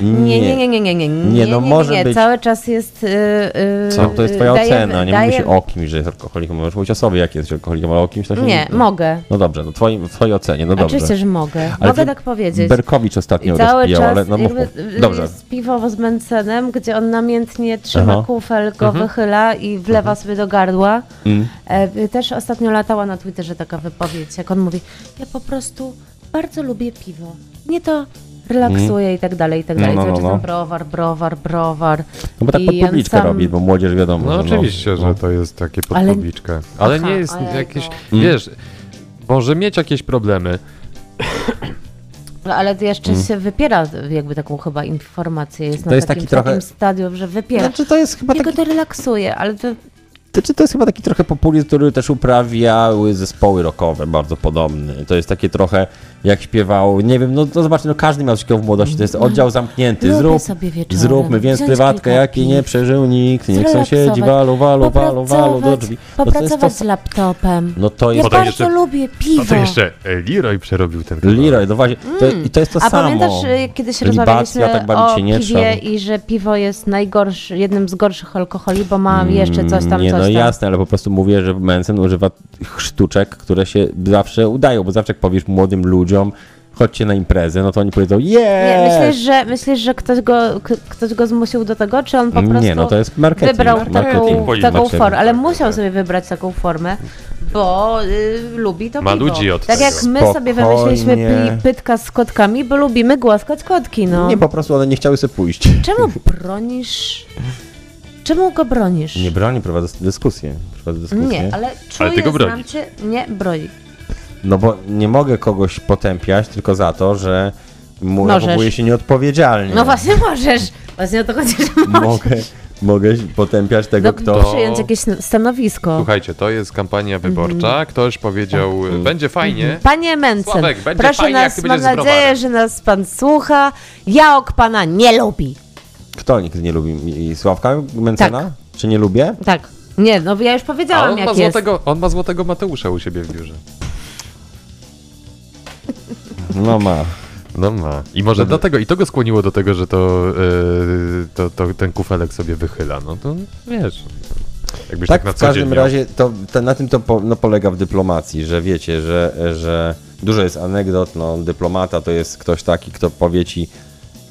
[SPEAKER 3] Nie,
[SPEAKER 2] Nie.
[SPEAKER 3] nie, nie, nie, nie, nie, nie,
[SPEAKER 2] Nie, no może być.
[SPEAKER 3] Cały czas jest... y, y,
[SPEAKER 2] Co? To jest twoja
[SPEAKER 3] daje-
[SPEAKER 2] ocena, nie
[SPEAKER 3] daje-
[SPEAKER 2] mówi się o kimś, że jest alkoholikiem. Możesz mówić o sobie, jak jest alkoholikiem, ale o kimś to się
[SPEAKER 3] Nie, mogę.
[SPEAKER 2] No dobrze, no twoim, w twojej ocenie, no dobrze.
[SPEAKER 3] Oczywiście, że mogę.
[SPEAKER 2] Ale
[SPEAKER 3] mogę
[SPEAKER 2] wy-
[SPEAKER 3] tak powiedzieć.
[SPEAKER 2] Berkowicz ostatnio
[SPEAKER 3] I cały
[SPEAKER 2] rozpijał,
[SPEAKER 3] czas
[SPEAKER 2] ale no mów,
[SPEAKER 3] jakby,
[SPEAKER 2] mów.
[SPEAKER 3] y,
[SPEAKER 2] Dobrze.
[SPEAKER 3] jest piwo z Mencenem, gdzie on namiętnie trzyma
[SPEAKER 2] Aha. Mhm.
[SPEAKER 3] kufel, go wychyla i wlewa sobie do gardła.
[SPEAKER 2] Mm.
[SPEAKER 3] E, Też ostatnio latała na Twitterze taka wypowiedź, jak on mówi, ja po prostu bardzo lubię piwo. Nie to relaksuje i tak dalej, i tak
[SPEAKER 2] No,
[SPEAKER 3] dalej.
[SPEAKER 2] no,
[SPEAKER 3] Cały
[SPEAKER 2] no,
[SPEAKER 3] czas
[SPEAKER 2] no.
[SPEAKER 3] tam browar, browar, browar.
[SPEAKER 2] No bo tak
[SPEAKER 3] I
[SPEAKER 2] pod
[SPEAKER 3] on
[SPEAKER 2] publiczkę
[SPEAKER 3] sam-
[SPEAKER 2] robi, bo młodzież wiadomo.
[SPEAKER 4] No
[SPEAKER 2] że
[SPEAKER 4] oczywiście, że to jest takie pod
[SPEAKER 3] Ale-
[SPEAKER 4] publiczkę. Ale
[SPEAKER 3] Aha,
[SPEAKER 4] nie jest
[SPEAKER 3] ale
[SPEAKER 4] jakieś...
[SPEAKER 2] no.
[SPEAKER 4] Wiesz, może mieć jakieś problemy.
[SPEAKER 3] No, ale to jeszcze się wypiera jakby taką chyba informację. Jest
[SPEAKER 2] Mm. To
[SPEAKER 3] na
[SPEAKER 2] jest
[SPEAKER 3] takim,
[SPEAKER 2] taki trochę-
[SPEAKER 3] takim stadium, że wypiera.
[SPEAKER 2] Znaczy to jest chyba
[SPEAKER 3] Jego
[SPEAKER 2] taki
[SPEAKER 3] to relaksuje, ale to
[SPEAKER 2] To, czy to jest chyba taki trochę populizm, który też uprawiały zespoły rockowe, bardzo podobny. To jest takie trochę, jak śpiewał, nie wiem, no to zobaczcie, no każdy miał coś takiego w młodości, to jest oddział zamknięty,
[SPEAKER 3] No. Lubię
[SPEAKER 2] zrób,
[SPEAKER 3] sobie wieczorem
[SPEAKER 2] zróbmy, więc
[SPEAKER 3] wziąć
[SPEAKER 2] prywatkę,
[SPEAKER 3] kilka
[SPEAKER 2] jaki
[SPEAKER 3] piw,
[SPEAKER 2] nie przeżył nikt, niech sąsiedzi
[SPEAKER 3] zrelaksować,
[SPEAKER 2] walu, walu, walu, walu do
[SPEAKER 3] popracować-
[SPEAKER 2] drzwi. No to jest to,
[SPEAKER 3] Popracować z laptopem.
[SPEAKER 2] no to
[SPEAKER 3] Ja
[SPEAKER 2] jest
[SPEAKER 4] Potem
[SPEAKER 3] bardzo
[SPEAKER 4] jeszcze-
[SPEAKER 3] lubię piwo.
[SPEAKER 4] A to jeszcze e, Leroy przerobił ten kawałek.
[SPEAKER 2] Leroy, no właśnie, to, i to jest to
[SPEAKER 3] A
[SPEAKER 2] samo.
[SPEAKER 3] pamiętasz, y, kiedyś
[SPEAKER 2] Libacja,
[SPEAKER 3] rozmawialiśmy
[SPEAKER 2] tak bawić
[SPEAKER 3] o
[SPEAKER 2] się nie
[SPEAKER 3] piwie
[SPEAKER 2] trzeba.
[SPEAKER 3] i że piwo jest najgorszy, jednym z gorszych alkoholi, bo mam jeszcze coś tam,
[SPEAKER 2] Nie,
[SPEAKER 3] coś
[SPEAKER 2] no
[SPEAKER 3] tam.
[SPEAKER 2] jasne, ale po prostu mówię, że Manson używa sztuczek, które się zawsze udają, bo zawsze jak powiesz młodym ludziom, chodźcie na imprezę, no to oni powiedzą,
[SPEAKER 3] Nie,
[SPEAKER 2] yeah!
[SPEAKER 3] myślisz, że, myślisz, że ktoś, go, k- ktoś go zmusił do tego, czy on po prostu
[SPEAKER 2] nie, no to jest marketing.
[SPEAKER 3] wybrał
[SPEAKER 2] marketing.
[SPEAKER 3] taką, taką
[SPEAKER 2] Marketing.
[SPEAKER 3] formę, ale
[SPEAKER 5] tak,
[SPEAKER 3] musiał
[SPEAKER 5] tak.
[SPEAKER 3] sobie wybrać taką formę, bo y, lubi to
[SPEAKER 5] Ma
[SPEAKER 3] piwo.
[SPEAKER 5] ludzi od
[SPEAKER 3] Tak
[SPEAKER 5] tego.
[SPEAKER 3] jak my
[SPEAKER 2] Spokojnie.
[SPEAKER 3] sobie wymyśliliśmy pi- pytka z kotkami, bo lubimy głaskać kotki, no.
[SPEAKER 2] Nie, po prostu one nie chciały sobie pójść.
[SPEAKER 3] Czemu bronisz? Czemu go bronisz?
[SPEAKER 2] Nie broni, prowadzę dyskusję. Prowadzę dyskusję.
[SPEAKER 3] Nie, ale czuję,
[SPEAKER 5] Ale ty go bronisz.
[SPEAKER 3] znam cię, nie broni.
[SPEAKER 2] No bo nie mogę kogoś potępiać tylko za to, że mu
[SPEAKER 3] Możesz.
[SPEAKER 2] zachowuje się nieodpowiedzialnie.
[SPEAKER 3] No właśnie możesz, właśnie o to chodzi, że możesz.
[SPEAKER 2] Mogę, mogę potępiać tego,
[SPEAKER 3] Do,
[SPEAKER 2] kto...
[SPEAKER 3] przyjąć jakieś stanowisko.
[SPEAKER 4] Słuchajcie, to jest kampania wyborcza. Ktoś powiedział,
[SPEAKER 2] Tak.
[SPEAKER 4] y, będzie fajnie.
[SPEAKER 3] Panie Mencen,
[SPEAKER 5] Sławek, będzie
[SPEAKER 3] proszę
[SPEAKER 5] fajnie, jak
[SPEAKER 3] nas,
[SPEAKER 5] ty
[SPEAKER 3] mam
[SPEAKER 5] będziesz z
[SPEAKER 3] nadzieję,
[SPEAKER 5] browarem.
[SPEAKER 3] że nas pan słucha. Jaok pana nie lubi.
[SPEAKER 2] Kto nikt nie lubi? I Sławka Mencena?
[SPEAKER 3] Tak.
[SPEAKER 2] Czy nie lubię?
[SPEAKER 3] Tak. Nie, no ja już
[SPEAKER 4] A
[SPEAKER 3] powiedziałam,
[SPEAKER 4] on ma,
[SPEAKER 3] jak jest.
[SPEAKER 4] złotego, on ma złotego Mateusza u siebie w biurze.
[SPEAKER 2] No ma.
[SPEAKER 4] No ma. I może dlatego, i to go skłoniło do tego, że to, y, to, to ten kufelek sobie wychyla. No to wiesz, jakbyś tak,
[SPEAKER 2] Tak,
[SPEAKER 4] na
[SPEAKER 2] w
[SPEAKER 4] co dzień
[SPEAKER 2] każdym
[SPEAKER 4] miał.
[SPEAKER 2] razie to, to, na tym to po, no, polega w dyplomacji, że wiecie, że, że dużo jest anegdot, no dyplomata to jest ktoś taki, kto powie ci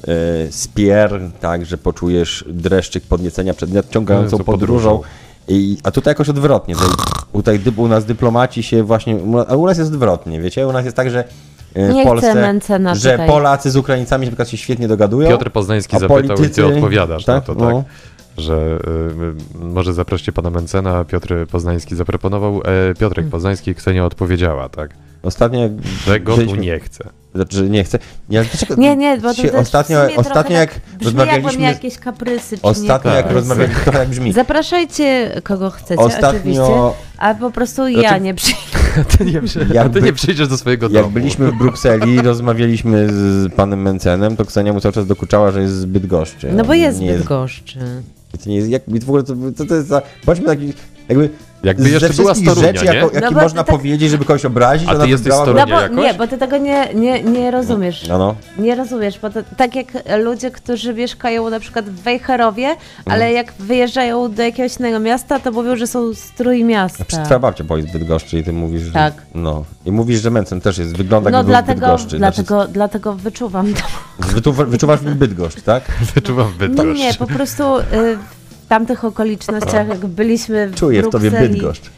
[SPEAKER 2] e, spier, tak, że poczujesz dreszczyk podniecenia przed nadciągającą
[SPEAKER 4] Jezu,
[SPEAKER 2] podróżą.
[SPEAKER 4] podróżą.
[SPEAKER 2] I, a tutaj jakoś odwrotnie. Tutaj, tutaj dy- u nas dyplomaci się właśnie, u- a u nas jest odwrotnie, wiecie, u nas jest tak, że e,
[SPEAKER 3] Nie
[SPEAKER 2] w
[SPEAKER 3] chcę
[SPEAKER 2] Polsce,
[SPEAKER 3] Mencena
[SPEAKER 2] że
[SPEAKER 3] tutaj.
[SPEAKER 2] Polacy z Ukraińcami na przykład się świetnie dogadują.
[SPEAKER 4] Piotr Poznański
[SPEAKER 2] no, A
[SPEAKER 4] zapytał i ty
[SPEAKER 2] politycy-
[SPEAKER 4] odpowiadasz
[SPEAKER 2] tak?
[SPEAKER 4] na to, tak?
[SPEAKER 2] No.
[SPEAKER 4] Że y, y, może zaproście pana Mencena, a Piotr Poznański zaproponował, e,
[SPEAKER 3] Hmm.
[SPEAKER 4] Piotrek Poznański, Ksenia odpowiedziała, tak?
[SPEAKER 2] Ostatnio jak
[SPEAKER 4] Tego tu
[SPEAKER 2] wzięliśmy-
[SPEAKER 4] nie chce. (laughs)
[SPEAKER 2] Znaczy, że nie chcę. Ja, dlaczego-
[SPEAKER 3] Nie, nie, bo to
[SPEAKER 2] się
[SPEAKER 3] też w
[SPEAKER 2] ostatnio,
[SPEAKER 3] sumie trochę
[SPEAKER 2] ostatnio jak
[SPEAKER 3] tak brzmi,
[SPEAKER 2] rozmawialiśmy.
[SPEAKER 3] jakbym miała jakieś kaprysy, czy
[SPEAKER 2] ostatnio
[SPEAKER 3] nie
[SPEAKER 2] jak
[SPEAKER 3] kaprysy.
[SPEAKER 5] Tak.
[SPEAKER 2] rozmawialiśmy, trochę jak brzmi.
[SPEAKER 3] Zapraszajcie kogo chcecie,
[SPEAKER 2] Ostatnio-
[SPEAKER 3] oczywiście, a po prostu ja
[SPEAKER 2] Znaczy-
[SPEAKER 3] nie przyjdę.
[SPEAKER 4] Ty nie, przy...
[SPEAKER 2] Jak
[SPEAKER 4] a ty
[SPEAKER 2] by-
[SPEAKER 4] nie przyjdziesz do swojego
[SPEAKER 2] Jak
[SPEAKER 4] domu. (laughs)
[SPEAKER 2] byliśmy w Brukseli, (laughs) rozmawialiśmy z panem Mencenem, to Ksenia mu cały czas dokuczała, że jest zbyt goszczy.
[SPEAKER 3] No bo jest
[SPEAKER 2] nie
[SPEAKER 3] Bydgoszczy.
[SPEAKER 2] To nie jest, jak, w ogóle to, to, to jest za, Bądźmy taki. Jakby,
[SPEAKER 4] Jakby
[SPEAKER 2] ze
[SPEAKER 4] jeszcze była z
[SPEAKER 2] wszystkich
[SPEAKER 4] Torunia,
[SPEAKER 2] rzeczy,
[SPEAKER 4] nie?
[SPEAKER 2] jako, jakie
[SPEAKER 3] No bo
[SPEAKER 2] można
[SPEAKER 3] tak-
[SPEAKER 2] powiedzieć, żeby kogoś obrazić,
[SPEAKER 4] A ty
[SPEAKER 2] ona
[SPEAKER 4] jesteś z
[SPEAKER 2] wybrała-
[SPEAKER 4] Torunia.
[SPEAKER 3] No
[SPEAKER 4] Broni
[SPEAKER 3] bo,
[SPEAKER 4] jakoś?
[SPEAKER 3] nie, bo ty tego nie, nie, nie rozumiesz.
[SPEAKER 2] No, no.
[SPEAKER 3] Nie rozumiesz, bo to, tak jak ludzie, którzy mieszkają na przykład w Wejherowie,
[SPEAKER 2] Mhm.
[SPEAKER 3] ale jak wyjeżdżają do jakiegoś innego miasta, to mówią, że są z Trójmiasta.
[SPEAKER 2] Przecież twoja babcia była z Bydgoszczy i ty mówisz, że,
[SPEAKER 3] Tak.
[SPEAKER 2] no. I mówisz, że Mencen też jest, wygląda
[SPEAKER 3] No
[SPEAKER 2] jak dlatego,
[SPEAKER 3] dlatego,
[SPEAKER 2] Bydgoszczy.
[SPEAKER 3] dlatego, dlatego
[SPEAKER 2] (laughs)
[SPEAKER 3] wyczuwam to.
[SPEAKER 2] Znaczy, wyczu- Znaczy, wyczuwasz w nim Bydgoszcz, tak?
[SPEAKER 4] Wyczuwam
[SPEAKER 3] No
[SPEAKER 4] bydgoszcz.
[SPEAKER 3] nie, po prostu y, w tamtych okolicznościach, jak byliśmy w
[SPEAKER 2] Czuję w
[SPEAKER 3] Brukseli,
[SPEAKER 2] tobie Bydgoszcz.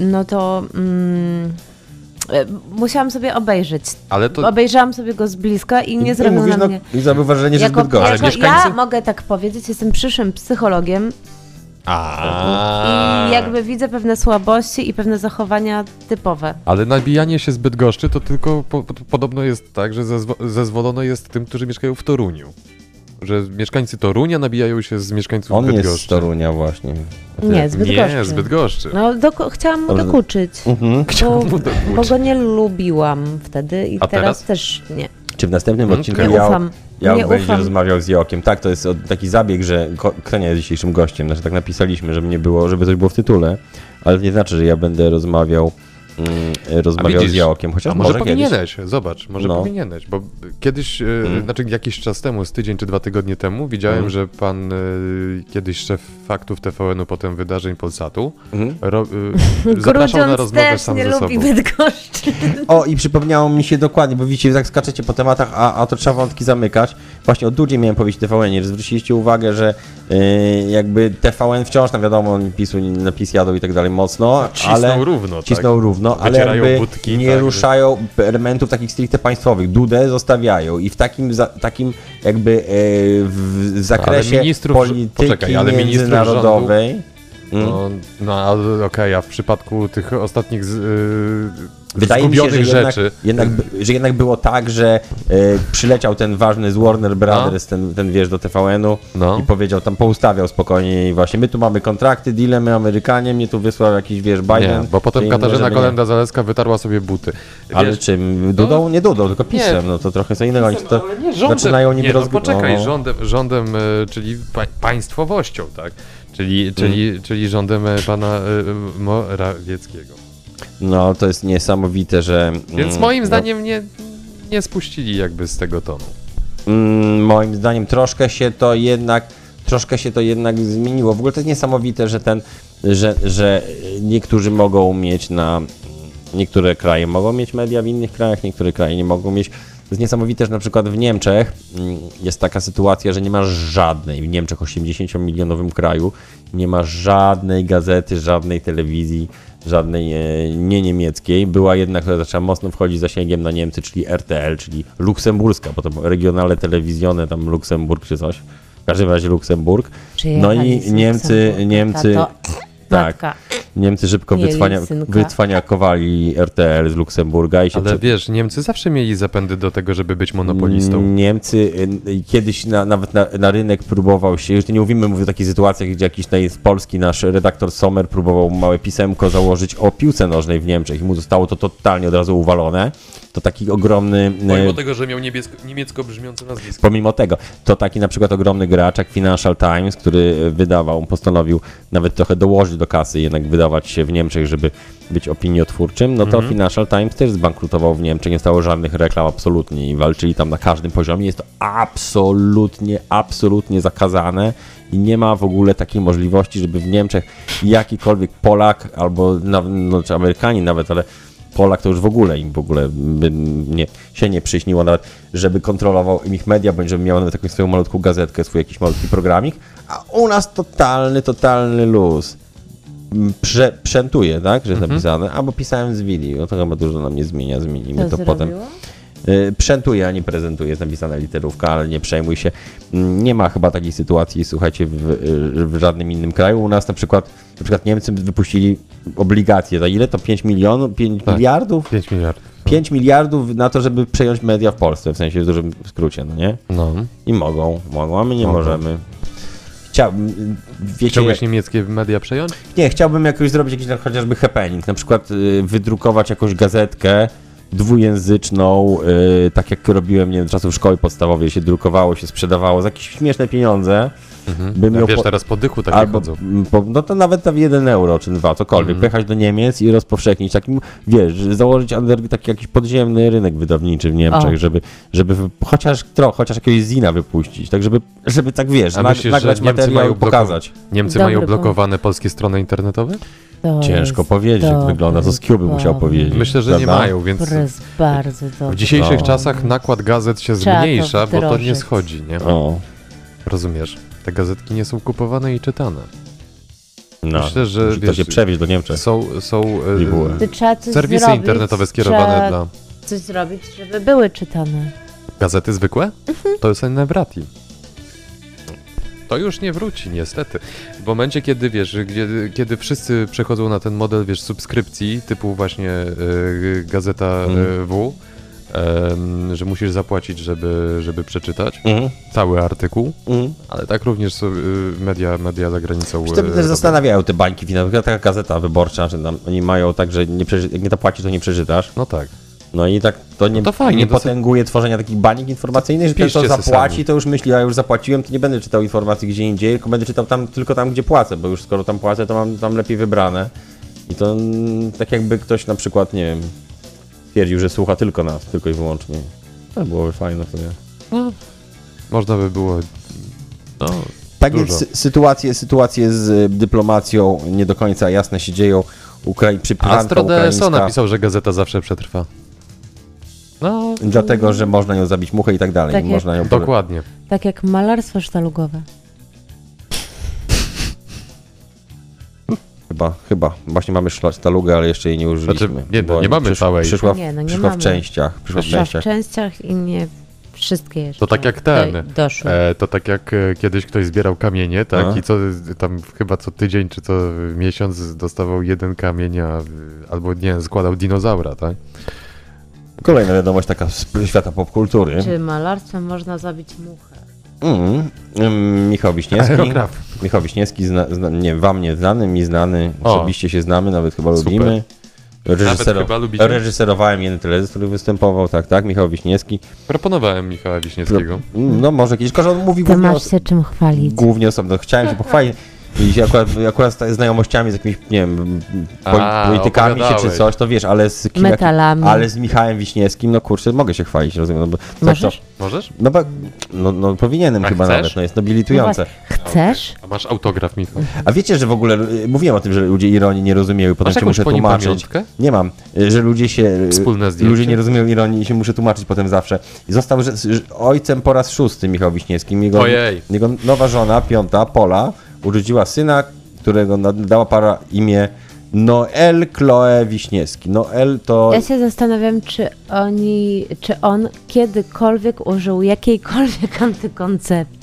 [SPEAKER 3] No to mm, y, musiałam sobie obejrzeć.
[SPEAKER 4] Ale to...
[SPEAKER 3] Obejrzałam sobie go z bliska i nie zrobił
[SPEAKER 2] mówisz, no,
[SPEAKER 3] na mnie...
[SPEAKER 2] I zauważ, że nie jest
[SPEAKER 3] Jako,
[SPEAKER 2] zbyt gorzej.
[SPEAKER 3] jako ja
[SPEAKER 4] mieszkańcy-
[SPEAKER 3] mogę tak powiedzieć, jestem przyszłym psychologiem
[SPEAKER 4] A. Tak.
[SPEAKER 3] i jakby widzę pewne słabości i pewne zachowania typowe.
[SPEAKER 4] Ale nabijanie się zbyt goszczy to tylko po, po, podobno jest tak, że zezwo- zezwolone jest tym, którzy mieszkają w Toruniu. Że mieszkańcy Torunia nabijają się z mieszkańców
[SPEAKER 2] On
[SPEAKER 4] Bydgoszczy.
[SPEAKER 2] jest z Torunia właśnie.
[SPEAKER 3] Nie, zbyt
[SPEAKER 4] Tak. Nie, z Bydgoszczy. Mhm.
[SPEAKER 3] No, doko- chciałam mu
[SPEAKER 2] Dobrze.
[SPEAKER 3] dokuczyć, bo,
[SPEAKER 4] Chciałam mu dokuczyć.
[SPEAKER 3] bo go nie lubiłam wtedy i
[SPEAKER 4] A
[SPEAKER 3] teraz?
[SPEAKER 4] teraz?
[SPEAKER 3] też nie.
[SPEAKER 2] Czy w następnym
[SPEAKER 4] Okej.
[SPEAKER 2] odcinku
[SPEAKER 3] Nie
[SPEAKER 2] ja,
[SPEAKER 3] ufam.
[SPEAKER 2] ja
[SPEAKER 3] Nie
[SPEAKER 2] będzie
[SPEAKER 3] ufam.
[SPEAKER 2] rozmawiał z Jokiem? Tak, to jest od- taki zabieg, że Ko- Ksenia jest dzisiejszym gościem. Znaczy tak napisaliśmy, żeby nie było, żeby coś było w tytule, ale to nie znaczy, że ja będę rozmawiał, mm, rozmawiał z
[SPEAKER 4] widzisz,
[SPEAKER 2] Jokiem. Chociaż
[SPEAKER 4] A może,
[SPEAKER 2] kiedyś.
[SPEAKER 4] powinieneś, zobacz, może
[SPEAKER 2] No. Mhm.
[SPEAKER 4] powinieneś, bo kiedyś, e, znaczy jakiś czas temu, z tydzień czy dwa tygodnie temu, widziałem, że pan e, kiedyś szef faktów TVN-u, potem wydarzeń Polsatu,
[SPEAKER 2] Mhm.
[SPEAKER 3] (laughs)
[SPEAKER 4] ro, e, zapraszał na
[SPEAKER 3] Grudziądz
[SPEAKER 4] rozmowę
[SPEAKER 3] też
[SPEAKER 4] sam
[SPEAKER 3] nie
[SPEAKER 4] ze sobą.
[SPEAKER 3] lubi Bydgoszczy.
[SPEAKER 2] O, i przypomniało mi się dokładnie, bo widzicie, tak skaczecie po tematach, a, a to trzeba wątki zamykać. Właśnie o Dudzie miałem powiedzieć TVN, że zwróciliście uwagę, że yy, jakby TVN wciąż, tam wiadomo, PiSu, napis jadą i tak dalej mocno,
[SPEAKER 4] No, Cisną
[SPEAKER 2] ale...
[SPEAKER 4] równo,
[SPEAKER 2] Cisną
[SPEAKER 4] tak.
[SPEAKER 2] równo, ale
[SPEAKER 4] Wycierają
[SPEAKER 2] jakby
[SPEAKER 4] budki,
[SPEAKER 2] nie
[SPEAKER 4] tak, że-
[SPEAKER 2] ruszają elementów takich stricte państwowych. Dudę zostawiają i w takim, za, takim jakby yy, w, w zakresie
[SPEAKER 4] ministrów-
[SPEAKER 2] polityki
[SPEAKER 4] poczekaj, ale ministrów
[SPEAKER 2] międzynarodowej...
[SPEAKER 4] No,
[SPEAKER 2] Hmm?
[SPEAKER 4] no ale okej, a w przypadku tych ostatnich z, y,
[SPEAKER 2] Wydaje mi się, że
[SPEAKER 4] zgubionych
[SPEAKER 2] jednak,
[SPEAKER 4] rzeczy,
[SPEAKER 2] Jednak, by- że jednak było tak, że e, przyleciał ten ważny z Warner Brothers, ten, ten wiesz, do TVN-u
[SPEAKER 4] No.
[SPEAKER 2] i powiedział tam, poustawiał spokojnie i właśnie my tu mamy kontrakty, deale, my Amerykanie, mnie tu wysłał jakiś, wiesz, Biden.
[SPEAKER 4] nie, bo
[SPEAKER 2] czy
[SPEAKER 4] potem
[SPEAKER 2] inne,
[SPEAKER 4] Katarzyna
[SPEAKER 2] żeby nie-
[SPEAKER 4] Kolenda-Zaleska wytarła sobie buty.
[SPEAKER 2] Ale
[SPEAKER 4] Wiesz, no.
[SPEAKER 2] czym? Dudą? Nie Dudą, tylko PiSem, no to trochę co innego. Oni to
[SPEAKER 4] ale nie rządem,
[SPEAKER 2] zaczynają niby
[SPEAKER 4] nie, no
[SPEAKER 2] rozg-
[SPEAKER 4] poczekaj,
[SPEAKER 2] no.
[SPEAKER 4] rządem, rządem e, czyli pa, państwowością, tak?
[SPEAKER 2] Hmm.
[SPEAKER 4] Czyli, czyli, czyli rządem e, pana e, Morawieckiego.
[SPEAKER 2] No to jest niesamowite, że...
[SPEAKER 4] Więc
[SPEAKER 2] mm,
[SPEAKER 4] moim
[SPEAKER 2] no,
[SPEAKER 4] zdaniem nie, nie spuścili jakby z tego tonu.
[SPEAKER 2] Mm, moim zdaniem troszkę się to jednak troszkę się to jednak zmieniło. W ogóle to jest niesamowite, że ten, że, że niektórzy mogą mieć na Niektóre kraje mogą mieć media w innych krajach, niektóre kraje nie mogą mieć. To jest niesamowite, że na przykład w Niemczech mm, jest taka sytuacja, że nie ma żadnej, w Niemczech 80-milionowym kraju, nie ma żadnej gazety, żadnej telewizji, żadnej e, nie niemieckiej. Była jedna, która zaczęła mocno wchodzić zasięgiem na Niemcy, czyli RTL, czyli luksemburska, bo to regionalne telewizjone, tam Luksemburg czy coś. W każdym razie Luksemburg. No
[SPEAKER 3] Przyjechali z
[SPEAKER 2] i Niemcy,
[SPEAKER 3] Luksemburga,
[SPEAKER 2] Niemcy,
[SPEAKER 3] tato,
[SPEAKER 2] tak,
[SPEAKER 3] matka.
[SPEAKER 2] Niemcy szybko
[SPEAKER 3] Mieli
[SPEAKER 2] wycwania,
[SPEAKER 3] synka.
[SPEAKER 2] wycwaniakowali RTL z Luksemburga i się
[SPEAKER 4] Ale wiesz, Niemcy zawsze mieli zapędy do tego, żeby być
[SPEAKER 2] Hmm,
[SPEAKER 4] monopolistą.
[SPEAKER 2] Niemcy y, y, kiedyś na, nawet na, na rynek próbował się, już nie mówimy, mówię o takich sytuacjach, gdzie jakiś naj- z Polski nasz redaktor Sommer próbował małe pisemko założyć o piłce nożnej w Niemczech i mu zostało to totalnie od razu uwalone. To taki ogromny... y,
[SPEAKER 4] Pomimo tego, że miał niebiesko, niemiecko brzmiące nazwisko.
[SPEAKER 2] Pomimo tego, to taki na przykład ogromny gracz jak Financial Times, który e, wydawał, postanowił nawet trochę dołożyć do kasy, jednak wydawać się w Niemczech, żeby być opiniotwórczym, no to Financial Times też zbankrutował w Niemczech, nie stało żadnych reklam absolutnie i walczyli tam na każdym poziomie. Jest to absolutnie, absolutnie zakazane i nie ma w ogóle takiej możliwości, żeby w Niemczech jakikolwiek Polak albo na, no, czy Amerykanin nawet, ale Polak to już w ogóle im w ogóle by nie, się nie przyśniło nawet, żeby kontrolował im ich media, bądź żeby miał nawet jakąś swoją malutką gazetkę, swój jakiś malutki programik, a u nas totalny, totalny luz. M, Prze, przętuje, tak, że jest napisane, albo pisałem z Wili, no to chyba dużo nam nie zmienia, zmienimy
[SPEAKER 3] To
[SPEAKER 2] to potem.
[SPEAKER 3] zrobiło?
[SPEAKER 2] Y, Przętuje, a nie prezentuje, jest napisana literówka, ale nie przejmuj się. Mm, Nie ma chyba takiej sytuacji, słuchajcie, w, y, w żadnym innym kraju. U nas na przykład, na przykład Niemcy wypuścili obligacje. Za ile to? 5 milionów? 5
[SPEAKER 4] Tak.
[SPEAKER 2] miliardów?
[SPEAKER 4] 5 miliardów.
[SPEAKER 2] 5 miliardów na to, żeby przejąć media w Polsce, w sensie w dużym skrócie, no nie?
[SPEAKER 4] No.
[SPEAKER 2] I mogą, mogą, a my nie
[SPEAKER 4] Mogą.
[SPEAKER 2] możemy. Chciałbym, wiecie,
[SPEAKER 4] Chciałbyś niemieckie media przejąć?
[SPEAKER 2] nie, chciałbym jakoś zrobić jakiś na- chociażby happening, na przykład y, wydrukować jakąś gazetkę dwujęzyczną, y, tak jak robiłem, nie wiem, czasów szkoły podstawowej, się drukowało, się sprzedawało za jakieś śmieszne pieniądze, bym
[SPEAKER 4] Mhm. Ja
[SPEAKER 2] ją
[SPEAKER 4] wiesz,
[SPEAKER 2] po-
[SPEAKER 4] teraz tak po dychu takie
[SPEAKER 2] albo,
[SPEAKER 4] chodzą.
[SPEAKER 2] m, po, no to nawet tam 1 euro czy 2, cokolwiek,
[SPEAKER 4] Mhm.
[SPEAKER 2] pojechać do Niemiec i rozpowszechnić takim, wiesz, założyć under, taki jakiś podziemny rynek wydawniczy w Niemczech,
[SPEAKER 3] O.
[SPEAKER 2] żeby, żeby wy- chociaż trochę, chociaż jakiegoś zina wypuścić, tak żeby, żeby tak, wiesz,
[SPEAKER 4] A
[SPEAKER 2] nag-
[SPEAKER 4] myślisz, że
[SPEAKER 2] nagrać
[SPEAKER 4] Niemcy
[SPEAKER 2] materiał
[SPEAKER 4] mają
[SPEAKER 2] i pokazać.
[SPEAKER 4] Niemcy
[SPEAKER 3] Dobry
[SPEAKER 4] mają
[SPEAKER 3] pomysł.
[SPEAKER 4] blokowane polskie strony internetowe?
[SPEAKER 3] To
[SPEAKER 2] Ciężko
[SPEAKER 3] jest
[SPEAKER 2] powiedzieć, jak
[SPEAKER 3] dobry
[SPEAKER 2] wygląda, to z Cuby musiał
[SPEAKER 3] pomysł.
[SPEAKER 2] powiedzieć.
[SPEAKER 4] Myślę, że nie
[SPEAKER 2] Prawda?
[SPEAKER 4] mają, więc
[SPEAKER 3] To jest bardzo
[SPEAKER 4] w
[SPEAKER 3] dobry
[SPEAKER 4] dzisiejszych
[SPEAKER 2] No.
[SPEAKER 4] czasach nakład gazet się
[SPEAKER 3] Trzeba to
[SPEAKER 4] zmniejsza, bo to nie
[SPEAKER 3] wdrożyć.
[SPEAKER 4] schodzi, nie?
[SPEAKER 2] O,
[SPEAKER 4] Rozumiesz? Te gazetki nie są kupowane i czytane.
[SPEAKER 2] no.
[SPEAKER 4] Myślę, że,
[SPEAKER 2] Musi to
[SPEAKER 4] wiesz,
[SPEAKER 2] się przewieźć do Niemczech.
[SPEAKER 4] Są, są e,
[SPEAKER 2] I były.
[SPEAKER 3] To trzeba coś
[SPEAKER 4] serwisy
[SPEAKER 3] zrobić,
[SPEAKER 4] internetowe skierowane
[SPEAKER 3] trzeba
[SPEAKER 4] dla...
[SPEAKER 3] coś zrobić, żeby były czytane.
[SPEAKER 4] Gazety zwykłe?
[SPEAKER 2] Mhm.
[SPEAKER 4] To jest Nevrati. To już nie wróci, niestety. W momencie, kiedy wiesz, kiedy, kiedy wszyscy przechodzą na ten model, wiesz, subskrypcji, typu właśnie y, Gazeta y, W, em, że musisz zapłacić, żeby, żeby przeczytać
[SPEAKER 2] Mhm.
[SPEAKER 4] cały artykuł,
[SPEAKER 2] Mhm.
[SPEAKER 4] ale tak również są, y, media, media za granicą.
[SPEAKER 2] Czy to
[SPEAKER 4] y,
[SPEAKER 2] też
[SPEAKER 4] robią.
[SPEAKER 2] zastanawiają te bańki finansowe, taka gazeta wyborcza, że tam oni mają tak, że nie przeczy- jak nie zapłacisz, to nie przeczytasz.
[SPEAKER 4] No tak.
[SPEAKER 2] No i tak to nie,
[SPEAKER 4] No to fajnie,
[SPEAKER 2] nie
[SPEAKER 4] to sobie-
[SPEAKER 2] potęguje tworzenia takich banik informacyjnych, że ten,
[SPEAKER 4] Piszcie
[SPEAKER 2] kto
[SPEAKER 4] sobie
[SPEAKER 2] zapłaci,
[SPEAKER 4] sami.
[SPEAKER 2] to już myśli, a już zapłaciłem, to nie będę czytał informacji gdzie indziej, tylko będę czytał tam, tylko tam, gdzie płacę, bo już skoro tam płacę, to mam tam lepiej wybrane. I to mm, tak jakby ktoś na przykład, nie wiem, twierdził, że słucha tylko nas, tylko i wyłącznie. To byłoby fajne w sumie.
[SPEAKER 4] Można by było... No,
[SPEAKER 2] Tak
[SPEAKER 4] Dużo.
[SPEAKER 2] więc sy- sytuacje, sytuacje z y, dyplomacją nie do końca jasne się dzieją. Ukrai przy
[SPEAKER 4] Astro DSO
[SPEAKER 2] ukraińska,
[SPEAKER 4] napisał, że gazeta zawsze przetrwa. No,
[SPEAKER 2] dlatego, że można ją zabić muchę i tak dalej.
[SPEAKER 3] Tak jak-
[SPEAKER 2] można ją
[SPEAKER 4] dokładnie.
[SPEAKER 3] Tak jak malarstwo sztalugowe.
[SPEAKER 2] Chyba, chyba. Właśnie mamy szla- sztalugę, ale jeszcze jej nie użyliśmy.
[SPEAKER 4] Znaczy, nie, no,
[SPEAKER 2] bo
[SPEAKER 4] nie mamy całej.
[SPEAKER 2] Przyszła,
[SPEAKER 3] Nie, no nie
[SPEAKER 2] przyszła w
[SPEAKER 3] mamy.
[SPEAKER 2] częściach. Przyszła w
[SPEAKER 3] Przyszła w
[SPEAKER 2] częściach.
[SPEAKER 3] częściach i nie wszystkie jeszcze.
[SPEAKER 4] To tak jak ten.
[SPEAKER 3] do- Doszły.
[SPEAKER 4] E, to tak jak e, kiedyś ktoś zbierał kamienie, tak?
[SPEAKER 2] A.
[SPEAKER 4] I co tam chyba co tydzień czy co miesiąc dostawał jeden kamień, a, albo nie wiem, składał dinozaura, tak?
[SPEAKER 2] Kolejna wiadomość taka z świata popkultury.
[SPEAKER 3] Czy malarstwem można zabić muchę?
[SPEAKER 2] Mm, mm, Michał Wiśniewski.
[SPEAKER 4] Aerograf.
[SPEAKER 2] Michał Wiśniewski, zna, zna, nie, wam nie znany, mi znany.
[SPEAKER 4] O.
[SPEAKER 2] Osobiście się znamy, nawet chyba
[SPEAKER 4] Super.
[SPEAKER 2] lubimy. Reżysero,
[SPEAKER 4] chyba lubicie.
[SPEAKER 2] reżyserowałem jeden teledysk, który występował, tak, tak, Michał Wiśniewski.
[SPEAKER 4] Proponowałem Michała Wiśniewskiego.
[SPEAKER 2] No może kiedyś, tylko że on mówi
[SPEAKER 3] Ty
[SPEAKER 2] głównie,
[SPEAKER 3] masz
[SPEAKER 2] os-
[SPEAKER 3] się czym chwalić.
[SPEAKER 2] głównie osobno. Chciałem się pochwalić i się akurat, akurat z znajomościami z jakimiś, nie wiem, poli-
[SPEAKER 4] A,
[SPEAKER 2] politykami się czy
[SPEAKER 4] opowiadałeś.
[SPEAKER 2] coś, to wiesz, ale z kim,
[SPEAKER 3] Metalami.
[SPEAKER 2] ale z Michałem Wiśniewskim, no kurczę, mogę się chwalić, rozumiem, no bo tak to,
[SPEAKER 3] Możesz?
[SPEAKER 4] Możesz?
[SPEAKER 2] no, bo, no, no powinienem
[SPEAKER 4] A
[SPEAKER 2] chyba
[SPEAKER 4] chcesz?
[SPEAKER 2] nawet, no jest nobilitujące.
[SPEAKER 3] No właśnie, Chcesz?
[SPEAKER 4] A masz autograf, Michał.
[SPEAKER 2] A wiecie, że w ogóle y, mówiłem o tym, że ludzie ironii nie rozumieją, potem
[SPEAKER 4] Masz
[SPEAKER 2] się
[SPEAKER 4] jakąś
[SPEAKER 2] muszę
[SPEAKER 4] po nim
[SPEAKER 2] tłumaczyć.
[SPEAKER 4] pamiątkę?
[SPEAKER 2] Nie mam, y, że ludzie się. y,
[SPEAKER 4] Wspólne zdjęcie?
[SPEAKER 2] Ludzie nie rozumieją ironii i się muszę tłumaczyć potem zawsze. I został że, że ojcem po raz szósty Michał Wiśniewski. Jego,
[SPEAKER 4] Ojej.
[SPEAKER 2] jego nowa żona, piąta, Pola, urodziła syna, którego nad- dała para imię Noel Chloe Wiśniewski. Noel to.
[SPEAKER 3] Ja się zastanawiam, czy oni, czy on kiedykolwiek użył jakiejkolwiek antykoncepcji.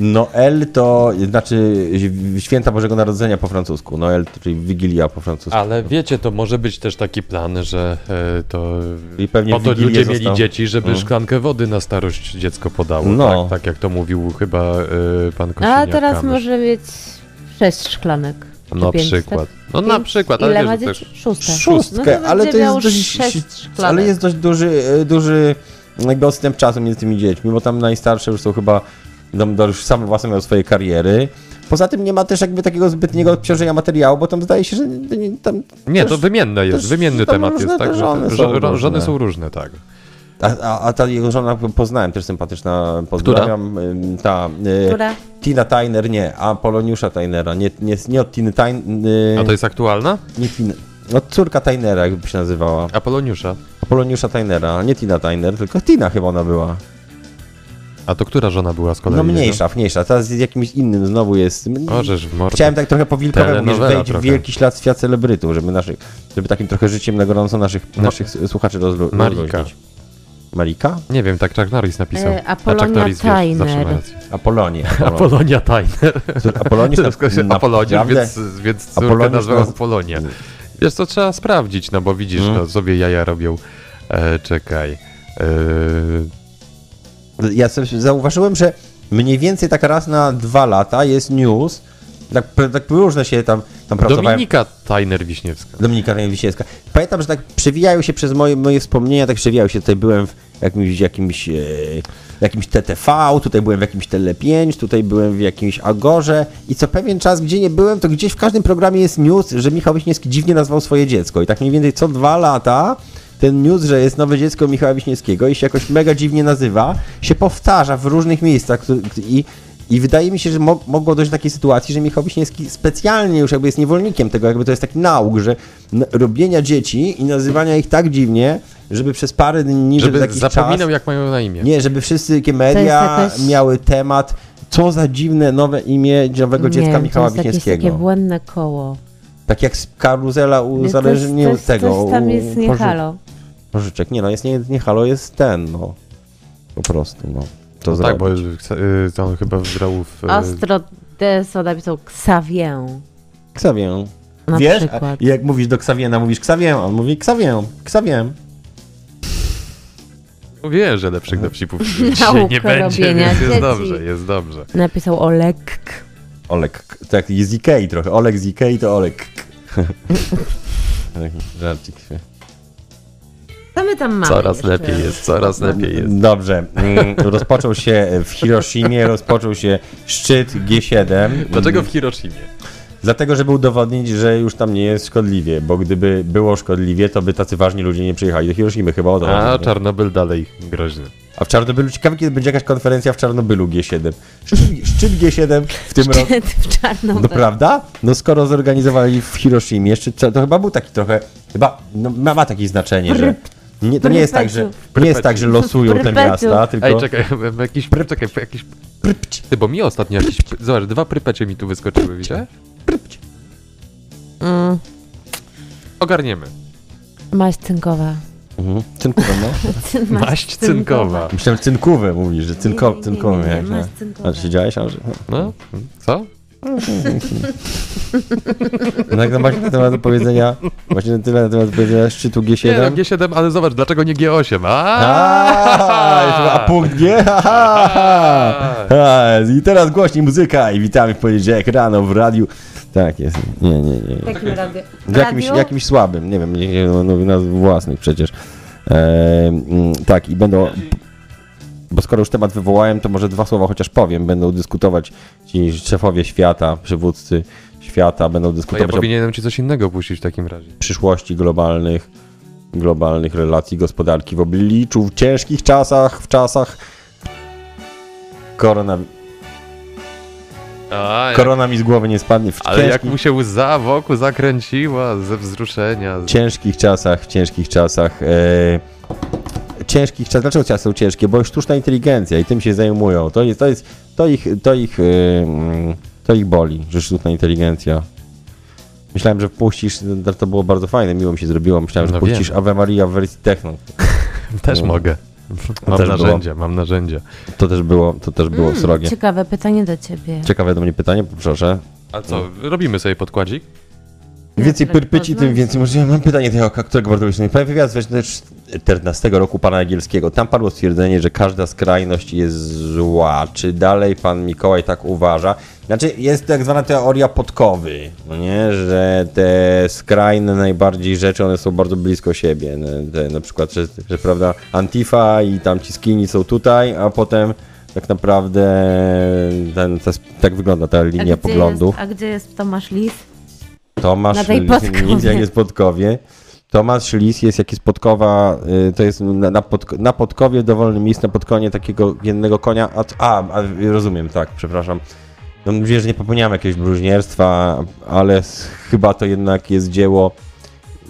[SPEAKER 3] No,
[SPEAKER 2] Noel to znaczy święta Bożego Narodzenia po francusku. Noel, czyli Wigilia po francusku.
[SPEAKER 4] Ale wiecie, to może być też taki plan, że e, to.
[SPEAKER 2] I pewnie
[SPEAKER 4] po to
[SPEAKER 2] Wigilię
[SPEAKER 4] ludzie
[SPEAKER 2] został-
[SPEAKER 4] mieli dzieci, żeby szklankę wody na starość dziecko podało.
[SPEAKER 2] No.
[SPEAKER 4] Tak, tak jak to mówił chyba e, pan
[SPEAKER 3] No,
[SPEAKER 4] Kosiniak.
[SPEAKER 3] a teraz może mieć sześć szklanek. czy
[SPEAKER 4] Na
[SPEAKER 3] pięć,
[SPEAKER 4] przykład.
[SPEAKER 3] tak?
[SPEAKER 4] No, na
[SPEAKER 3] Pięć.
[SPEAKER 4] przykład, ale
[SPEAKER 3] Ile
[SPEAKER 4] wiesz,
[SPEAKER 3] ma
[SPEAKER 4] że
[SPEAKER 3] dzieci?
[SPEAKER 4] też-
[SPEAKER 3] Szóste.
[SPEAKER 2] szóstkę,
[SPEAKER 3] No to będzie
[SPEAKER 2] ale to jest
[SPEAKER 3] miał
[SPEAKER 2] dość,
[SPEAKER 3] sześć szklanek.
[SPEAKER 2] ale jest dość duży, e, duży jakby odstęp czasu między tymi dziećmi, bo tam najstarsze już są chyba, tam do- już sam własne mają swoje kariery. Poza tym nie ma też jakby takiego zbytniego obciążenia materiału, bo tam zdaje się, że nie- tam...
[SPEAKER 4] Nie,
[SPEAKER 2] też-
[SPEAKER 4] to wymienne jest,
[SPEAKER 2] też-
[SPEAKER 4] wymienny
[SPEAKER 2] tam
[SPEAKER 4] temat
[SPEAKER 2] różne
[SPEAKER 4] jest, tak?
[SPEAKER 2] te
[SPEAKER 4] że-
[SPEAKER 2] żony są
[SPEAKER 4] że- że-
[SPEAKER 2] różne.
[SPEAKER 4] Żony są różne, tak.
[SPEAKER 2] A, a, a ta jego żona poznałem, też sympatyczna, pozdrawiam. ym, Ta, y,
[SPEAKER 3] Która?
[SPEAKER 2] Tina Tyner nie, a Poloniusza Tynera, nie, nie, nie od Tiny Tyner, y,
[SPEAKER 4] A to jest aktualna?
[SPEAKER 2] nie Tina, no córka Tynera jakby się nazywała.
[SPEAKER 4] Apoloniusza.
[SPEAKER 2] Poloniusza Tynera, nie Tina Tyner, tylko Tina chyba ona była.
[SPEAKER 4] A to która żona była z kolei?
[SPEAKER 2] No mniejsza, mniejsza. Teraz z jakimś innym znowu jest.
[SPEAKER 4] O, żeż w mordę.
[SPEAKER 2] Chciałem tak trochę po wilkowemu, mówię, że
[SPEAKER 4] Telenowela
[SPEAKER 2] wejść w
[SPEAKER 4] trochę.
[SPEAKER 2] wielki ślad świat celebrytów, żeby naszych, żeby takim trochę życiem na gorąco naszych, naszych s- słuchaczy rozlu-
[SPEAKER 4] No. Marika.
[SPEAKER 2] rozluźnić. Marika?
[SPEAKER 4] Nie wiem, tak Chuck Norris napisał.
[SPEAKER 3] E,
[SPEAKER 4] A
[SPEAKER 3] Apolonia
[SPEAKER 4] Chuck Norris, wiesz, zawsze ma
[SPEAKER 3] Tyner.
[SPEAKER 4] rację.
[SPEAKER 2] Apolonie.
[SPEAKER 4] (laughs) Apolonia Tyner. (laughs)
[SPEAKER 2] Apoloniusz, na,
[SPEAKER 4] Tylko się
[SPEAKER 2] na-
[SPEAKER 4] Apolonia,
[SPEAKER 2] naprawdę?
[SPEAKER 4] więc, więc córkę
[SPEAKER 2] Apoloniusz
[SPEAKER 4] nazwał
[SPEAKER 2] nas-
[SPEAKER 4] Apolonia. Wiesz, to trzeba sprawdzić, no bo widzisz,
[SPEAKER 2] Mm.
[SPEAKER 4] no, sobie jaja robią. E, czekaj. E,
[SPEAKER 2] Ja sobie zauważyłem, że mniej więcej tak raz na dwa lata jest news, tak, tak różne się tam, tam pracowałem.
[SPEAKER 4] Dominika Tyner Wiśniewska.
[SPEAKER 2] Dominika Rejewisiewska. Pamiętam, że tak przewijają się przez moje, moje wspomnienia, tak przewijają się. Tutaj byłem w jakimś, jakimś, e, jakimś TTV, tutaj byłem w jakimś Tele5, tutaj byłem w jakimś Agorze i co pewien czas, gdzie nie byłem, to gdzieś w każdym programie jest news, że Michał Wiśniewski dziwnie nazwał swoje dziecko. I tak mniej więcej co dwa lata ten news, że jest nowe dziecko Michała Wiśniewskiego i się jakoś mega dziwnie nazywa, się powtarza w różnych miejscach któ- i i wydaje mi się, że mo- mogło dojść do takiej sytuacji, że Michał Wiśniewski specjalnie już jakby jest niewolnikiem tego, jakby to jest taki nauk, że n- robienia dzieci i nazywania ich tak dziwnie, żeby przez parę dni, żeby,
[SPEAKER 4] Żeby
[SPEAKER 2] jakiś
[SPEAKER 4] zapominał,
[SPEAKER 2] czas...
[SPEAKER 4] jak mają na imię.
[SPEAKER 2] Nie, żeby wszystkie media
[SPEAKER 3] To jest jakaś-
[SPEAKER 2] miały temat, co za dziwne nowe imię nowego dziecka
[SPEAKER 3] wiem,
[SPEAKER 2] Michała
[SPEAKER 3] to jest jakieś
[SPEAKER 2] Wiśniewskiego.
[SPEAKER 3] takie błędne koło.
[SPEAKER 2] Tak jak z karuzela uzależnił
[SPEAKER 3] Coś- coś-
[SPEAKER 2] tego.
[SPEAKER 3] Coś tam
[SPEAKER 2] u-
[SPEAKER 3] jest nie
[SPEAKER 2] pożycz-
[SPEAKER 3] halo.
[SPEAKER 2] Pożyczek. Nie no, jest nie, nie halo, jest ten, no. Po prostu, no. To
[SPEAKER 4] No
[SPEAKER 2] zrobić.
[SPEAKER 4] tak, bo y, to on chyba grał w...
[SPEAKER 2] e,
[SPEAKER 4] y,
[SPEAKER 3] Ostro DSO napisał Xavier.
[SPEAKER 2] Ksawię.
[SPEAKER 3] Na
[SPEAKER 2] Wiesz,
[SPEAKER 3] przykład.
[SPEAKER 2] A jak mówisz do Ksawiena, mówisz Ksawię, on mówi Ksawię, Ksawię.
[SPEAKER 4] Wiem, że lepszych dowcipów (laughs) dzisiaj nie
[SPEAKER 3] Nauka
[SPEAKER 4] będzie,
[SPEAKER 3] robienia
[SPEAKER 4] więc jest
[SPEAKER 3] dzieci.
[SPEAKER 4] dobrze, jest dobrze.
[SPEAKER 3] Napisał Olek.
[SPEAKER 2] Olek, K- tak jest z Ikei trochę, Olek z Ikei to
[SPEAKER 4] (laughs)
[SPEAKER 2] Olek. K. Żarcik.
[SPEAKER 3] Co my tam mamy
[SPEAKER 4] Coraz
[SPEAKER 3] jeszcze?
[SPEAKER 4] lepiej jest, coraz lepiej jest.
[SPEAKER 2] Dobrze, mm, rozpoczął się w Hiroshimie, rozpoczął się szczyt G7.
[SPEAKER 4] Dlaczego w Hiroshimie?
[SPEAKER 2] Dlatego, żeby udowodnić, że już tam nie jest szkodliwie, bo gdyby było szkodliwie, to by tacy ważni ludzie nie przyjechali do Hiroshimy, chyba o to
[SPEAKER 4] A
[SPEAKER 2] chodzi, nie?
[SPEAKER 4] Czarnobyl dalej groźny.
[SPEAKER 2] A w Czarnobylu, ciekawe kiedy będzie jakaś konferencja w Czarnobylu G7. Szczyt, szczyt G7 w tym roku.
[SPEAKER 3] Szczyt (laughs) w czarną
[SPEAKER 2] No prawda? No skoro zorganizowali w Hiroshimie, jeszcze co- to chyba był taki trochę, chyba no, ma, ma takie znaczenie, że nie, to nie jest tak, że nie jest tak, że losują te
[SPEAKER 3] Prypeciu.
[SPEAKER 2] miasta, tylko
[SPEAKER 4] Ej, czekaj, (laughs) jakiś, czekaj, jakiś...
[SPEAKER 2] Prypć.
[SPEAKER 4] Ty, bo mi ostatnio jakiś... Zobacz, dwa prypecie mi tu wyskoczyły, widziałeś?
[SPEAKER 3] Mm,
[SPEAKER 4] Ogarniemy.
[SPEAKER 3] maść cynkowa.
[SPEAKER 2] Mhm. Cynkowe, no.
[SPEAKER 4] Maść cynkowa.
[SPEAKER 2] (laughs) Myślałem cynkowe mówisz, że
[SPEAKER 3] Nie,
[SPEAKER 2] cynko,
[SPEAKER 3] nie,
[SPEAKER 2] cynkowe.
[SPEAKER 3] nie, nie,
[SPEAKER 2] jak
[SPEAKER 3] masz
[SPEAKER 2] na-
[SPEAKER 3] cynkowe.
[SPEAKER 2] A siedziałeś, a że...
[SPEAKER 4] No, co?
[SPEAKER 2] No jak to macie na temat do powiedzenia, właśnie tyle na temat do powiedzenia szczytu
[SPEAKER 4] Nie, no,
[SPEAKER 2] G7.
[SPEAKER 4] G7, ale zobacz, dlaczego nie G8?
[SPEAKER 2] A, jeszcze- a punkt G? Ha, ha, ha. A, I teraz głośniej muzyka i witamy w poniedziałek rano w radiu. Tak jest. Nie, nie, nie. nie.
[SPEAKER 3] Takim radio.
[SPEAKER 2] W jakimś, jakimś słabym, nie wiem, nie, nie, no, mówię nazw własnych przecież. E, mm, tak, i będą. Bo skoro już temat wywołałem, to może dwa słowa chociaż powiem. Będą dyskutować ci szefowie świata, przywódcy świata, będą
[SPEAKER 4] No ja
[SPEAKER 2] dyskutować
[SPEAKER 4] powinienem ci coś innego puścić w takim razie.
[SPEAKER 2] o przyszłości globalnych, globalnych relacji gospodarki w obliczu, w ciężkich czasach, w czasach koronawirusa.
[SPEAKER 4] A, jak,
[SPEAKER 2] Korona mi z głowy nie spadnie w
[SPEAKER 4] ale jak
[SPEAKER 2] ciężkich,
[SPEAKER 4] mu się łza wokół zakręciła ze wzruszenia. z-
[SPEAKER 2] ciężkich czasach, w ciężkich czasach. e, Ciężkich czasach. Dlaczego czasy są ciężkie? Bo sztuczna inteligencja i tym się zajmują. To jest, to jest, to ich, to ich, e, mm, to ich boli, że sztuczna inteligencja. Myślałem, że wpuścisz, to było bardzo fajne, miło mi się zrobiło, myślałem, że
[SPEAKER 4] No
[SPEAKER 2] wpuścisz Ave Maria w wersji techno.
[SPEAKER 4] Też
[SPEAKER 2] No.
[SPEAKER 4] mogę. Mm. Mam
[SPEAKER 2] Też było.
[SPEAKER 4] narzędzia, mam narzędzia.
[SPEAKER 2] To też było, to też było
[SPEAKER 3] Mm,
[SPEAKER 2] srogie.
[SPEAKER 3] Ciekawe pytanie do ciebie.
[SPEAKER 2] Ciekawe do mnie pytanie, proszę.
[SPEAKER 4] A co, Mm. robimy sobie podkładzik?
[SPEAKER 2] Im więcej
[SPEAKER 3] Lepiej
[SPEAKER 2] pyrpyci, tym
[SPEAKER 3] poznać.
[SPEAKER 2] więcej. Może ja mam pytanie tego, którego bardzo byśmy Prawie wywiad z 2014 roku pana Jagielskiego. Tam padło stwierdzenie, że każda skrajność jest zła. Czy dalej pan Mikołaj tak uważa? Znaczy, jest tak zwana teoria podkowy, no nie? Że te skrajne najbardziej rzeczy, one są bardzo blisko siebie. No, Te, na przykład, że, że prawda, Antifa i tam ci skini są tutaj, a potem tak naprawdę ten, ta, tak wygląda ta
[SPEAKER 3] A
[SPEAKER 2] linia
[SPEAKER 3] gdzie
[SPEAKER 2] poglądów.
[SPEAKER 3] Jest, a gdzie jest Tomasz Lis?
[SPEAKER 2] Tomasz
[SPEAKER 3] Na tej Podkowie.
[SPEAKER 2] Lis, jak jest Podkowie. Tomasz Lis jest jakiś Podkowa, y, to jest na, na, podk- na Podkowie dowolny miejsc, na podkonie takiego jednego konia. A, a, a rozumiem, tak, przepraszam. No, mówię, że nie popełniałem jakiegoś bluźnierstwa, ale s- chyba to jednak jest dzieło,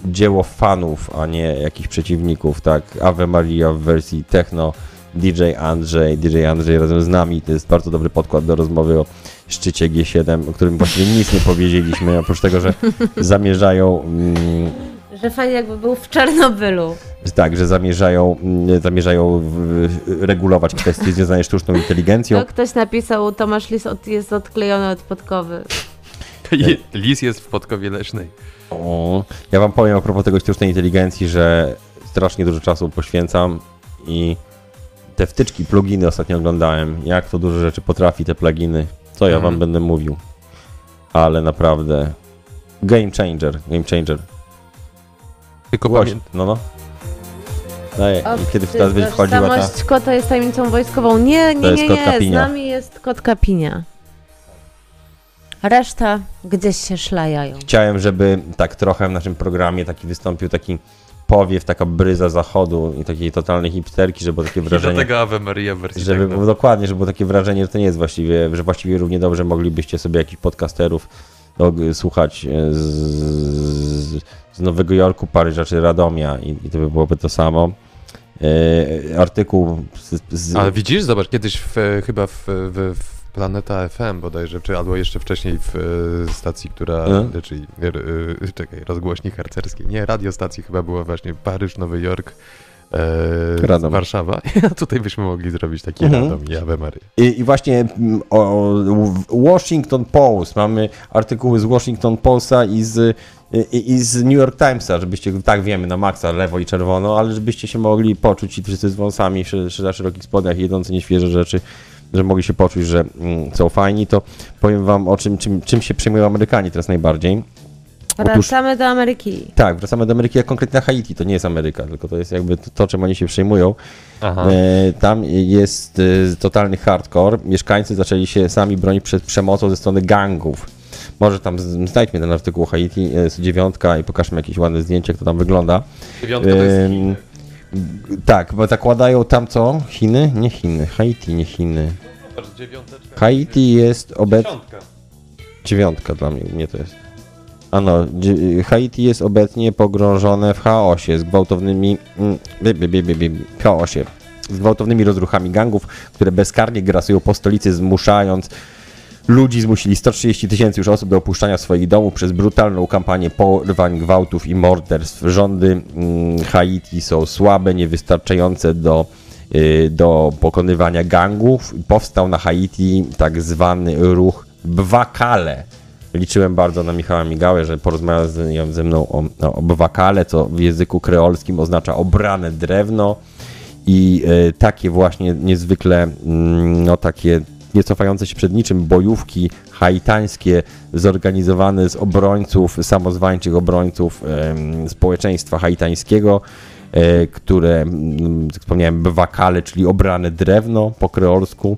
[SPEAKER 2] dzieło fanów, a nie jakichś przeciwników, tak. Ave Maria w wersji techno, DJ Andrzej, DJ Andrzej razem z nami. To jest bardzo dobry podkład do rozmowy o szczycie G7, o którym właściwie nic nie powiedzieliśmy, oprócz tego, że zamierzają, mm,
[SPEAKER 3] Że fajnie jakby był w Czarnobylu.
[SPEAKER 2] tak, że zamierzają, mm, zamierzają w- regulować kwestie związane z sztuczną inteligencją.
[SPEAKER 3] To ktoś napisał, Tomasz Lis od, jest odklejony od podkowy.
[SPEAKER 4] Je, lis jest w podkowie leśnej.
[SPEAKER 2] O, Ja wam powiem a propos tego sztucznej inteligencji, że strasznie dużo czasu poświęcam i te wtyczki, pluginy ostatnio oglądałem, jak to dużo rzeczy potrafi, te pluginy, co ja wam
[SPEAKER 4] Mhm.
[SPEAKER 2] będę mówił. Ale naprawdę game changer, game changer.
[SPEAKER 4] Tylko
[SPEAKER 2] Głoś,
[SPEAKER 4] pamię-
[SPEAKER 2] no no. Daję, kiedy
[SPEAKER 3] ty,
[SPEAKER 2] teraz będzie wchodziła ta...
[SPEAKER 3] Tożsamość kota jest tajemnicą wojskową. Nie, nie,
[SPEAKER 2] To jest
[SPEAKER 3] nie,
[SPEAKER 2] kot
[SPEAKER 3] nie, z
[SPEAKER 2] Kapinia.
[SPEAKER 3] nami jest kot Kapinia. Reszta gdzieś się szlajają.
[SPEAKER 2] Chciałem, żeby tak trochę w naszym programie taki wystąpił taki powiew, taka bryza zachodu i takiej totalnej hipsterki, żeby było takie
[SPEAKER 4] I do
[SPEAKER 2] wrażenie...
[SPEAKER 4] tego Ave Maria w wersji tak, no.
[SPEAKER 2] Żeby
[SPEAKER 4] żeby
[SPEAKER 2] było dokładnie, żeby było takie wrażenie, że to nie jest właściwie, że właściwie równie dobrze moglibyście sobie jakichś podcasterów no, g- słuchać e, z, z- z Nowego Jorku, Paryża czy Radomia i, i to by byłoby to samo. E, artykuł z, z,
[SPEAKER 4] A widzisz, zobacz, kiedyś w, e, chyba w, w, w Planeta FM bodajże, czy albo jeszcze wcześniej w e, stacji, która,
[SPEAKER 2] Mhm.
[SPEAKER 4] czyli r, e, czekaj, rozgłośni harcerskiej, nie, radiostacji chyba była właśnie Paryż, Nowy Jork, e,
[SPEAKER 2] Radom.
[SPEAKER 4] Warszawa. (laughs) A tutaj byśmy mogli zrobić taki
[SPEAKER 2] Mhm.
[SPEAKER 4] radom i Ave Maria.
[SPEAKER 2] I, I właśnie mm, o, w Washington Post, mamy artykuły z Washington Posta i z, i, i z New York Timesa, żebyście, tak wiemy, na maksa lewo i czerwono, ale żebyście się mogli poczuć ci wszyscy z wąsami szy, szy, na szerokich spodniach jedzący nieświeże rzeczy, że mogli się poczuć, że mm, są fajni, to powiem wam o czym, czym, czym się przejmują Amerykanie teraz najbardziej. Otóż-
[SPEAKER 3] Wracamy do Ameryki.
[SPEAKER 2] Tak, wracamy do Ameryki, a konkretnie na Haiti, to nie jest Ameryka, tylko to jest jakby to, to czym oni się przejmują.
[SPEAKER 4] Aha.
[SPEAKER 2] E, Tam jest e, totalny hardcore. Mieszkańcy zaczęli się sami bronić przed przemocą ze strony gangów. Może tam z- znajdźmy ten artykuł o Haiti e, z dziewiątka i pokażmy jakieś ładne zdjęcie, jak to tam wygląda.
[SPEAKER 4] Dziewiątka to
[SPEAKER 2] e,
[SPEAKER 4] jest Chiny.
[SPEAKER 2] Ym, Tak, bo zakładają tam co? Chiny? Nie Chiny. Haiti, nie Chiny.
[SPEAKER 4] Zobacz, dziewiąteczka.
[SPEAKER 2] Haiti jest obecnie...
[SPEAKER 4] Dziesiątka.
[SPEAKER 2] Dziewiątka dla mnie, nie to jest. A no, dzi- Haiti jest obecnie pogrążone w chaosie z gwałtownymi. mm, Bi, bi, bi, bi, bi, chaosie. Z gwałtownymi rozruchami gangów, które bezkarnie grasują po stolicy, zmuszając ludzi, zmusili 130 tysięcy już osób do opuszczania swoich domów przez brutalną kampanię porwań, gwałtów i morderstw. Rządy mm, Haiti są słabe, niewystarczające do, y, do pokonywania gangów. Powstał na Haiti tak zwany ruch Bwakale. Liczyłem bardzo na Michała Migałę, że porozmawia z, nią- ze mną o, o Bwakale, co w języku kreolskim oznacza obrane drewno. I e, takie właśnie niezwykle, mm, no takie niecofające się przed niczym bojówki haitańskie zorganizowane z obrońców, samozwańczych obrońców em, społeczeństwa haitańskiego, e, które, mm, jak wspomniałem, bwakale, czyli obrane drewno po kreolsku,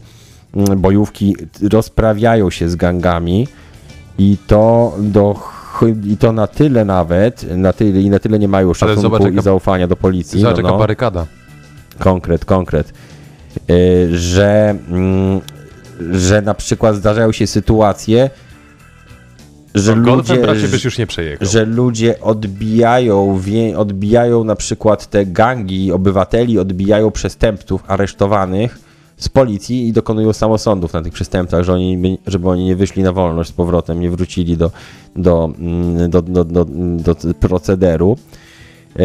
[SPEAKER 2] mm, bojówki rozprawiają się z gangami i to do ch- i to na tyle nawet, na tyle, i na tyle nie mają
[SPEAKER 4] Ale
[SPEAKER 2] szacunku
[SPEAKER 4] zobacz, jaka-
[SPEAKER 2] i zaufania do policji.
[SPEAKER 4] Zobacz,
[SPEAKER 2] no,
[SPEAKER 4] jaka
[SPEAKER 2] no
[SPEAKER 4] barykada.
[SPEAKER 2] konkret, konkret, y, że E, mm, że na przykład zdarzają się sytuacje, że
[SPEAKER 4] Golfem
[SPEAKER 2] ludzie,
[SPEAKER 4] bracie byś już nie przejechał.
[SPEAKER 2] że ludzie odbijają, wie, odbijają na przykład te gangi obywateli, odbijają przestępców aresztowanych z policji i dokonują samosądów na tych przestępcach, że oni, by- żeby oni nie wyszli na wolność z powrotem, nie wrócili do, do, mm, do, do, do, do procederu. E,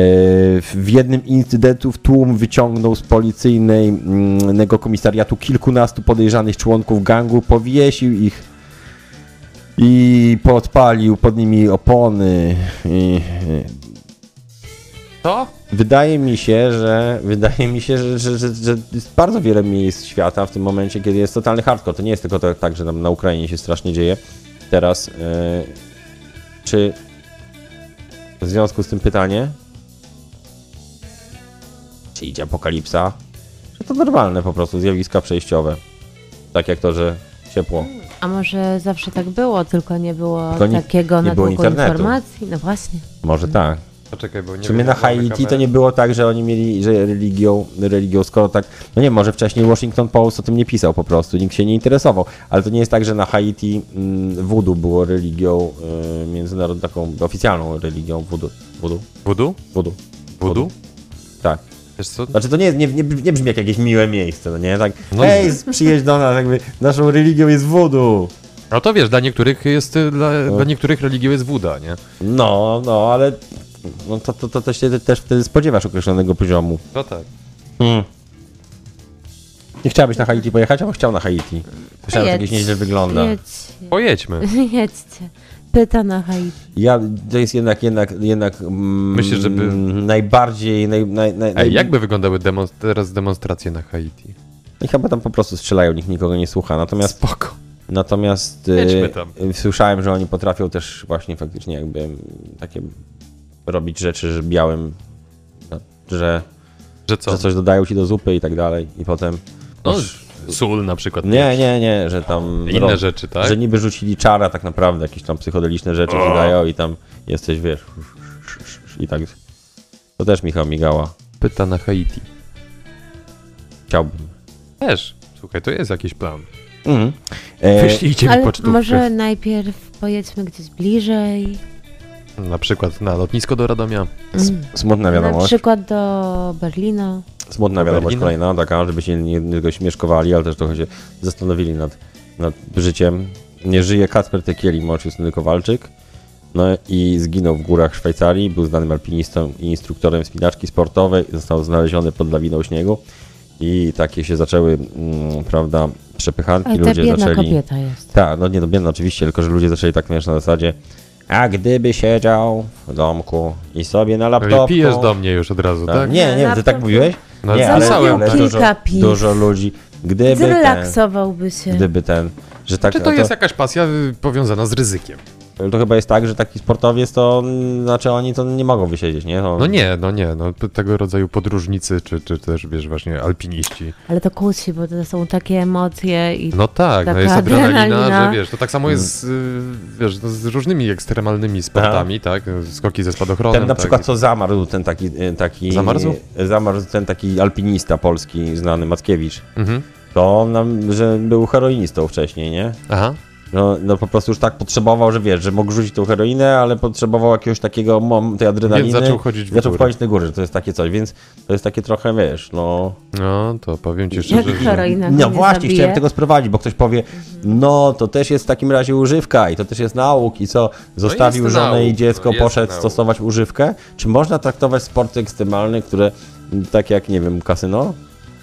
[SPEAKER 2] W jednym incydentów tłum wyciągnął z policyjnego komisariatu kilkunastu podejrzanych członków gangu, powiesił ich i podpalił pod nimi opony. I...
[SPEAKER 4] To?
[SPEAKER 2] Wydaje mi się, że wydaje mi się, że, że, że, że jest bardzo wiele miejsc świata w tym momencie, kiedy jest totalny hardcore. To nie jest tylko to, tak, że tam na Ukrainie się strasznie dzieje teraz. e, czy w związku z tym pytanie, czy idzie apokalipsa? Czy to normalne po prostu zjawiska przejściowe? Tak jak to, że ciepło.
[SPEAKER 3] A może zawsze tak było, tylko nie było
[SPEAKER 2] Tylko nie-
[SPEAKER 3] takiego
[SPEAKER 2] nie
[SPEAKER 3] na
[SPEAKER 2] było
[SPEAKER 3] długo
[SPEAKER 2] internetu.
[SPEAKER 3] informacji? No właśnie.
[SPEAKER 2] Może tak.
[SPEAKER 4] Poczekaj, bo nie
[SPEAKER 2] W sumie na Haiti to nie było tak, że oni mieli, że religią, religią, skoro tak, no nie, może wcześniej Washington Post o tym nie pisał po prostu, nikt się nie interesował, ale to nie jest tak, że na Haiti mm, voodoo było religią y, międzynarodową, taką oficjalną religią voodoo, voodoo,
[SPEAKER 4] Wudu?
[SPEAKER 2] voodoo,
[SPEAKER 4] Wudu?
[SPEAKER 2] tak.
[SPEAKER 4] Wiesz co?
[SPEAKER 2] Znaczy to nie, jest, nie, nie, nie brzmi jak jakieś miłe miejsce, no nie, tak,
[SPEAKER 4] No nie.
[SPEAKER 2] hej, przyjedź do nas, jakby naszą religią jest voodoo.
[SPEAKER 4] No to wiesz, dla niektórych jest, y, dla, dla niektórych religią jest wuda, nie?
[SPEAKER 2] No, no, ale no, to, to, to, to się też wtedy spodziewasz określonego poziomu.
[SPEAKER 4] No tak.
[SPEAKER 3] Hmm.
[SPEAKER 2] Nie chciałabyś na Haiti pojechać, albo chciał na Haiti? Myślałem, że to
[SPEAKER 3] Jedź.
[SPEAKER 2] jakieś nieźle wygląda.
[SPEAKER 3] Jedźcie. (laughs)
[SPEAKER 4] Pojedźmy.
[SPEAKER 3] Jedźcie. Pyta na Haiti.
[SPEAKER 2] Ja, to jest jednak, jednak, jednak mm,
[SPEAKER 4] Myślisz, żeby-
[SPEAKER 2] najbardziej, naj, naj, naj,
[SPEAKER 4] Ej,
[SPEAKER 2] naj-
[SPEAKER 4] jakby wyglądały demon- teraz demonstracje na Haiti?
[SPEAKER 2] I chyba tam po prostu strzelają, nikt nikogo nie słucha. Natomiast,
[SPEAKER 4] Spoko.
[SPEAKER 2] natomiast
[SPEAKER 4] Jedźmy tam.
[SPEAKER 2] e, słyszałem, że oni potrafią też właśnie faktycznie jakby mm, takie robić rzeczy że białym, no, że,
[SPEAKER 4] Że co?
[SPEAKER 2] że coś dodają ci do zupy i tak dalej i potem...
[SPEAKER 4] No, sól na przykład.
[SPEAKER 2] Nie, nie, nie, że tam...
[SPEAKER 4] Inne rzeczy, tak?
[SPEAKER 2] Że niby rzucili czara tak naprawdę, jakieś tam psychodeliczne rzeczy ci dają i tam jesteś, wiesz... I tak... To też Michał migała.
[SPEAKER 4] Pyta na Haiti.
[SPEAKER 2] Chciałbym.
[SPEAKER 4] Też. Słuchaj, to jest jakiś plan.
[SPEAKER 2] Mhm. E,
[SPEAKER 4] Wyślijcie mi
[SPEAKER 3] Ale
[SPEAKER 4] pocztówkę.
[SPEAKER 3] może najpierw pojedźmy gdzieś bliżej.
[SPEAKER 4] Na przykład na lotnisko do Radomia.
[SPEAKER 2] smutna
[SPEAKER 3] Na
[SPEAKER 2] wiadomość.
[SPEAKER 3] przykład do Berlina.
[SPEAKER 2] Smutna wiadomość
[SPEAKER 4] Berlina.
[SPEAKER 2] kolejna, taka, żeby się nie, nie tylko śmieszkowali, ale też trochę się zastanowili nad, nad życiem. Nie żyje Kacper Tekieli, Mocius tylko walczyk. No i zginął w górach Szwajcarii, był znanym alpinistą i instruktorem wspinaczki sportowej, został znaleziony pod lawiną śniegu i takie się zaczęły, mm, prawda, przepychanki,
[SPEAKER 3] Ale ta
[SPEAKER 2] ludzie
[SPEAKER 3] biedna
[SPEAKER 2] zaczęli...
[SPEAKER 3] kobieta jest.
[SPEAKER 2] Tak, no nie no, biedna oczywiście, tylko że ludzie zaczęli tak wiesz na zasadzie a gdyby siedział w domku i sobie na laptopku...
[SPEAKER 4] Pijesz do mnie już od razu, tak?
[SPEAKER 2] No Tak? Nie, nie, ty tak
[SPEAKER 3] Laptop.
[SPEAKER 2] mówiłeś?
[SPEAKER 4] No,
[SPEAKER 2] nie,
[SPEAKER 4] zapisałem tak.
[SPEAKER 2] dużo,
[SPEAKER 3] Kilka piw.
[SPEAKER 2] dużo ludzi. Gdyby ten,
[SPEAKER 3] Zrelaksowałby się.
[SPEAKER 2] gdyby ten, że tak,
[SPEAKER 4] Czy to jest jakaś pasja y, powiązana z ryzykiem?
[SPEAKER 2] to, to chyba jest tak, że taki sportowiec to, mm, znaczy oni to nie mogą wysiedzieć, nie? To,
[SPEAKER 4] No nie, no nie, no p- tego rodzaju podróżnicy, czy, czy też, wiesz, właśnie alpiniści.
[SPEAKER 3] Ale to kłóci, bo to są takie emocje i
[SPEAKER 4] No tak, no
[SPEAKER 3] Taka
[SPEAKER 4] jest adrenalina,
[SPEAKER 3] adrenalina.
[SPEAKER 4] że wiesz, to tak samo jest, y,
[SPEAKER 2] Mm.
[SPEAKER 4] wiesz, no, z różnymi ekstremalnymi sportami, tak? y, Skoki ze spadochronem.
[SPEAKER 2] Ten na
[SPEAKER 4] tak?
[SPEAKER 2] przykład co zamarzł, ten taki, e, taki
[SPEAKER 4] Zamarzł?
[SPEAKER 2] zamarzł ten taki alpinista polski, znany Mackiewicz.
[SPEAKER 4] Mhm.
[SPEAKER 2] To on nam, że był heroinistą wcześniej, nie?
[SPEAKER 4] Aha.
[SPEAKER 2] No, no po prostu już tak potrzebował, że wiesz, że mógł rzucić tą heroinę, ale potrzebował jakiegoś takiego mom, tej adrenaliny.
[SPEAKER 4] Więc zaczął chodzić w
[SPEAKER 2] zaczął
[SPEAKER 4] górę.
[SPEAKER 2] wchodzić na górę, że to jest takie coś, więc to jest takie trochę, wiesz, no...
[SPEAKER 4] No, to powiem ci
[SPEAKER 3] jak
[SPEAKER 4] szczerze, że...
[SPEAKER 3] heroina go
[SPEAKER 2] No
[SPEAKER 3] nie
[SPEAKER 2] właśnie,
[SPEAKER 3] zabije.
[SPEAKER 2] chciałem tego sprowadzić, bo ktoś powie, no to też jest w takim razie używka i to też jest nauk i co, zostawił
[SPEAKER 4] No jest
[SPEAKER 2] żonę
[SPEAKER 4] nauk,
[SPEAKER 2] i dziecko,
[SPEAKER 4] no jest
[SPEAKER 2] poszedł
[SPEAKER 4] nauk.
[SPEAKER 2] stosować używkę? Czy można traktować sporty ekstremalne, które m, tak jak, nie wiem, kasyno?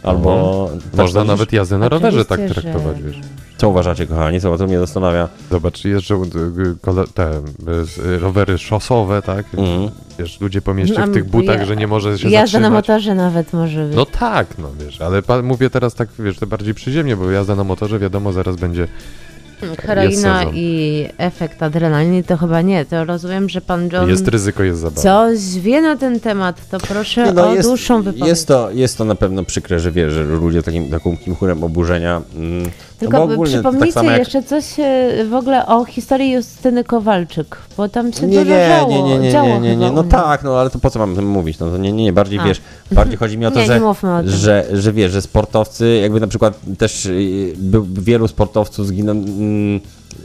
[SPEAKER 2] Albo... tak
[SPEAKER 4] Mhm. Można
[SPEAKER 2] sądzisz?
[SPEAKER 4] nawet jazdę na rowerze tak
[SPEAKER 3] Oczywiście, że-
[SPEAKER 4] traktować, wiesz.
[SPEAKER 2] Co uważacie, kochani? Co, to mnie zastanawia.
[SPEAKER 4] Zobacz, jeżdżą y, y, kole- te y, rowery szosowe, tak?
[SPEAKER 2] Mhm.
[SPEAKER 4] Wiesz, ludzie po mieście
[SPEAKER 3] No,
[SPEAKER 4] w tych
[SPEAKER 3] a
[SPEAKER 4] butach,
[SPEAKER 3] ja-
[SPEAKER 4] że nie może się
[SPEAKER 3] Jazda na
[SPEAKER 4] zatrzymać.
[SPEAKER 3] motorze nawet może być.
[SPEAKER 4] No tak, no wiesz, ale pa, mówię teraz tak, wiesz, to bardziej przyziemnie, bo jazda na motorze, wiadomo, zaraz będzie... jest
[SPEAKER 3] Heroina
[SPEAKER 4] sezon.
[SPEAKER 3] Mm, i efekt adrenaliny to chyba nie. To rozumiem, że pan John
[SPEAKER 4] Jest ryzyko, jest zabawa.
[SPEAKER 3] coś wie na ten temat, to proszę
[SPEAKER 2] Nie, no,
[SPEAKER 3] o
[SPEAKER 2] jest,
[SPEAKER 3] dłuższą wypowiedź.
[SPEAKER 2] jest, to, jest to na pewno przykre, że wiesz, że ludzie takim, taką kimchurem oburzenia mm,
[SPEAKER 3] Tylko
[SPEAKER 2] bo ogólnie to tak
[SPEAKER 3] przypomnijcie
[SPEAKER 2] samo jak-
[SPEAKER 3] jeszcze coś e, w ogóle o historii Justyny Kowalczyk, bo tam się
[SPEAKER 2] Nie,
[SPEAKER 3] dużo
[SPEAKER 2] nie,
[SPEAKER 3] działo.
[SPEAKER 2] nie, nie, nie,
[SPEAKER 3] działo
[SPEAKER 2] nie, nie,
[SPEAKER 3] chyba
[SPEAKER 2] nie.
[SPEAKER 3] u
[SPEAKER 2] No
[SPEAKER 3] niej.
[SPEAKER 2] tak, no ale to po co mam o tym mówić? No to nie, nie, nie, bardziej
[SPEAKER 3] A.
[SPEAKER 2] wiesz, bardziej chodzi mi o to,
[SPEAKER 3] Nie,
[SPEAKER 2] że,
[SPEAKER 3] nie mówmy o tym.
[SPEAKER 2] że, że wiesz, że sportowcy, jakby na przykład też y, był, wielu sportowców zginę, mm,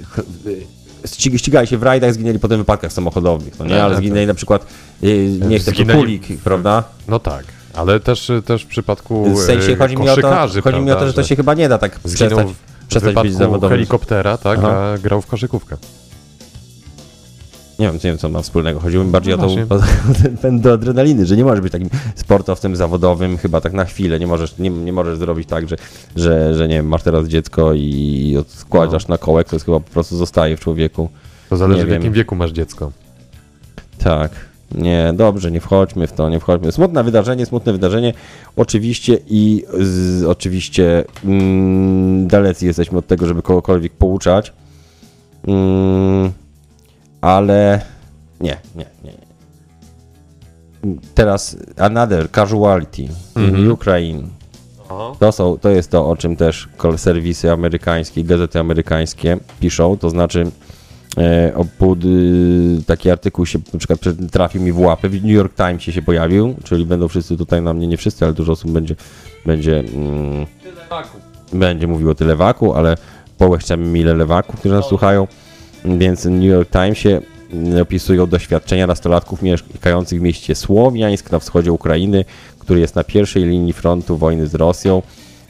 [SPEAKER 2] ch- y, ścig- ścigali się w rajdach, zginęli potem w wypadkach samochodowych, no nie?
[SPEAKER 4] Tak,
[SPEAKER 2] Ale
[SPEAKER 4] tak,
[SPEAKER 2] zginęli na przykład, y, nie chcę,
[SPEAKER 4] Zginęli-
[SPEAKER 2] Pulik, prawda?
[SPEAKER 4] No tak, ale też, też w przypadku
[SPEAKER 2] W sensie
[SPEAKER 4] e,
[SPEAKER 2] chodzi mi o to,
[SPEAKER 4] koszykarzy,
[SPEAKER 2] chodzi mi o to, że to się chyba nie da tak
[SPEAKER 4] zginął
[SPEAKER 2] przestać,
[SPEAKER 4] w
[SPEAKER 2] przestać być
[SPEAKER 4] wypadku
[SPEAKER 2] zawodowym.
[SPEAKER 4] helikoptera, tak,
[SPEAKER 2] Aha.
[SPEAKER 4] a grał w koszykówkę.
[SPEAKER 2] Nie wiem, nie wiem, co ma wspólnego. Chodziło mi bardziej
[SPEAKER 4] No
[SPEAKER 2] o, tą, (laughs) o ten pęd do adrenaliny, że nie możesz być takim sportowcem zawodowym chyba tak na chwilę. Nie możesz, nie, nie możesz zrobić tak, że, że, że nie wiem, masz teraz dziecko i
[SPEAKER 4] No.
[SPEAKER 2] odkładasz na kołek, to jest chyba po prostu zostaje w człowieku.
[SPEAKER 4] To
[SPEAKER 2] Nie
[SPEAKER 4] zależy w
[SPEAKER 2] wiem.
[SPEAKER 4] jakim wieku masz dziecko.
[SPEAKER 2] Tak. Nie, dobrze, nie wchodźmy w to, nie wchodźmy. Smutne wydarzenie, smutne wydarzenie. Oczywiście i z, oczywiście mm, dalecy jesteśmy od tego, żeby kogokolwiek pouczać. Mm, ale nie, nie, nie. nie. Teraz another casualty in Ukraine. To, są, to jest to, o czym też kol- serwisy amerykańskie, gazety amerykańskie piszą, to znaczy e, opód, y, taki artykuł się na przykład przy- trafił mi w łapy, w New York Timesie się pojawił, czyli będą wszyscy tutaj na mnie, nie wszyscy, ale dużo osób będzie, będzie, mm, będzie mówiło tyle lewaku, ale połechczemy mile lewaków, którzy nas słuchają, więc w New York Timesie mm, opisują doświadczenia nastolatków mieszkających w mieście Słowiańsk na wschodzie Ukrainy, który jest na pierwszej linii frontu wojny z Rosją.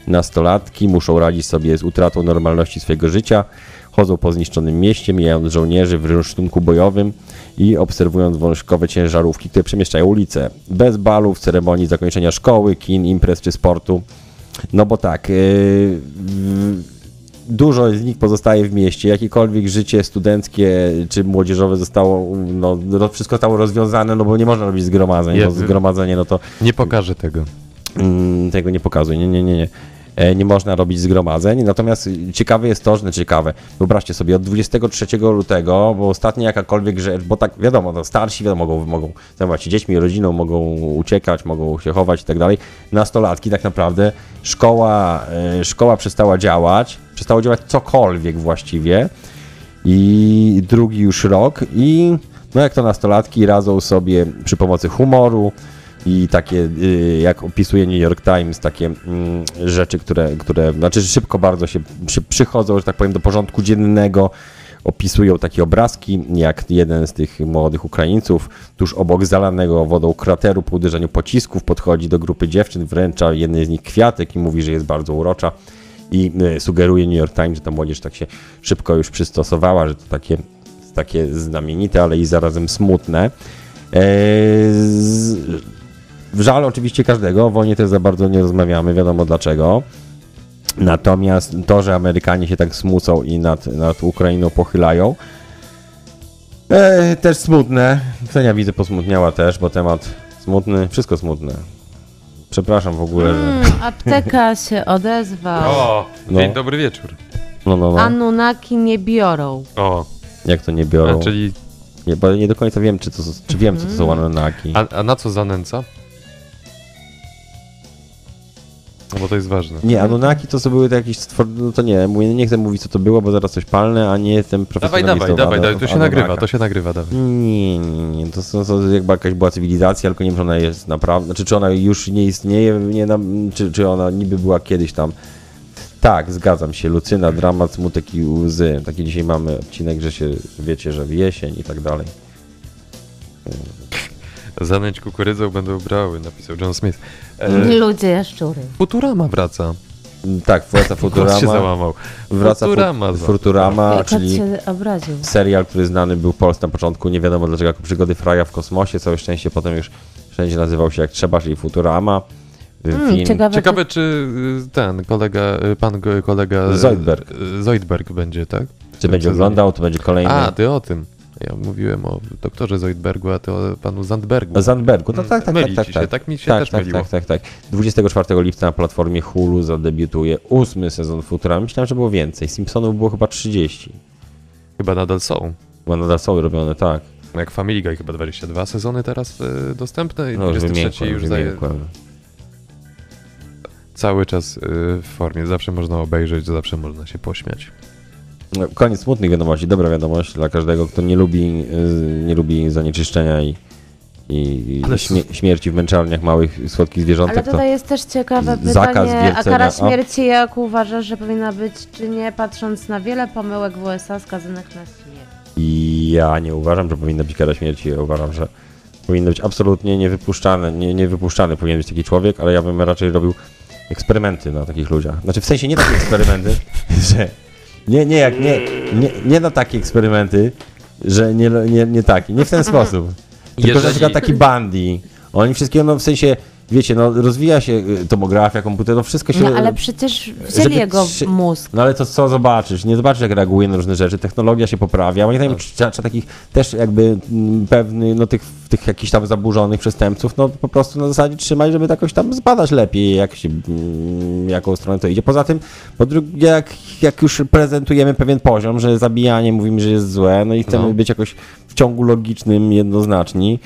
[SPEAKER 2] Nastolatki muszą radzić sobie z utratą normalności swojego życia, chodzą po zniszczonym mieście, mijając żołnierzy w rynsztunku bojowym i obserwując wążkowe ciężarówki, które przemieszczają ulice. Bez balów, ceremonii zakończenia szkoły, kin, imprez czy sportu. No bo tak, yy, w- dużo z nich pozostaje w mieście. Jakiekolwiek życie studenckie czy młodzieżowe zostało, no, no wszystko zostało rozwiązane, no bo nie można robić zgromadzeń, bo
[SPEAKER 4] Jest-
[SPEAKER 2] zgromadzenie, no to
[SPEAKER 4] Nie pokażę tego.
[SPEAKER 2] Mm, tego nie pokazuj, nie, nie, nie, nie. E, Nie można robić zgromadzeń, natomiast ciekawe jest to, że no ciekawe, wyobraźcie sobie, od 23 lutego, bo ostatnia jakakolwiek rzecz, bo tak wiadomo, no, starsi wiadomo, mogą, mogą zajmować się dziećmi, rodziną, mogą uciekać, mogą się chować i tak dalej. Nastolatki tak naprawdę, szkoła, e, szkoła przestała działać, przestało działać cokolwiek właściwie i drugi już rok i no jak to nastolatki radzą sobie przy pomocy humoru i takie, y, jak opisuje New York Times, takie mm, rzeczy, które, które, znaczy że szybko bardzo się przy, przychodzą, że tak powiem, do porządku dziennego. Opisują takie obrazki, jak jeden z tych młodych Ukraińców tuż obok zalanego wodą krateru po uderzeniu pocisków podchodzi do grupy dziewczyn, wręcza jednej z nich kwiatek i mówi, że jest bardzo urocza i y, sugeruje New York Times, że ta młodzież tak się szybko już przystosowała, że to takie, takie znamienite, ale i zarazem smutne. E, z, żal oczywiście każdego, o wojnie też za bardzo nie rozmawiamy, wiadomo dlaczego. Natomiast to, że Amerykanie się tak smucą i nad, nad Ukrainą pochylają, e, też smutne. Ksenia widzę posmutniała też, bo temat smutny, wszystko smutne. Przepraszam w ogóle, że...
[SPEAKER 3] Mm, apteka się odezwa.
[SPEAKER 4] O,
[SPEAKER 2] No.
[SPEAKER 4] dzień dobry wieczór.
[SPEAKER 2] No, no, no.
[SPEAKER 3] Anunaki nie biorą.
[SPEAKER 4] O,
[SPEAKER 2] Jak to nie
[SPEAKER 4] a,
[SPEAKER 2] biorą?
[SPEAKER 4] czyli,
[SPEAKER 2] Nie, bo nie do końca wiem, czy, to, czy wiem, co to są
[SPEAKER 4] Mhm.
[SPEAKER 2] Anunnaki.
[SPEAKER 4] a, a na co zanęca? No bo to jest ważne.
[SPEAKER 2] Nie, Anunnaki to są były to jakieś stwor... No to nie, mówię, nie chcę mówić, co to było, bo zaraz coś palnę, a nie jestem
[SPEAKER 4] Dawaj,
[SPEAKER 2] profesjonalistą.
[SPEAKER 4] dawaj, dawaj,
[SPEAKER 2] Anu-
[SPEAKER 4] dawaj, to się
[SPEAKER 2] Anunnaka.
[SPEAKER 4] nagrywa, to się nagrywa, dawaj.
[SPEAKER 2] Nie, nie, nie, to, są- to jakby jakaś była cywilizacja, tylko nie wiem, czy ona jest naprawdę, znaczy czy ona już nie istnieje, nie, nam- czy, czy ona niby była kiedyś tam. Tak, zgadzam się, Lucyna, dramat, smutek i łzy. Taki dzisiaj mamy odcinek, że się, wiecie, że w jesień i tak dalej.
[SPEAKER 4] Zanęć kukurydzą będą brały, napisał John Smith.
[SPEAKER 2] Mm.
[SPEAKER 4] E,
[SPEAKER 3] Ludzie jaszczury.
[SPEAKER 4] Futurama wraca.
[SPEAKER 2] Tak,
[SPEAKER 4] (laughs)
[SPEAKER 2] wraca
[SPEAKER 4] Głos się
[SPEAKER 2] Futurama,
[SPEAKER 4] załamał.
[SPEAKER 2] wraca Futurama,
[SPEAKER 4] Futurama. za-
[SPEAKER 2] Futurama
[SPEAKER 3] Jak
[SPEAKER 2] czyli...
[SPEAKER 3] się obraził.
[SPEAKER 2] serial, który znany był w Polsce na początku, nie wiadomo dlaczego, jako przygody Fraja w kosmosie, całe szczęście potem już wszędzie nazywał się jak trzeba, czyli Futurama.
[SPEAKER 3] Mm, ciekawe,
[SPEAKER 4] Ciekawe, czy y, ten kolega, y, pan go- kolega.
[SPEAKER 2] Zoidberg.
[SPEAKER 4] y, Zoidberg będzie, tak?
[SPEAKER 2] Czy będzie oglądał, to będzie kolejny.
[SPEAKER 4] A, ty o tym. Ja mówiłem o doktorze Zoidbergu, a ty o panu Zandbergu.
[SPEAKER 2] Zandbergu, no tak, tak, tak,
[SPEAKER 4] Myli
[SPEAKER 2] tak, tak.
[SPEAKER 4] ci hmm, Się. tak mi się
[SPEAKER 2] tak,
[SPEAKER 4] też
[SPEAKER 2] tak,
[SPEAKER 4] myliło.
[SPEAKER 2] tak, tak, tak. 24 lipca na platformie Hulu zadebiutuje ósmy sezon Futurama. Myślałem, że było więcej. Simpsonów było chyba 30.
[SPEAKER 4] Chyba nadal są.
[SPEAKER 2] Chyba nadal są robione, tak.
[SPEAKER 4] Jak Family Guy, chyba 22 sezony teraz y, dostępne i
[SPEAKER 2] No, już
[SPEAKER 4] 23
[SPEAKER 2] wymiękłem,
[SPEAKER 4] już
[SPEAKER 2] już
[SPEAKER 4] zaje...
[SPEAKER 2] wymiękłem.
[SPEAKER 4] cały czas y, w formie. Zawsze można obejrzeć, zawsze można się pośmiać.
[SPEAKER 2] No, Koniec smutnych wiadomości, dobra wiadomość dla każdego, kto nie lubi, y, nie lubi zanieczyszczenia i, i
[SPEAKER 4] Ale
[SPEAKER 2] śmie śmierci w męczarniach małych, słodkich
[SPEAKER 3] Ale
[SPEAKER 2] zwierzątek. To...
[SPEAKER 3] tutaj jest też ciekawe
[SPEAKER 2] z- zakaz
[SPEAKER 3] pytanie, a
[SPEAKER 2] wiercenia,
[SPEAKER 3] kara
[SPEAKER 2] a-
[SPEAKER 3] śmierci jak uważasz, że powinna być, czy nie, patrząc na wiele pomyłek w USA skazanych na śmierć?
[SPEAKER 2] I ja nie uważam, że powinna być kara śmierci, ja uważam, że powinno być absolutnie niewypuszczane, nie, niewypuszczany powinien być taki człowiek, ale ja bym raczej robił eksperymenty na takich ludziach. Znaczy w sensie nie takie eksperymenty, (laughs) że nie, nie, jak nie, nie, nie na takie eksperymenty, że nie, nie, nie taki, nie w ten sposób. Tylko, że na
[SPEAKER 6] Jeżeli-
[SPEAKER 2] przykład taki Bandi, oni wszystkiego, no w sensie, wiecie, no rozwija się y, tomografia, komputer, no wszystko się...
[SPEAKER 3] No ale przecież wzięli
[SPEAKER 2] żeby
[SPEAKER 3] jego
[SPEAKER 2] trzy-
[SPEAKER 3] mózg.
[SPEAKER 2] No ale to co zobaczysz? Nie zobaczysz, jak reaguje na różne rzeczy. Technologia się poprawia. Moim
[SPEAKER 3] Tak.
[SPEAKER 2] zdaniem trzeba, trzeba takich też jakby mm, pewny, no tych, tych jakichś tam zaburzonych przestępców, no po prostu na zasadzie trzymać, żeby to jakoś tam zbadać lepiej, jak się, mm, jaką stronę to idzie. Poza tym, po drugie, jak, jak już prezentujemy pewien poziom, że zabijanie mówimy, że jest złe, no i chcemy
[SPEAKER 4] No.
[SPEAKER 2] być jakoś w ciągu logicznym jednoznaczni,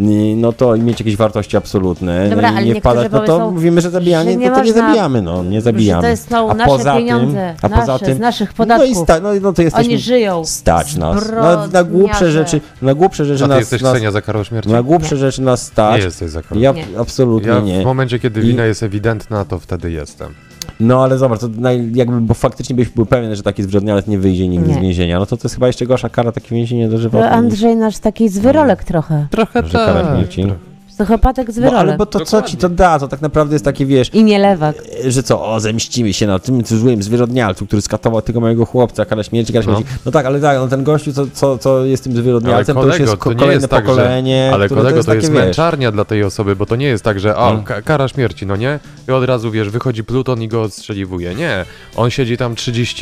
[SPEAKER 2] y, no to i mieć jakieś wartości absolutne,
[SPEAKER 3] Dobra,
[SPEAKER 2] no i
[SPEAKER 3] ale
[SPEAKER 2] nie
[SPEAKER 3] niektórzy
[SPEAKER 2] wpadać, no to
[SPEAKER 3] powiedzą,
[SPEAKER 2] mówimy, że zabijanie,
[SPEAKER 3] że nie
[SPEAKER 2] no to nie
[SPEAKER 3] można-
[SPEAKER 2] zabijamy, no, nie zabijamy.
[SPEAKER 3] Że to jest- są nasze pieniądze, nasze, z naszych podatków.
[SPEAKER 2] No i sta, no, no to jesteśmy,
[SPEAKER 3] Oni żyją.
[SPEAKER 2] Stać nas. No, Na, na
[SPEAKER 3] Zbrodniarze.
[SPEAKER 2] głupsze rzeczy, na głupsze rzeczy
[SPEAKER 4] A ty
[SPEAKER 2] nas,
[SPEAKER 4] jesteś
[SPEAKER 2] nas
[SPEAKER 4] cenia za karą śmierci?
[SPEAKER 2] na głupsze rzeczy nas stać.
[SPEAKER 4] Nie jesteś za karą.
[SPEAKER 2] Ja
[SPEAKER 3] Nie.
[SPEAKER 2] absolutnie
[SPEAKER 4] Ja
[SPEAKER 2] nie.
[SPEAKER 4] w momencie, kiedy
[SPEAKER 2] I-
[SPEAKER 4] wina jest ewidentna, to wtedy jestem.
[SPEAKER 2] No ale zobacz, to naj, jakby, bo faktycznie byś był pewien, że taki zbrodnialec nie wyjdzie nigdy
[SPEAKER 3] Nie.
[SPEAKER 2] z więzienia. No to to jest chyba jeszcze gorsza kara, takie więzienie dożywotnie.
[SPEAKER 3] To Andrzej nasz taki zwyrolek trochę.
[SPEAKER 4] Trochę
[SPEAKER 2] Że kara śmierci.
[SPEAKER 4] Tak.
[SPEAKER 3] Psychopatek
[SPEAKER 2] Mhm. No ale
[SPEAKER 3] zwyrolek.
[SPEAKER 2] bo to co ci to da? To tak naprawdę jest takie, wiesz,
[SPEAKER 3] I nie lewak.
[SPEAKER 2] że co, o, zemścimy się na tym złym zwyrodnialcu, który skatował tego mojego chłopca, kara śmierci, kara
[SPEAKER 4] No.
[SPEAKER 2] śmierci. No, tak, ale tak, no ten gościu, co, co, co jest tym zwyrodnialcem, to już
[SPEAKER 4] kolego,
[SPEAKER 2] jest ko- kolejne pokolenie,
[SPEAKER 4] Tak, że, ale
[SPEAKER 2] które
[SPEAKER 4] kolego, to
[SPEAKER 2] takie,
[SPEAKER 4] jest,
[SPEAKER 2] wiesz,
[SPEAKER 4] męczarnia dla tej osoby, bo to nie jest tak, że o,
[SPEAKER 2] Mm.
[SPEAKER 4] ka- kara śmierci, no nie? I od razu, wiesz, wychodzi Pluton i go odstrzeliwuje. Nie, on siedzi tam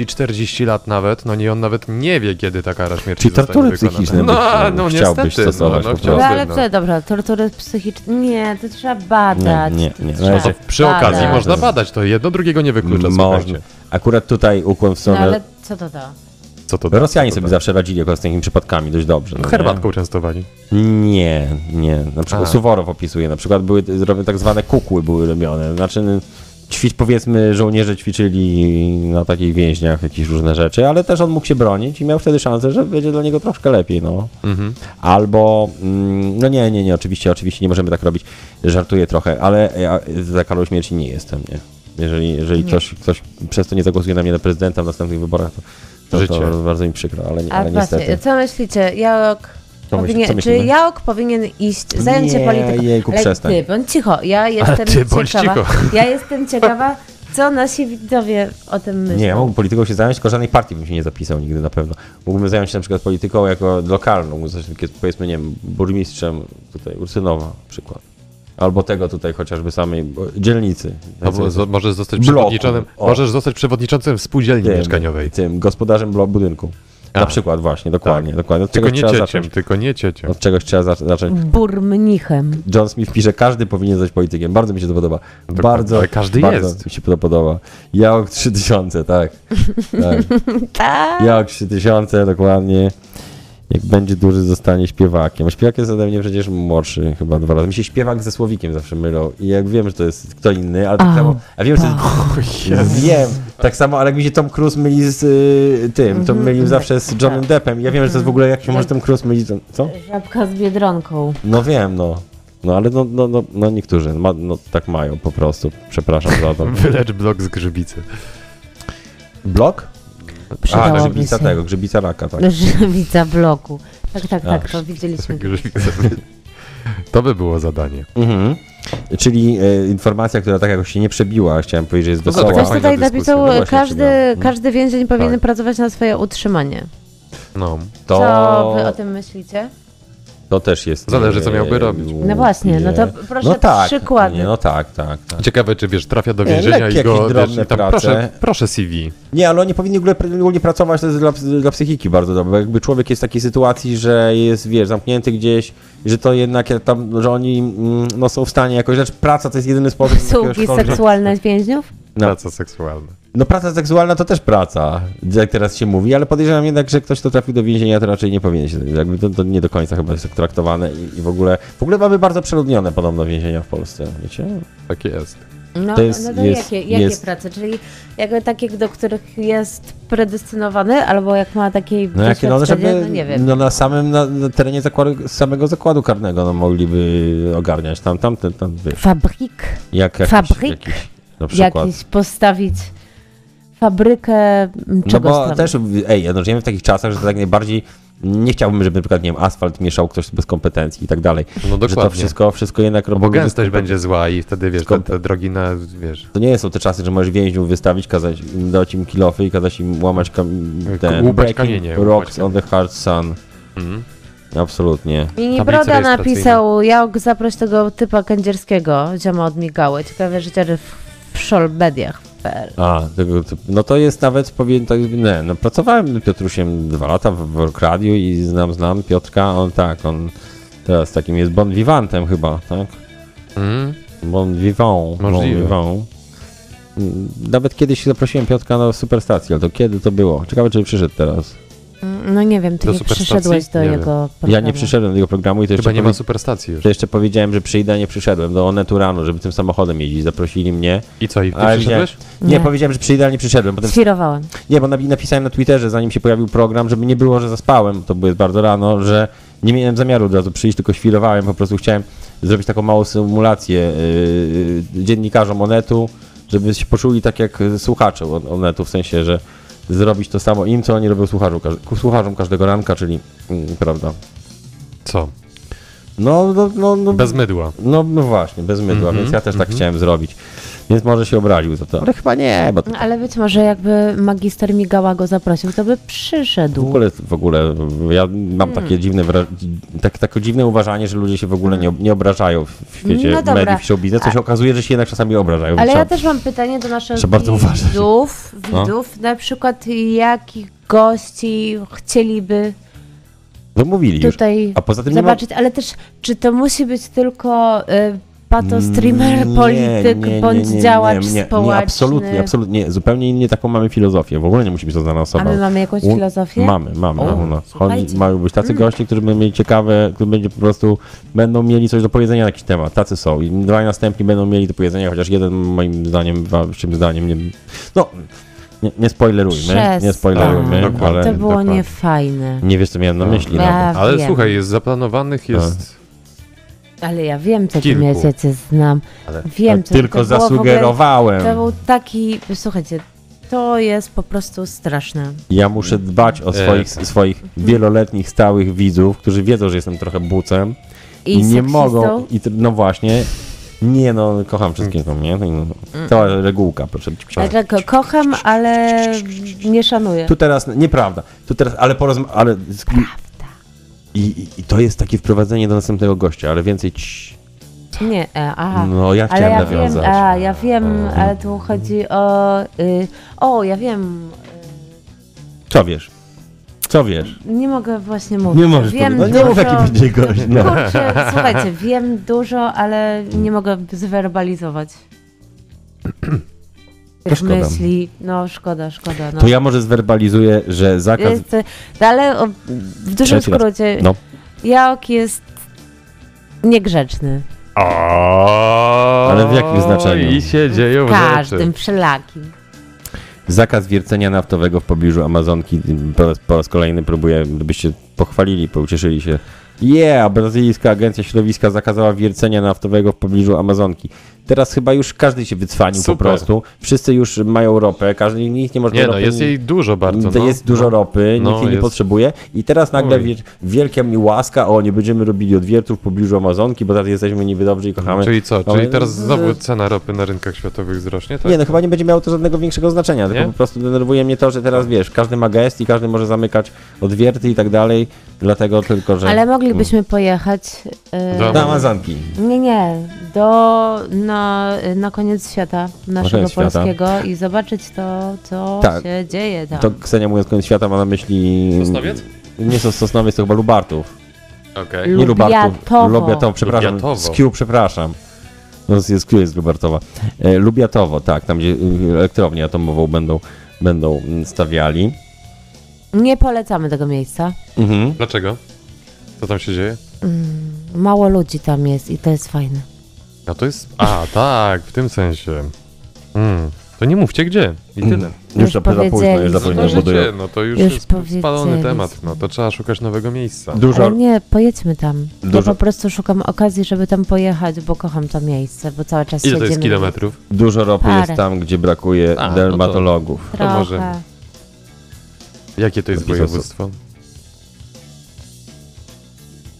[SPEAKER 4] 30-40 lat nawet, no nie, on nawet nie wie, kiedy ta kara śmierci
[SPEAKER 2] Czyli
[SPEAKER 4] zostanie
[SPEAKER 2] tortury
[SPEAKER 4] wykonana.
[SPEAKER 2] psychiczne
[SPEAKER 4] No,
[SPEAKER 2] byś,
[SPEAKER 4] no
[SPEAKER 2] chciałbyś
[SPEAKER 4] niestety, no,
[SPEAKER 2] stosować
[SPEAKER 4] no
[SPEAKER 2] po
[SPEAKER 3] No,
[SPEAKER 2] prostu.
[SPEAKER 4] chciałbym,
[SPEAKER 3] ale
[SPEAKER 4] no.
[SPEAKER 3] co, dobra, tortury psychiczne. Nie, to trzeba badać.
[SPEAKER 2] Nie, nie, nie.
[SPEAKER 3] To
[SPEAKER 2] No,
[SPEAKER 3] trzeba
[SPEAKER 2] to
[SPEAKER 4] Przy
[SPEAKER 3] badać.
[SPEAKER 4] okazji można badać, to jedno drugiego nie wyklucza,
[SPEAKER 2] Można.
[SPEAKER 4] słuchajcie.
[SPEAKER 2] Akurat tutaj ukłon w
[SPEAKER 3] No
[SPEAKER 2] stronę.
[SPEAKER 3] ale co to da?
[SPEAKER 4] Co to da?
[SPEAKER 2] Rosjanie
[SPEAKER 4] Co to
[SPEAKER 2] sobie
[SPEAKER 4] da?
[SPEAKER 2] zawsze radzili akurat z takimi przypadkami dość dobrze. No, nie?
[SPEAKER 4] Herbatką częstowali.
[SPEAKER 2] Nie, nie. Na przykład
[SPEAKER 4] A.
[SPEAKER 2] Suworow opisuje, na przykład były robione tak zwane kukły były robione. Znaczy n- ćwicz, powiedzmy, żołnierze ćwiczyli na takich więźniach jakieś różne rzeczy, ale też on mógł się bronić i miał wtedy szansę, że będzie dla niego troszkę lepiej, no. Albo, mm, no nie, nie, nie, oczywiście, oczywiście nie możemy tak robić. Żartuję trochę, ale ja za karą śmierci nie jestem, nie. Jeżeli, jeżeli ktoś, ktoś przez to nie zagłosuje na mnie na prezydenta w następnych wyborach, to, to,
[SPEAKER 4] Życie.
[SPEAKER 2] to bardzo mi przykro, ale, nie,
[SPEAKER 3] A
[SPEAKER 2] ale niestety.
[SPEAKER 3] właśnie, co myślicie? Jaok
[SPEAKER 2] Co myśl-
[SPEAKER 3] powinien,
[SPEAKER 2] co
[SPEAKER 3] czy
[SPEAKER 2] myślimy?
[SPEAKER 3] Jaok powinien iść, zająć się
[SPEAKER 2] Nie,
[SPEAKER 3] polityką?
[SPEAKER 2] jejku,
[SPEAKER 3] Ale
[SPEAKER 2] przestań.
[SPEAKER 3] Ty, bądź cicho, ja jestem
[SPEAKER 4] ty bądź
[SPEAKER 3] ciekawa.
[SPEAKER 2] (laughs)
[SPEAKER 4] cicho.
[SPEAKER 3] Ja jestem ciekawa, co nasi widzowie o tym myślą.
[SPEAKER 2] Nie, ja mógłbym polityką się zająć, tylko żadnej partii bym się nie zapisał nigdy na pewno. Mógłbym zająć się na przykład polityką jako lokalną, zresztą takie, powiedzmy, nie wiem, burmistrzem tutaj Ursynowa na przykład. Albo tego tutaj chociażby samej bo- dzielnicy.
[SPEAKER 4] Albo zo- możesz zostać
[SPEAKER 2] Bloku.
[SPEAKER 4] przewodniczącym,
[SPEAKER 2] O.
[SPEAKER 4] możesz zostać przewodniczącym współdzielni mieszkaniowej.
[SPEAKER 2] Tym gospodarzem blo- budynku.
[SPEAKER 4] A. Tak.
[SPEAKER 2] Na przykład właśnie, dokładnie, dokładnie. Od
[SPEAKER 4] Tylko
[SPEAKER 2] czegoś
[SPEAKER 4] nie
[SPEAKER 2] trzeba
[SPEAKER 4] cieciem,
[SPEAKER 2] zacząć.
[SPEAKER 4] tylko nie cieciem.
[SPEAKER 2] Od czegoś trzeba za- zacząć.
[SPEAKER 3] Burmnichem.
[SPEAKER 2] John Smith pisze, każdy powinien zostać politykiem. Bardzo mi się to podoba. Bardzo,
[SPEAKER 4] No ale każdy
[SPEAKER 2] bardzo
[SPEAKER 4] jest.
[SPEAKER 2] mi się to podoba. Ja o 3000, tak. tak.
[SPEAKER 3] Tak.
[SPEAKER 2] Ja o 3000 dokładnie. Jak będzie duży, zostanie śpiewakiem. A Śpiewak jest ode mnie przecież młodszy chyba dwa razy. Mi się śpiewak ze słowikiem zawsze mylą. I jak wiem, że to jest kto inny, ale tak
[SPEAKER 3] A,
[SPEAKER 2] samo. A wiem, że to (laughs) jest. Wiem. Tak samo, ale jak mi się Tom Cruise myli z y, tym, to
[SPEAKER 3] Mhm.
[SPEAKER 2] mylił zawsze
[SPEAKER 3] Tak.
[SPEAKER 2] z Johnem Deppem. I Ja wiem, że to jest w ogóle jak się może Tom Cruise mylić. z- Co?
[SPEAKER 3] Żabka z Biedronką.
[SPEAKER 2] No wiem, no. No ale no, no, no, no niektórzy ma, no, tak mają po prostu. Przepraszam za to.
[SPEAKER 4] Wylecz blok z grzybicy.
[SPEAKER 2] Blok? A,
[SPEAKER 3] Przydałoby
[SPEAKER 2] grzybica
[SPEAKER 3] się.
[SPEAKER 2] tego, grzybica raka, tak.
[SPEAKER 3] Żywica bloku. Tak, tak, tak, to widzieliśmy.
[SPEAKER 4] Grzybice. To by było zadanie.
[SPEAKER 2] Mhm. Czyli e, informacja, która tak jakoś się nie przebiła, chciałem powiedzieć, że jest
[SPEAKER 4] No to
[SPEAKER 2] wesoła.
[SPEAKER 3] Ktoś
[SPEAKER 4] Fajna
[SPEAKER 3] tutaj
[SPEAKER 4] dyskusja.
[SPEAKER 3] napisał,
[SPEAKER 4] No
[SPEAKER 2] właśnie,
[SPEAKER 3] każdy,
[SPEAKER 2] przydało.
[SPEAKER 3] każdy więzień powinien
[SPEAKER 2] Tak.
[SPEAKER 3] pracować na swoje utrzymanie.
[SPEAKER 4] No.
[SPEAKER 2] To,
[SPEAKER 3] Co wy o tym myślicie?
[SPEAKER 2] to też jest.
[SPEAKER 4] Zależy, co
[SPEAKER 2] e,
[SPEAKER 4] miałby robić.
[SPEAKER 2] głupie.
[SPEAKER 3] No właśnie, no to proszę przykłady.
[SPEAKER 2] Nie, no tak, tak, tak.
[SPEAKER 4] Ciekawe, czy wiesz, trafia do
[SPEAKER 2] Nie,
[SPEAKER 4] więzienia
[SPEAKER 2] lekkie
[SPEAKER 4] i go.
[SPEAKER 2] jakieś drobne
[SPEAKER 4] Wiesz, tam,
[SPEAKER 2] prace.
[SPEAKER 4] proszę, proszę CV.
[SPEAKER 2] Nie, ale oni powinni w ogóle, w ogóle pracować, to jest dla, dla psychiki bardzo dobre. bo Jakby człowiek jest w takiej sytuacji, że jest, wiesz, zamknięty gdzieś, że to jednak jak tam, że oni mm, no, są w stanie jakoś, znaczy praca to jest jedyny sposób. żeby
[SPEAKER 3] Sługi
[SPEAKER 2] jakiegoś-
[SPEAKER 3] seksualne z więźniów?
[SPEAKER 2] No.
[SPEAKER 4] Praca seksualna.
[SPEAKER 2] No praca seksualna to też praca, jak teraz się mówi, ale podejrzewam jednak, że ktoś, kto trafił do więzienia, to raczej nie powinien się, jakby to, to nie do końca chyba jest tak traktowane i, i w ogóle, w ogóle mamy bardzo przeludnione podobno więzienia w Polsce, wiecie?
[SPEAKER 4] Tak jest.
[SPEAKER 3] No,
[SPEAKER 2] To jest-
[SPEAKER 3] no to
[SPEAKER 2] jest-
[SPEAKER 3] jakie, jakie
[SPEAKER 2] jest-
[SPEAKER 3] prace? Czyli jakby takie, do których jest predestynowany, albo jak ma takie
[SPEAKER 2] No jakie, no
[SPEAKER 3] doświadczenie,
[SPEAKER 2] żeby
[SPEAKER 3] no nie wiem.
[SPEAKER 2] no, na samym na, na terenie zakładu, samego zakładu karnego no, mogliby ogarniać tam, tam, tam, tam wiesz,
[SPEAKER 3] Fabryk,
[SPEAKER 2] jak jakiś,
[SPEAKER 3] Fabryk?
[SPEAKER 2] jakiś na przykład.
[SPEAKER 3] jakiś postawić fabrykę m,
[SPEAKER 2] No
[SPEAKER 3] czegoś
[SPEAKER 2] bo
[SPEAKER 3] tam.
[SPEAKER 2] też, ej, no, żyjemy w takich czasach, że to tak najbardziej nie chciałbym, żeby na przykład, nie wiem, asfalt mieszał ktoś bez kompetencji i tak dalej.
[SPEAKER 4] No
[SPEAKER 2] Że to
[SPEAKER 4] dokładnie.
[SPEAKER 2] wszystko, wszystko jednak
[SPEAKER 4] Bo
[SPEAKER 2] robimy.
[SPEAKER 4] gęstość będzie zła i wtedy wiesz, te,
[SPEAKER 2] Skąd-
[SPEAKER 4] te drogi na, wiesz,
[SPEAKER 2] To nie są te czasy, że możesz więźniów wystawić, kazać, im- dać im kilofy i kazać im łamać kam- ten...
[SPEAKER 4] łupać
[SPEAKER 2] breaking
[SPEAKER 4] kamienie, Mhm. łupać
[SPEAKER 2] Rocks on
[SPEAKER 4] kamienie.
[SPEAKER 2] the hard sun. Absolutnie.
[SPEAKER 3] Mini
[SPEAKER 4] tablice
[SPEAKER 3] Broda
[SPEAKER 4] rejestracyjne.
[SPEAKER 3] napisał, jak zaproś tego typa kędzierskiego, zioma od Migały. Ciekawe rzeczy w, w szolbediach.
[SPEAKER 2] A, tego typu. no to jest nawet, powiem tak, nie, no pracowałem z Piotrusiem dwa lata w, w radiu i znam, znam Piotrka, on tak, on teraz takim jest bon vivantem chyba, tak?
[SPEAKER 4] mm,
[SPEAKER 2] Bon vivant. Bon
[SPEAKER 4] Możliwe.
[SPEAKER 2] vivant. Mm, Nawet kiedyś zaprosiłem Piotrka na Superstację, ale to kiedy to było? Ciekawe, czy przyszedł teraz.
[SPEAKER 3] No nie wiem, ty
[SPEAKER 4] Do
[SPEAKER 3] nie
[SPEAKER 4] superstacji?
[SPEAKER 3] przyszedłeś do
[SPEAKER 4] Nie
[SPEAKER 3] jego
[SPEAKER 2] Ja
[SPEAKER 3] programu.
[SPEAKER 2] nie przyszedłem do tego programu i to
[SPEAKER 4] chyba
[SPEAKER 2] jeszcze,
[SPEAKER 4] nie
[SPEAKER 2] powie...
[SPEAKER 4] ma superstacji już.
[SPEAKER 2] to jeszcze powiedziałem, że przyjdę, a nie przyszedłem do Onetu rano, żeby tym samochodem jeździć. Zaprosili mnie.
[SPEAKER 4] I co, i ty
[SPEAKER 2] A jak
[SPEAKER 4] przyszedłeś?
[SPEAKER 2] Nie,
[SPEAKER 3] Nie.
[SPEAKER 2] powiedziałem, że przyjdę, ale nie przyszedłem. Potem...
[SPEAKER 3] Świrowałem.
[SPEAKER 2] Nie, bo napi- napisałem na Twitterze, zanim się pojawił program, żeby nie było, że zaspałem, to było bardzo rano, że nie miałem zamiaru od razu przyjść, tylko świrowałem, po prostu chciałem zrobić taką małą symulację yy, dziennikarzom Onetu, żeby się poczuli tak jak yy, słuchacze On- Onetu, w sensie, że zrobić to samo im, co oni robią słuchaczom, każ- słuchaczom każdego ranka, czyli, mm, prawda,
[SPEAKER 4] Co?
[SPEAKER 2] no, no, no, no
[SPEAKER 3] Mm.
[SPEAKER 4] Bez mydła.
[SPEAKER 2] no, no właśnie, bez mydła,
[SPEAKER 4] Mhm,
[SPEAKER 2] więc ja też tak chciałem zrobić. Więc może się obraził za to, ale chyba nie, bo to
[SPEAKER 3] No, ale być może jakby magister Migała go zaprosił, to by
[SPEAKER 2] w
[SPEAKER 3] przyszedł.
[SPEAKER 2] ogóle, w ogóle ja
[SPEAKER 3] Hmm.
[SPEAKER 2] mam takie dziwne wra- tak, takie dziwne uważanie, że ludzie się w ogóle nie, ob- nie obrażają w- w świecie
[SPEAKER 3] No dobra.
[SPEAKER 2] mediów i show biznesu, co się okazuje, że się jednak czasami obrażają.
[SPEAKER 3] Ale
[SPEAKER 2] Trzeba-
[SPEAKER 3] ja też mam pytanie do naszych
[SPEAKER 2] trzeba bardzo uważać.
[SPEAKER 3] widzów,
[SPEAKER 2] No.
[SPEAKER 3] widzów na przykład jakich gości chcieliby
[SPEAKER 2] No mówili już.
[SPEAKER 3] tutaj
[SPEAKER 2] A poza tym nie ma-
[SPEAKER 3] zobaczyć, ale też czy to musi być tylko y, pato streamer,
[SPEAKER 2] Mm, Nie,
[SPEAKER 3] polityk
[SPEAKER 2] nie, nie,
[SPEAKER 3] bądź
[SPEAKER 2] nie, nie,
[SPEAKER 3] działacz
[SPEAKER 2] nie, nie,
[SPEAKER 3] społeczny?
[SPEAKER 2] Nie, absolutnie, absolutnie. nie. Zupełnie nie taką mamy filozofię. W ogóle nie musi być to znana
[SPEAKER 3] A
[SPEAKER 2] osoba.
[SPEAKER 3] my mamy jakąś
[SPEAKER 2] U-
[SPEAKER 3] filozofię?
[SPEAKER 2] Mamy, mamy.
[SPEAKER 3] O,
[SPEAKER 2] no, no.
[SPEAKER 3] słuchajcie. Mm.
[SPEAKER 2] Chodzi, mają być tacy goście, którzy będą mieli ciekawe, którzy będzie po prostu, będą mieli coś do powiedzenia na jakiś temat. Tacy są. I dwaj następni będą mieli do powiedzenia, chociaż jeden moim zdaniem, waszym zdaniem, nie, no, nie, nie spoilerujmy, nie
[SPEAKER 3] Przestań.
[SPEAKER 2] spoilerujmy,
[SPEAKER 4] Tak, dokładnie.
[SPEAKER 2] ale
[SPEAKER 3] To było
[SPEAKER 4] dokładnie.
[SPEAKER 3] niefajne.
[SPEAKER 2] nie wiesz, co miałem na myśli. no.
[SPEAKER 3] Ja
[SPEAKER 2] nawet.
[SPEAKER 4] Ale
[SPEAKER 3] wiem.
[SPEAKER 4] słuchaj, jest zaplanowanych,
[SPEAKER 2] No.
[SPEAKER 4] jest...
[SPEAKER 3] Ale ja wiem, co ty
[SPEAKER 4] Kilku.
[SPEAKER 3] miałeś, ja cię znam.
[SPEAKER 2] Ale- tak
[SPEAKER 3] Wiem, co
[SPEAKER 2] Tylko
[SPEAKER 3] to było w ogóle-
[SPEAKER 2] zasugerowałem.
[SPEAKER 3] To był taki, słuchajcie, to jest po prostu straszne.
[SPEAKER 2] Ja muszę dbać o swoich, swoich wieloletnich, stałych widzów, którzy wiedzą, że jestem trochę bucem
[SPEAKER 3] I,
[SPEAKER 2] i nie
[SPEAKER 3] seksistą.
[SPEAKER 2] mogą. I, tr- no właśnie. Nie no, kocham wszystkich, no nie? No, Cała regułka, proszę.
[SPEAKER 3] Mm. Ale tak, kocham, ale nie szanuję.
[SPEAKER 2] Tu teraz, nieprawda, tu teraz, ale porozmawiam, ale... I, i- I to jest takie wprowadzenie do następnego gościa, ale więcej ci...
[SPEAKER 3] Nie, e, aha.
[SPEAKER 2] No, ja
[SPEAKER 3] ale
[SPEAKER 2] chciałem
[SPEAKER 3] ja wiem,
[SPEAKER 2] nawiązać. Mhm.
[SPEAKER 3] a, ja wiem, ale tu chodzi o... Y, o, ja wiem,
[SPEAKER 2] Co wiesz? Co wiesz?
[SPEAKER 3] nie mogę właśnie mówić.
[SPEAKER 2] Nie możesz
[SPEAKER 3] wiem
[SPEAKER 2] powiedzieć. No nie mów, jaki będzie gość. No.
[SPEAKER 3] Kurczę, słuchajcie, wiem dużo, ale nie mogę zwerbalizować. Tych
[SPEAKER 2] szkoda.
[SPEAKER 3] myśli, no szkoda, szkoda. No.
[SPEAKER 2] To ja może zwerbalizuję, że zakaz...
[SPEAKER 3] Jest, e, no ale o, w dużym
[SPEAKER 2] Trzeci raz.
[SPEAKER 3] skrócie,
[SPEAKER 2] No.
[SPEAKER 3] Jaok jest niegrzeczny.
[SPEAKER 4] Ale
[SPEAKER 2] w jakim znaczeniu?
[SPEAKER 4] I się dzieją
[SPEAKER 3] W każdym,
[SPEAKER 4] rzeczy.
[SPEAKER 3] wszelakim.
[SPEAKER 2] Tak. Zakaz wiercenia naftowego w pobliżu Amazonki po raz, po raz kolejny próbuję, gdybyście pochwalili, pocieszyli się. Yeah, brazylijska agencja środowiska zakazała wiercenia naftowego w pobliżu Amazonki. Teraz chyba już każdy się wycwanił po
[SPEAKER 4] Super.
[SPEAKER 2] prostu. Wszyscy już mają ropę, każdy nikt nie może
[SPEAKER 4] Nie
[SPEAKER 2] tej
[SPEAKER 4] no,
[SPEAKER 2] ropy
[SPEAKER 4] jest jej dużo bardzo,
[SPEAKER 2] to
[SPEAKER 4] no.
[SPEAKER 2] jest dużo ropy,
[SPEAKER 4] No,
[SPEAKER 2] nikt jej nie
[SPEAKER 4] jest.
[SPEAKER 2] potrzebuje. I teraz nagle
[SPEAKER 4] Oj.
[SPEAKER 2] wiesz, wielka mi łaska, o nie będziemy robili odwiertów w pobliżu Amazonki, bo teraz jesteśmy niby dobrzy i kochamy.
[SPEAKER 4] Czyli co?
[SPEAKER 2] No,
[SPEAKER 4] Czyli
[SPEAKER 2] no,
[SPEAKER 4] teraz
[SPEAKER 2] no,
[SPEAKER 4] znowu
[SPEAKER 2] no.
[SPEAKER 4] cena ropy na rynkach światowych wzrośnie, tak?
[SPEAKER 2] Nie, no chyba nie będzie miało to żadnego większego znaczenia, tylko
[SPEAKER 4] Nie?
[SPEAKER 2] po prostu denerwuje mnie to, że teraz wiesz, każdy ma gest i każdy może zamykać odwierty i tak dalej, dlatego tylko, że...
[SPEAKER 3] Ale moglibyśmy pojechać. y,
[SPEAKER 4] Do-
[SPEAKER 2] Mm. Do Amazonki.
[SPEAKER 3] Nie, nie, do na, na koniec świata naszego
[SPEAKER 2] koniec świata.
[SPEAKER 3] polskiego i zobaczyć to, co
[SPEAKER 2] Tak.
[SPEAKER 3] się dzieje tam.
[SPEAKER 2] To Ksenia mówiąc koniec świata ma na myśli...
[SPEAKER 4] Sosnowiec?
[SPEAKER 2] Nie są Sosnowiec, to chyba Lubartów.
[SPEAKER 4] Okej.
[SPEAKER 2] Nie
[SPEAKER 3] Lubiatowo.
[SPEAKER 2] Lubartów. Lubiatowo, przepraszam.
[SPEAKER 4] Lubiatowo.
[SPEAKER 2] Z Q, przepraszam. No z, z Q jest Lubartowa. E, Lubiatowo, tak, tam gdzie y, elektrownię atomową będą, będą mm, stawiali.
[SPEAKER 3] Nie polecamy tego miejsca.
[SPEAKER 2] Mhm.
[SPEAKER 4] Dlaczego? Co tam się dzieje?
[SPEAKER 3] Mało ludzi tam jest i to jest fajne.
[SPEAKER 4] A No to jest... A, tak, w tym sensie. Mm. To nie mówcie gdzie i tyle.
[SPEAKER 2] Już za, za późno, już
[SPEAKER 3] powiedzieli.
[SPEAKER 2] za późno
[SPEAKER 3] No
[SPEAKER 2] budują.
[SPEAKER 4] Życie, no to już,
[SPEAKER 3] Już
[SPEAKER 4] jest
[SPEAKER 3] powiedzieli.
[SPEAKER 4] spalony temat, no to trzeba szukać nowego miejsca.
[SPEAKER 2] Dużo,
[SPEAKER 3] Ale nie, pojedźmy tam. Ja
[SPEAKER 2] Dużo-
[SPEAKER 3] po prostu szukam okazji, żeby tam pojechać, bo kocham to miejsce, bo cały czas
[SPEAKER 4] Ile to
[SPEAKER 3] siedzimy.
[SPEAKER 4] jest kilometrów?
[SPEAKER 2] dużo ropy
[SPEAKER 3] Parę.
[SPEAKER 2] jest tam, gdzie brakuje
[SPEAKER 4] A, no to-
[SPEAKER 2] dermatologów.
[SPEAKER 3] Trochę.
[SPEAKER 4] To może. Jakie to jest
[SPEAKER 2] Takich
[SPEAKER 4] województwo?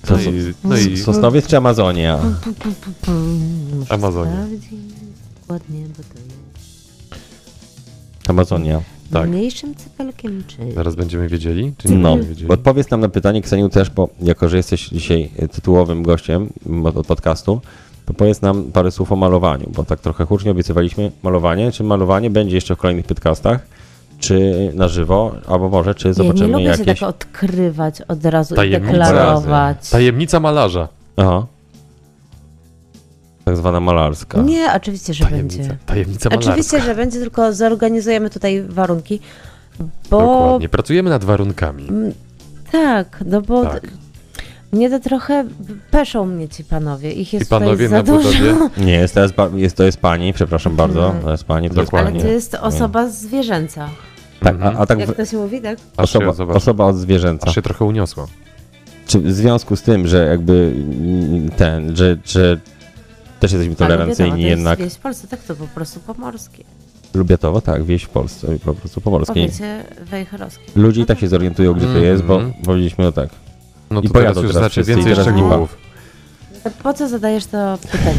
[SPEAKER 2] To
[SPEAKER 4] No
[SPEAKER 2] są-
[SPEAKER 4] i, no i
[SPEAKER 2] Sosnowiec czy Amazonia?
[SPEAKER 3] Pu, pu, pu, pu. Muszę
[SPEAKER 4] Amazonia.
[SPEAKER 3] sprawdzić Dokładnie, bo to jest
[SPEAKER 2] Amazonia.
[SPEAKER 4] Tak.
[SPEAKER 3] mniejszym cypelkiem, czy...
[SPEAKER 4] zaraz będziemy wiedzieli, czy nie
[SPEAKER 2] No,
[SPEAKER 4] będziemy wiedzieli?
[SPEAKER 2] odpowiedz nam na pytanie, Kseniu, też, bo jako, że jesteś dzisiaj e, tytułowym gościem m, od od podcastu, to powiedz nam parę słów o malowaniu, bo tak trochę hucznie obiecywaliśmy malowanie. Czy malowanie będzie jeszcze w kolejnych podcastach, czy na żywo, albo może, czy
[SPEAKER 3] ja nie
[SPEAKER 2] zobaczymy
[SPEAKER 3] lubię się
[SPEAKER 2] jakieś...
[SPEAKER 3] tak odkrywać od razu
[SPEAKER 4] Tajemnica.
[SPEAKER 3] i deklarować.
[SPEAKER 4] Tajemnica malarza.
[SPEAKER 2] Aha. Tak zwana malarska.
[SPEAKER 3] Nie, oczywiście, że
[SPEAKER 4] Tajemnica,
[SPEAKER 3] będzie.
[SPEAKER 4] tajemnica malarska.
[SPEAKER 3] Oczywiście, że będzie, tylko zorganizujemy tutaj warunki, bo
[SPEAKER 4] Dokładnie. Pracujemy nad warunkami.
[SPEAKER 3] tak, no bo
[SPEAKER 4] Tak.
[SPEAKER 3] mnie to trochę peszą mnie ci panowie. Ich jest
[SPEAKER 4] I panowie
[SPEAKER 3] tutaj
[SPEAKER 4] na
[SPEAKER 3] za dużo.
[SPEAKER 4] budowie.
[SPEAKER 2] Nie, jest, teraz ba- jest, to jest pani, przepraszam bardzo, to jest pani, to
[SPEAKER 4] Dokładnie. No.
[SPEAKER 2] jest
[SPEAKER 3] Mhm.
[SPEAKER 2] pani.
[SPEAKER 3] Ale to jest osoba zwierzęca.
[SPEAKER 2] Tak, a, a tak
[SPEAKER 3] Jak
[SPEAKER 2] w-
[SPEAKER 3] to się mówi, tak?
[SPEAKER 4] Aż Mhm. się,
[SPEAKER 2] osoba,
[SPEAKER 4] zobacz,
[SPEAKER 2] osoba od zwierzęca.
[SPEAKER 4] aż się trochę uniosło.
[SPEAKER 2] Czy w związku z tym, że jakby mm, ten, że, że też jesteśmy tolerancyjni
[SPEAKER 3] Ale wiadomo, Tak, to
[SPEAKER 2] jednak.
[SPEAKER 3] jest wieś w Polsce, tak to po prostu pomorskie.
[SPEAKER 2] Lubiatowo, tak, wieś w Polsce, po prostu pomorskiej.
[SPEAKER 3] Powiecie wejherowskie. No
[SPEAKER 2] Ludzie i tak się zorientują, gdzie to
[SPEAKER 4] Mhm.
[SPEAKER 2] jest, bo powiedzieliśmy o tak.
[SPEAKER 4] No
[SPEAKER 2] I
[SPEAKER 4] to teraz
[SPEAKER 2] pojadą
[SPEAKER 4] już
[SPEAKER 2] teraz
[SPEAKER 4] znaczy
[SPEAKER 2] wszyscy
[SPEAKER 4] więcej
[SPEAKER 2] i teraz lipa.
[SPEAKER 4] szczegółów.
[SPEAKER 3] To Po co zadajesz to pytanie?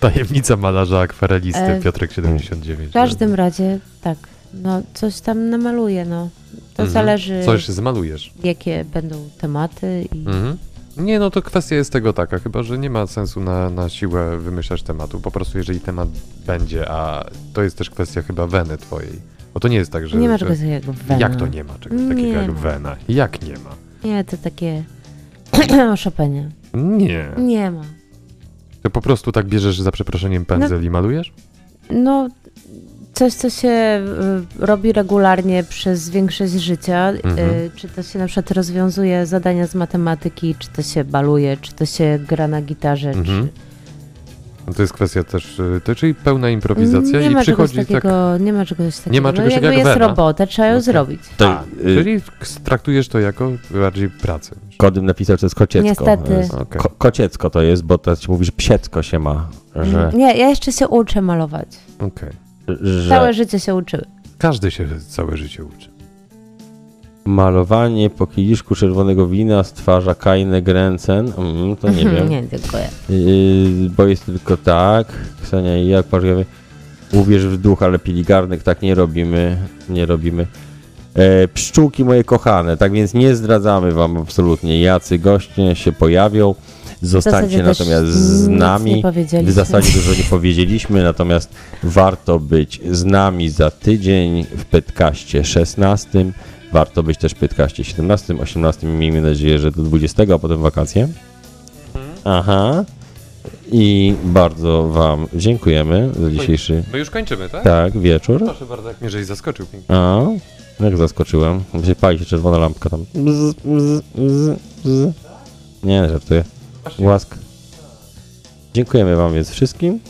[SPEAKER 4] Tajemnica malarza akwarelisty
[SPEAKER 3] E,
[SPEAKER 2] Mm.
[SPEAKER 4] Piotrek 79.
[SPEAKER 3] W każdym razie tak, no coś tam namaluję, no. To
[SPEAKER 4] Mhm.
[SPEAKER 3] zależy,
[SPEAKER 4] Coś zmalujesz.
[SPEAKER 3] jakie będą tematy i
[SPEAKER 4] Mhm. Nie, no to kwestia jest tego taka, chyba że nie ma sensu na, na siłę wymyślać tematu. Po prostu jeżeli temat będzie, a to jest też kwestia chyba weny twojej. Bo to nie jest tak, że...
[SPEAKER 3] nie ma
[SPEAKER 4] że,
[SPEAKER 3] czegoś takiego wena.
[SPEAKER 4] Jak to nie ma czegoś
[SPEAKER 3] Nie
[SPEAKER 4] takiego jak
[SPEAKER 3] ma.
[SPEAKER 4] wena? Jak nie ma?
[SPEAKER 3] Nie, to takie (clears throat) o Chopinie.
[SPEAKER 4] Nie.
[SPEAKER 3] Nie ma.
[SPEAKER 4] To po prostu tak bierzesz za przeproszeniem pędzel i malujesz?
[SPEAKER 3] No, coś, co się y, robi regularnie przez większość życia, y,
[SPEAKER 4] Mhm.
[SPEAKER 3] czy to się na przykład rozwiązuje zadania z matematyki, czy to się baluje, czy to się gra na gitarze,
[SPEAKER 4] Mhm.
[SPEAKER 3] czy...
[SPEAKER 4] No to jest kwestia też, y, to, czyli pełna improwizacja
[SPEAKER 3] nie
[SPEAKER 4] i
[SPEAKER 3] ma
[SPEAKER 4] przychodzi
[SPEAKER 3] czegoś
[SPEAKER 4] tak...
[SPEAKER 3] takiego, Nie ma czegoś takiego.
[SPEAKER 4] ma czegoś
[SPEAKER 3] no, jakby
[SPEAKER 4] takiego jak
[SPEAKER 3] jest
[SPEAKER 4] wena.
[SPEAKER 3] robota, trzeba ją
[SPEAKER 4] Okej.
[SPEAKER 3] zrobić.
[SPEAKER 2] To,
[SPEAKER 4] A,
[SPEAKER 2] y,
[SPEAKER 4] czyli traktujesz to jako bardziej pracę.
[SPEAKER 2] Kodym napisał, że to jest kociecko.
[SPEAKER 3] Niestety.
[SPEAKER 2] Jest-
[SPEAKER 4] Okej.
[SPEAKER 2] Ko- kociecko to jest, bo teraz się mówi, że psiecko się ma,
[SPEAKER 4] Mhm.
[SPEAKER 2] że...
[SPEAKER 3] Mm. Nie, ja jeszcze się uczę malować.
[SPEAKER 4] Okej.
[SPEAKER 2] że
[SPEAKER 3] Całe życie się uczyły.
[SPEAKER 4] Każdy się całe życie uczy.
[SPEAKER 2] malowanie po kieliszku czerwonego wina stwarza kajne gręcen. Mm,
[SPEAKER 4] No
[SPEAKER 2] to nie wiem.
[SPEAKER 3] Mhm. nie, dziękuję.
[SPEAKER 2] Yy, bo jest tylko tak. Ksenia i ja pożywamy. Uwierz w duch, ale piligarnych tak nie robimy. Nie robimy. E, pszczółki moje kochane, tak więc nie zdradzamy wam absolutnie, jacy goście się pojawią. Zostańcie
[SPEAKER 3] też
[SPEAKER 2] natomiast z
[SPEAKER 3] nic
[SPEAKER 2] nami.
[SPEAKER 3] nie powiedzieliśmy.
[SPEAKER 2] W zasadzie dużo nie powiedzieliśmy, natomiast warto być z nami za tydzień w Pytkaście 16. Warto być też w Pytkaście 17, 18. Miejmy nadzieję, że do 20, a potem wakacje. Aha. I bardzo Wam dziękujemy za dzisiejszy
[SPEAKER 4] My już kończymy, tak?
[SPEAKER 2] tak, wieczór.
[SPEAKER 4] Proszę bardzo, jak mnie żeś zaskoczył pięknie.
[SPEAKER 2] A, jak zaskoczyłem. Się pali się czerwona lampka tam. Bzz, bzz, bzz, bzz. Nie, żartuję. Łask. Dziękujemy Wam więc wszystkim.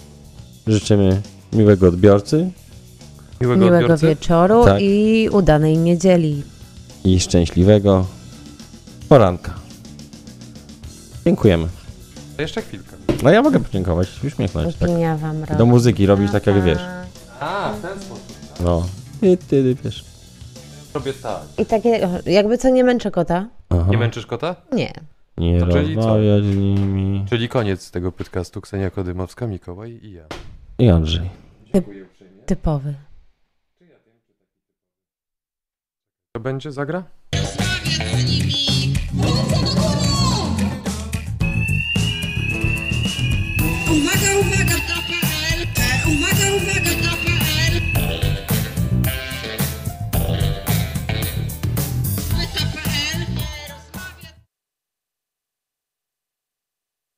[SPEAKER 2] Życzymy miłego odbiorcy
[SPEAKER 4] Miłego,
[SPEAKER 3] Miłego
[SPEAKER 4] odbiorcy.
[SPEAKER 3] wieczoru
[SPEAKER 2] Tak.
[SPEAKER 3] i udanej niedzieli.
[SPEAKER 2] i szczęśliwego poranka. Dziękujemy.
[SPEAKER 4] A jeszcze chwilkę.
[SPEAKER 2] No ja mogę podziękować, uśmiechnąć. Tak.
[SPEAKER 3] Opinia wam robi.
[SPEAKER 2] Do muzyki robisz tak jak wiesz.
[SPEAKER 4] A, w ten sposób.
[SPEAKER 2] No. Ty, ty, ty wiesz.
[SPEAKER 4] Robię tak. No.
[SPEAKER 3] I takie, jakby co, nie męczę kota?
[SPEAKER 2] Aha.
[SPEAKER 4] Nie męczysz kota?
[SPEAKER 3] Nie.
[SPEAKER 2] Nie
[SPEAKER 4] To czyli co?
[SPEAKER 2] rozmawiać z nimi.
[SPEAKER 4] Czyli koniec tego podcastu Ksenia Kodymowska, Mikołaj i ja.
[SPEAKER 2] I Andrzej.
[SPEAKER 3] Typowy.
[SPEAKER 4] To będzie zagra?
[SPEAKER 1] Rozmawiać z nimi.